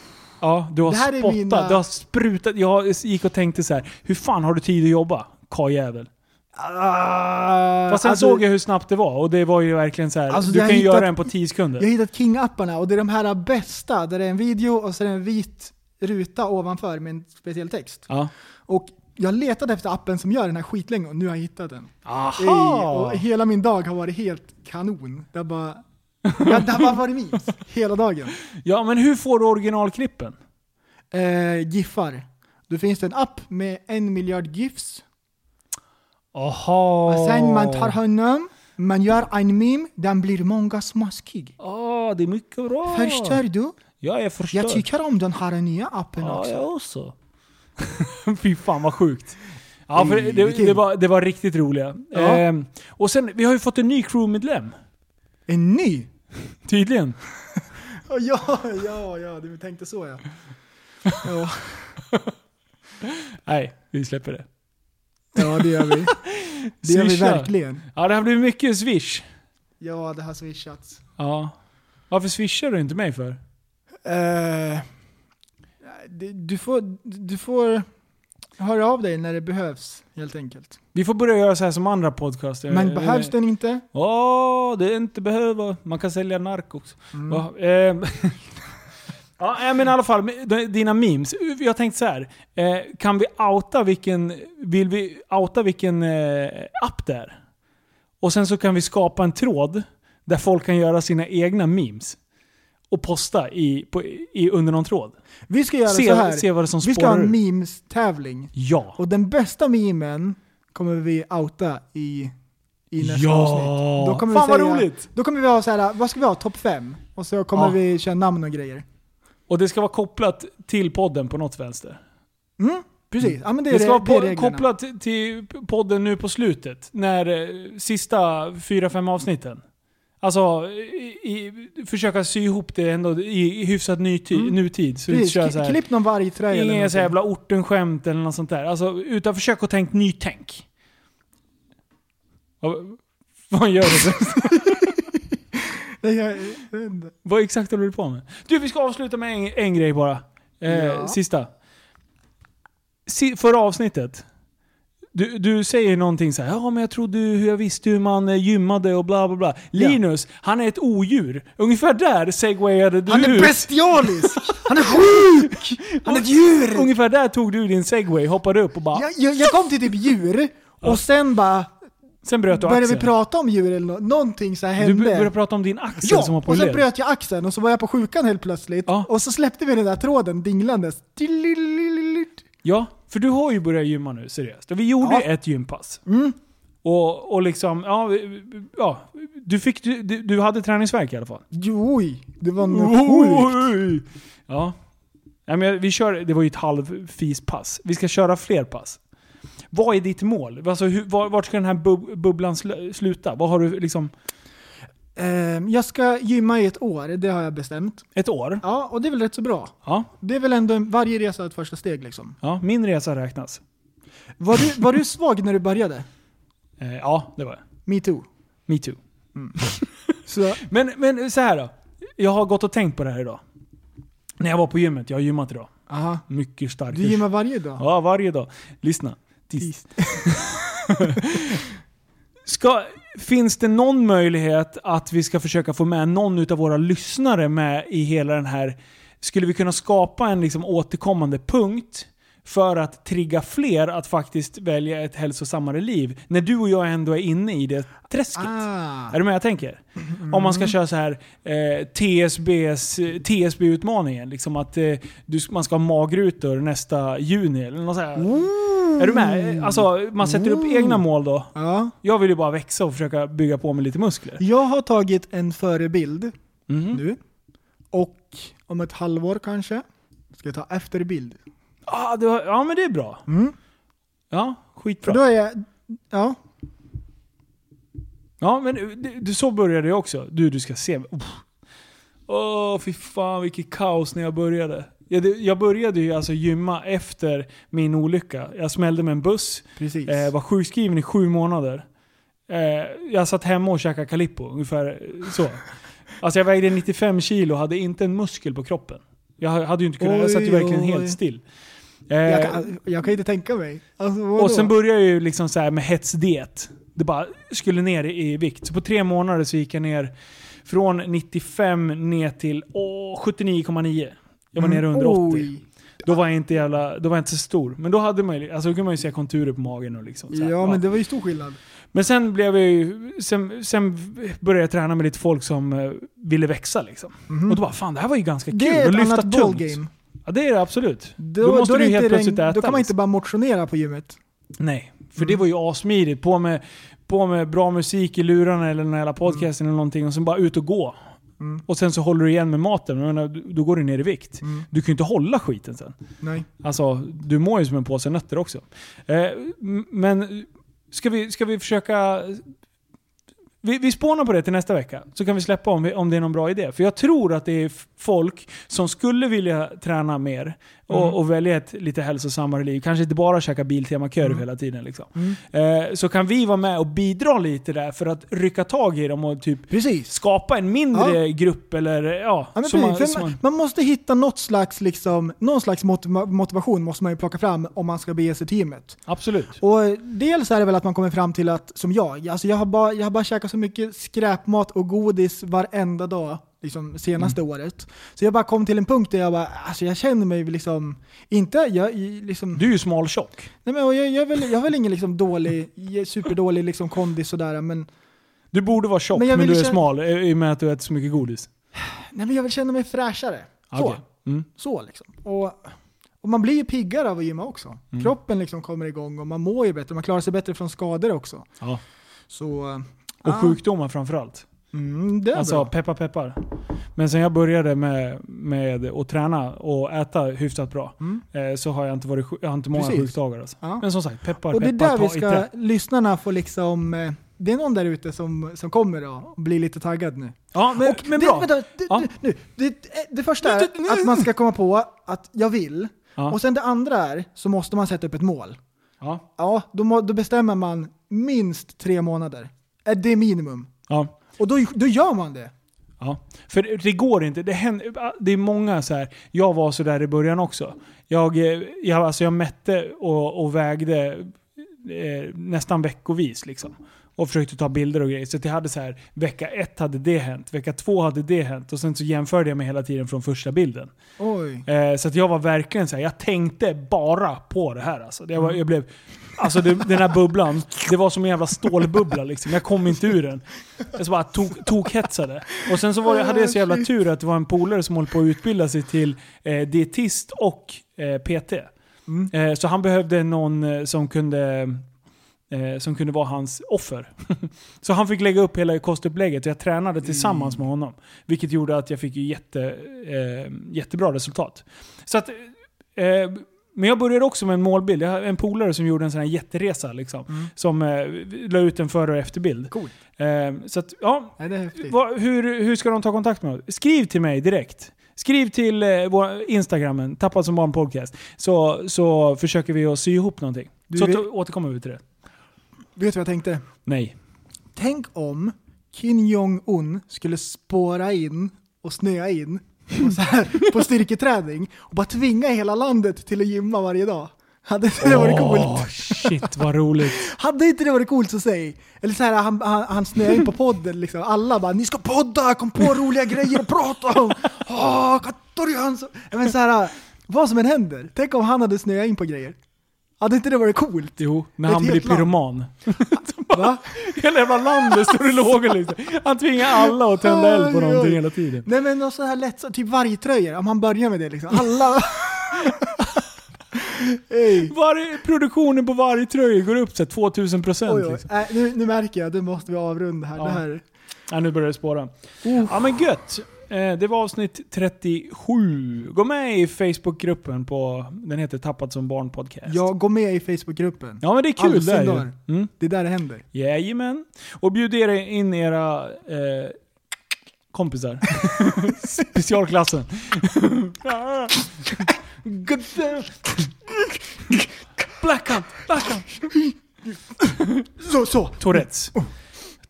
B: Ja, du har
C: Det här är
B: spottat,
C: mina-
B: du har sprutat. Jag gick och tänkte så här, hur fan har du tid att jobba? Karljävel.
C: ah,
B: Fast sen
C: alltså,
B: såg jag hur snabbt det var och det var ju verkligen så här,
C: Alltså,
B: du
C: jag
B: kan ju
C: hittat-
B: göra en på 10
C: Jag har
B: sekunder.
C: hittat King-apparna och det är de här bästa, där det är en video och så är det en vit ruta ovanför med en speciell text.
B: Ja.
C: Och jag letade efter appen som gör den här skitlänge och nu har jag hittat den. Ey,
B: Aha!
C: och hela min dag har varit helt kanon. Det har (laughs) bara, ja, det har bara varit memes hela dagen.
B: Ja, men hur får du originalklippen?
C: Eh, Giffar. Då finns det en app med en miljard GIFs.
B: Aha.
C: Och sen man tar honom, man gör en meme, den blir många smaskig.
B: Ja, det är mycket bra.
C: Förstår du?
B: Ja, jag förstår.
C: Jag tycker om den här nya appen
B: Ja,
C: också.
B: jag också. (laughs) Fy fan vad sjukt. Ja, för det, det,
C: vilken-
B: det, var, det var riktigt roliga.
C: Ja.
B: Ehm, och sen, vi har ju fått en ny crewmedlem.
C: En ny?
B: Tydligen.
C: Ja, ja, ja, du tänkte så ja. Ja,
B: Nej, vi släpper det.
C: ja det gör (laughs) vi. Det gör vi
B: Swisha.
C: verkligen.
B: Ja, det här blir mycket swish.
C: Ja, det har swishats.
B: Ja. Varför swishar du inte mig för?
C: Eh, det- du, får, du får höra av dig när det behövs, helt enkelt.
B: Vi får börja göra så här som andra podcaster.
C: Men behövs den inte?
B: Ja, det är inte behöva. Man kan sälja nark också.
C: Mm.
B: Va? Ehm. (laughs) ja, nej, men i alla fall, med d- dina memes. Jag tänkte så här. Eh, kan vi outa vilken, vill vi outa vilken eh, app det är? Och sen så kan vi skapa en tråd där folk kan göra sina egna memes. Och posta i, på, i, under någon tråd.
C: Vi ska göra så
B: Se,
C: här.
B: se vad det är som
C: vi ska ha
B: spårar
C: en
B: ur.
C: memes-tävling.
B: Ja.
C: Och den bästa memen kommer vi outa i, i nästa
B: Ja!
C: avsnitt. Då kommer
B: Fan,
C: vi
B: vad
C: säga,
B: roligt!
C: Då kommer vi ha så här, vad ska vi ha? Topp 5? Och så kommer
B: Ja.
C: vi köra namn och grejer.
B: Och det ska vara kopplat till podden på något vänster.
C: Mm, precis, ja men det är
B: Det ska
C: det, det är
B: vara på,
C: reglerna.
B: kopplat till podden nu på slutet, när eh, sista fyra, fem avsnitten. Alltså, i, i, försöka sy ihop det ändå i, i hyfsat ny ti-
C: Mm.
B: nutid. Så vi inte
C: Precis,
B: kör så
C: kli-
B: här,
C: klipp någon vargträ eller
B: ingen så
C: någonting.
B: jävla ortenskämt eller något sånt där. Alltså, utan försök och tänk nytänk. Ja, Vad gör du?
C: Nej, (laughs) jag- jag vet inte.
B: Vad exakt håller du på med? Du, vi ska avsluta med en, en grej bara. Eh,
C: Ja.
B: Sista. Si, förra avsnittet. Du, du säger någonting så här, ja men jag trodde ju- hur jag visste hur man eh, gymmade och bla bla bla. Linus, han är ett odjur. Ungefär där segwayade du
C: Han är
B: ut. (laughs)
C: bestialisk! Han är sjuk! Han är ett djur!
B: Ungefär där tog du din segway, hoppade upp och bara...
C: Jag, jag, jag kom till typ djur, och sen bara
B: Sen bröt du
C: började vi
B: axeln.
C: prata om djur eller nå- någonting så här
B: du
C: hände.
B: b- började prata om din axel som
C: Ja,
B: var på
C: och sen
B: led.
C: bröt jag axeln och så var jag på sjukan helt plötsligt.
B: Ja.
C: Och så släppte vi den där tråden dinglandes. Tillililililit.
B: Ja, för du har ju börjat gymma nu, seriöst. Och vi gjorde
C: Ja.
B: ju ett gympass.
C: Mm.
B: Och, och liksom, ja, vi- ja du, fick, du, du du hade träningsvärk i alla fall.
C: Joj, det var nog sjukt.
B: Oj! Ja. Nej, men vi kör, det var ju ett halvfispass. Vi ska köra fler pass. Vad är ditt mål? Alltså, hur, var, vart ska den här bub, bubblan sl- sluta? Vad har du liksom...
C: Ehm, Jag ska gymma i ett år, det har jag bestämt.
B: Ett år?
C: Ja, och det är väl rätt så bra.
B: Ja.
C: Det är väl ändå en- varje resa ett första steg liksom.
B: ja. Min resa räknas.
C: Var du, var du svag när du började?
B: Eh, ja, det var jag.
C: Metoo.
B: Me too.
C: Så,
B: Men, men så här då. Jag har gått och tänkt på det här idag. När jag var på gymmet. Jag har gymmat idag.
C: aha.
B: Mycket starkt.
C: Du gymmar varje dag?
B: Ja, varje dag. Lyssna. Tis. Ska, finns det någon möjlighet att vi ska försöka få med någon av våra lyssnare med i hela den här... Skulle vi kunna skapa en liksom återkommande punkt för att trigga fler att faktiskt välja ett hälsosammare liv? När du och jag ändå är inne i det träsket.
C: Ah.
B: Är du med jag tänker? Om man ska köra så här eh, TSBs, TSB-utmaningen. Liksom att eh, du, man ska ha magrutor nästa juni eller något så här. Är du med? Alltså, man sätter upp egna mål då.
C: Ja.
B: Jag vill ju bara växa och försöka bygga på mig lite muskler.
C: Jag har tagit en förebild
B: Mhm.
C: nu. Och om ett halvår kanske ska jag ta efterbild.
B: Ah, du har, ja, men det är bra.
C: Mm.
B: Ja,
C: För
B: skitbra.
C: då är jag... Ja.
B: Ja, men du, du, så började jag också. Du, du ska se. Uff. Åh, fy fan vilket kaos när jag började. Jag, det- jag började ju alltså gymma efter min olycka. Jag smällde med en buss,
C: Precis.
B: eh, var sjukskriven i sju månader. Eh, jag satt hemma och käkade Calippo, ungefär eh, så. Alltså jag vägde 95 kilo och hade inte en muskel på kroppen. Jag hade ju inte kunnat, jag satt ju
C: Oj,
B: verkligen
C: oj.
B: helt still.
C: jag,
B: Eh,
C: kan, jag kan inte tänka mig. Alltså, vadå?
B: och sen började jag ju liksom så här med hetsdiet. Det bara skulle ner i i vikt. Så på tre månader så gick jag ner från 95 ner till åh, 79,9. Jag var nere under 80.
C: Mm. Oj.
B: Då var jag inte jävla, då var jag inte så stor. Men då hade man ju, alltså då kunde man ju se konturer på magen och liksom så här,
C: Ja, men det var ju stor skillnad.
B: men sen blev jag ju, sen, sen började jag träna med lite folk som eh, ville växa liksom. Och då bara fan det här var ju ganska kul.
C: Mhm. Det är
B: att
C: ett
B: lyfta
C: annat
B: tungt.
C: ballgame.
B: Ja det är det absolut. Då,
C: Då,
B: måste
C: då är
B: du
C: det
B: ju helt
C: inte
B: plötsligt
C: den-
B: äta.
C: Då kan man
B: liksom.
C: inte bara motionera på gymmet.
B: Nej, för
C: Mm.
B: det var ju assmidigt. På med, på med bra musik i lurarna eller den här jävla podcasten eller någonting och sen bara ut och gå.
C: Mm.
B: Och sen så håller du igen med maten, Jag menar, då går du ner i vikt.
C: Mm.
B: Du kan ju inte hålla skiten sen.
C: Nej.
B: Alltså, du mår ju som en påse nötter också. Eh, m- men ska vi, ska vi försöka... Vi, vi spånar på det till nästa vecka, så kan vi släppa om, vi- om det är någon bra idé. För jag tror att det är f- folk som skulle vilja träna mer och,
C: Mm.
B: och välja ett lite hälsosammare liv. Kanske inte bara käka Biltema-korv
C: Mm.
B: hela tiden. Liksom.
C: Mm.
B: Eh, så kan vi vara med och bidra lite där för att rycka tag i dem och typ
C: Precis.
B: skapa en mindre grupp eller ja...
C: Ja, men
B: som man-
C: precis.
B: som
C: För
B: man-
C: man, man måste hitta något slags, liksom, någon slags motiva- motivation måste man ju plocka fram om man ska bege sig till gymmet.
B: absolut.
C: Och dels är det väl att man kommer fram till att, som jag, alltså jag, har bara, jag har bara käkat så mycket skräpmat och godis varenda dag liksom, senaste
B: Mm.
C: året. Så jag bara kom till en punkt där jag bara, alltså jag känner mig liksom, inte, jag, liksom,
B: Du är ju smaltjock.
C: nej men och jag, jag, är väl, jag är väl ingen liksom dålig, superdålig liksom kondis sådär, men,
B: Du borde vara tjock
C: Men
B: men,
C: jag vill
B: du är
C: känna-
B: smal eh, i och med att du äter så mycket godis.
C: nej men jag vill känna mig fräschare. Så.
B: Okej. Mm.
C: Så liksom. Och, och man blir ju piggare av att gymma också.
B: Mm.
C: Kroppen liksom kommer igång och man mår ju bättre. Man klarar sig bättre från skador också.
B: Ja.
C: Så...
B: Och
C: ah,
B: sjukdomar framförallt.
C: Mm, det är
B: Alltså
C: bra.
B: peppar peppar. Men sen jag började med, med att träna och äta hyfsat bra
C: Mm.
B: eh, så har jag inte, varit, sjuk- jag har inte många
C: Precis.
B: sjukdagar. Alltså.
C: Ja.
B: Men som sagt, peppar
C: Och det är
B: peppar.
C: där vi
B: ta i trä.
C: ska... Lyssnarna får liksom... eh, Det är någon där ute som, som kommer då och blir lite taggad nu.
B: Ja, men,
C: och
B: men
C: det,
B: bra.
C: Vänta, det,
B: Ja.
C: det- nu, det, eh, det första är att man ska komma på att jag vill.
B: Ja.
C: Och sen det andra är så måste man sätta upp ett mål.
B: ja.
C: Ja, då, må, då bestämmer man minst tre månader. Eh, Det är minimum.
B: Ja.
C: Och då, då gör man det.
B: Ja, för det- det går inte. Det, händer, det är många så här. jag var så där i början också. Jag, eh, jag, alltså jag mätte och, och vägde eh, nästan veckovis liksom. Och försökte ta bilder och grejer. Så att jag hade så här, vecka ett hade det hänt, vecka två hade det hänt. Och sen så jämförde jag mig hela tiden från första bilden.
C: Oj.
B: Eh, så att jag var verkligen så här, jag tänkte bara på det här alltså. Det var, jag blev, alltså det, den här bubblan, det var som en jävla stålbubbla liksom. Jag kom inte ur den. Jag så bara tok, tokhetsade. Och sen så var, det- hade jag så jävla tur att det var en polare som höll på att utbilda sig till eh, dietist och eh, PT.
C: Mm.
B: Eh, så han behövde någon eh, som kunde eh, som kunde vara hans offer. så han fick lägga upp hela kostupplägget och jag tränade tillsammans med honom. Vilket gjorde att jag fick ju jätte, eh, jättebra resultat. Så att, eh, men jag började också med en målbild. Jag har en polare som gjorde en sån här jätteresa liksom. Som eh, la ut en före och efterbild.
C: Coolt.
B: Eh, så att, ja.
C: Nej, det är häftigt.
B: Va, hur, hur ska de ta kontakt med oss? Skriv till mig direkt. Skriv till eh, vår Instagramen, Tappad som barn podcast. Så, så försöker vi att sy ihop någonting.
C: Du
B: så
C: vet-
B: to- återkommer vi till det.
C: Vet du vad jag tänkte?
B: Nej.
C: Tänk om Kim Jong-Un skulle spåra in och snöa in och så här, på styrketräning och bara tvinga hela landet till att gymma varje dag. Hade inte det varit
B: Åh,
C: coolt?
B: shit vad (laughs) roligt.
C: Hade inte det varit coolt så säg? Eller så här, han, han, han snöar in på podden liksom. Alla bara “Ni ska podda, kom på roliga grejer att prata om!” Åh, Katorian! Men så här, vad som än händer, tänk om han hade snöat in på grejer. Hade inte det varit coolt?
B: Jo, när
C: Ett
B: han blir
C: helt land.
B: pyroman. (laughs)
C: Va?
B: Hela jävla
C: (laughs)
B: landet står och låg liksom. Han tvingar alla att tända eld på
C: Oj, oj.
B: någonting hela tiden. (laughs)
C: Nej men något så här lätt, så- typ vargtröjor, om han börjar med det liksom. Alla... Ey.
B: Varje, produktionen på varje tröja går upp så här 2000
C: Oj,
B: procent.
C: oj.
B: Liksom.
C: Äh, nu, nu märker jag, nu måste vi avrunda här.
B: Ja.
C: Det här.
B: Ja, nu börjar det spåra. Ja men gött. Eh, Det var avsnitt 37. Gå med i Facebookgruppen på, den heter Tappat som barn podcast.
C: Ja, gå med i Facebookgruppen.
B: Ja men det är kul
C: All sin
B: där ju.
C: dag.
B: Mm.
C: Det är där det händer.
B: Jajamän. Och bjud er in era eh, (laughs) kompisar. Specialklassen. Good damn. Blackout, blackout.
C: Så, så.
B: Tourettes.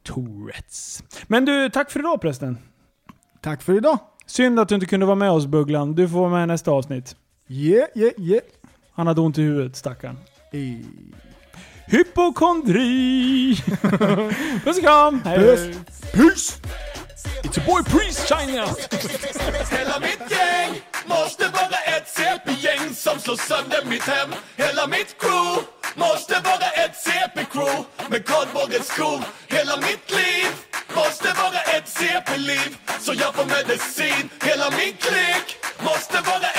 B: Tourettes. Men du, tack för idag prästen.
C: Tack för idag.
B: Synd att du inte kunde vara med oss Bugglan. Du får vara med i nästa avsnitt.
C: Yeah, yeah, yeah.
B: Han hade ont i huvudet, stackarn.
C: Ey.
B: Hypokondri! (laughs) Puss och kram! Hej.
C: Puss. Peace!
B: It's a boy priest shining out!
A: Hela mitt gäng måste vara ett CP-gäng som slår sönder mitt hem Hela mitt crew måste vara ett CP-crew med kardborreskor Hela mitt liv måste vara ett CP-liv så jag får medicin Hela min klick måste vara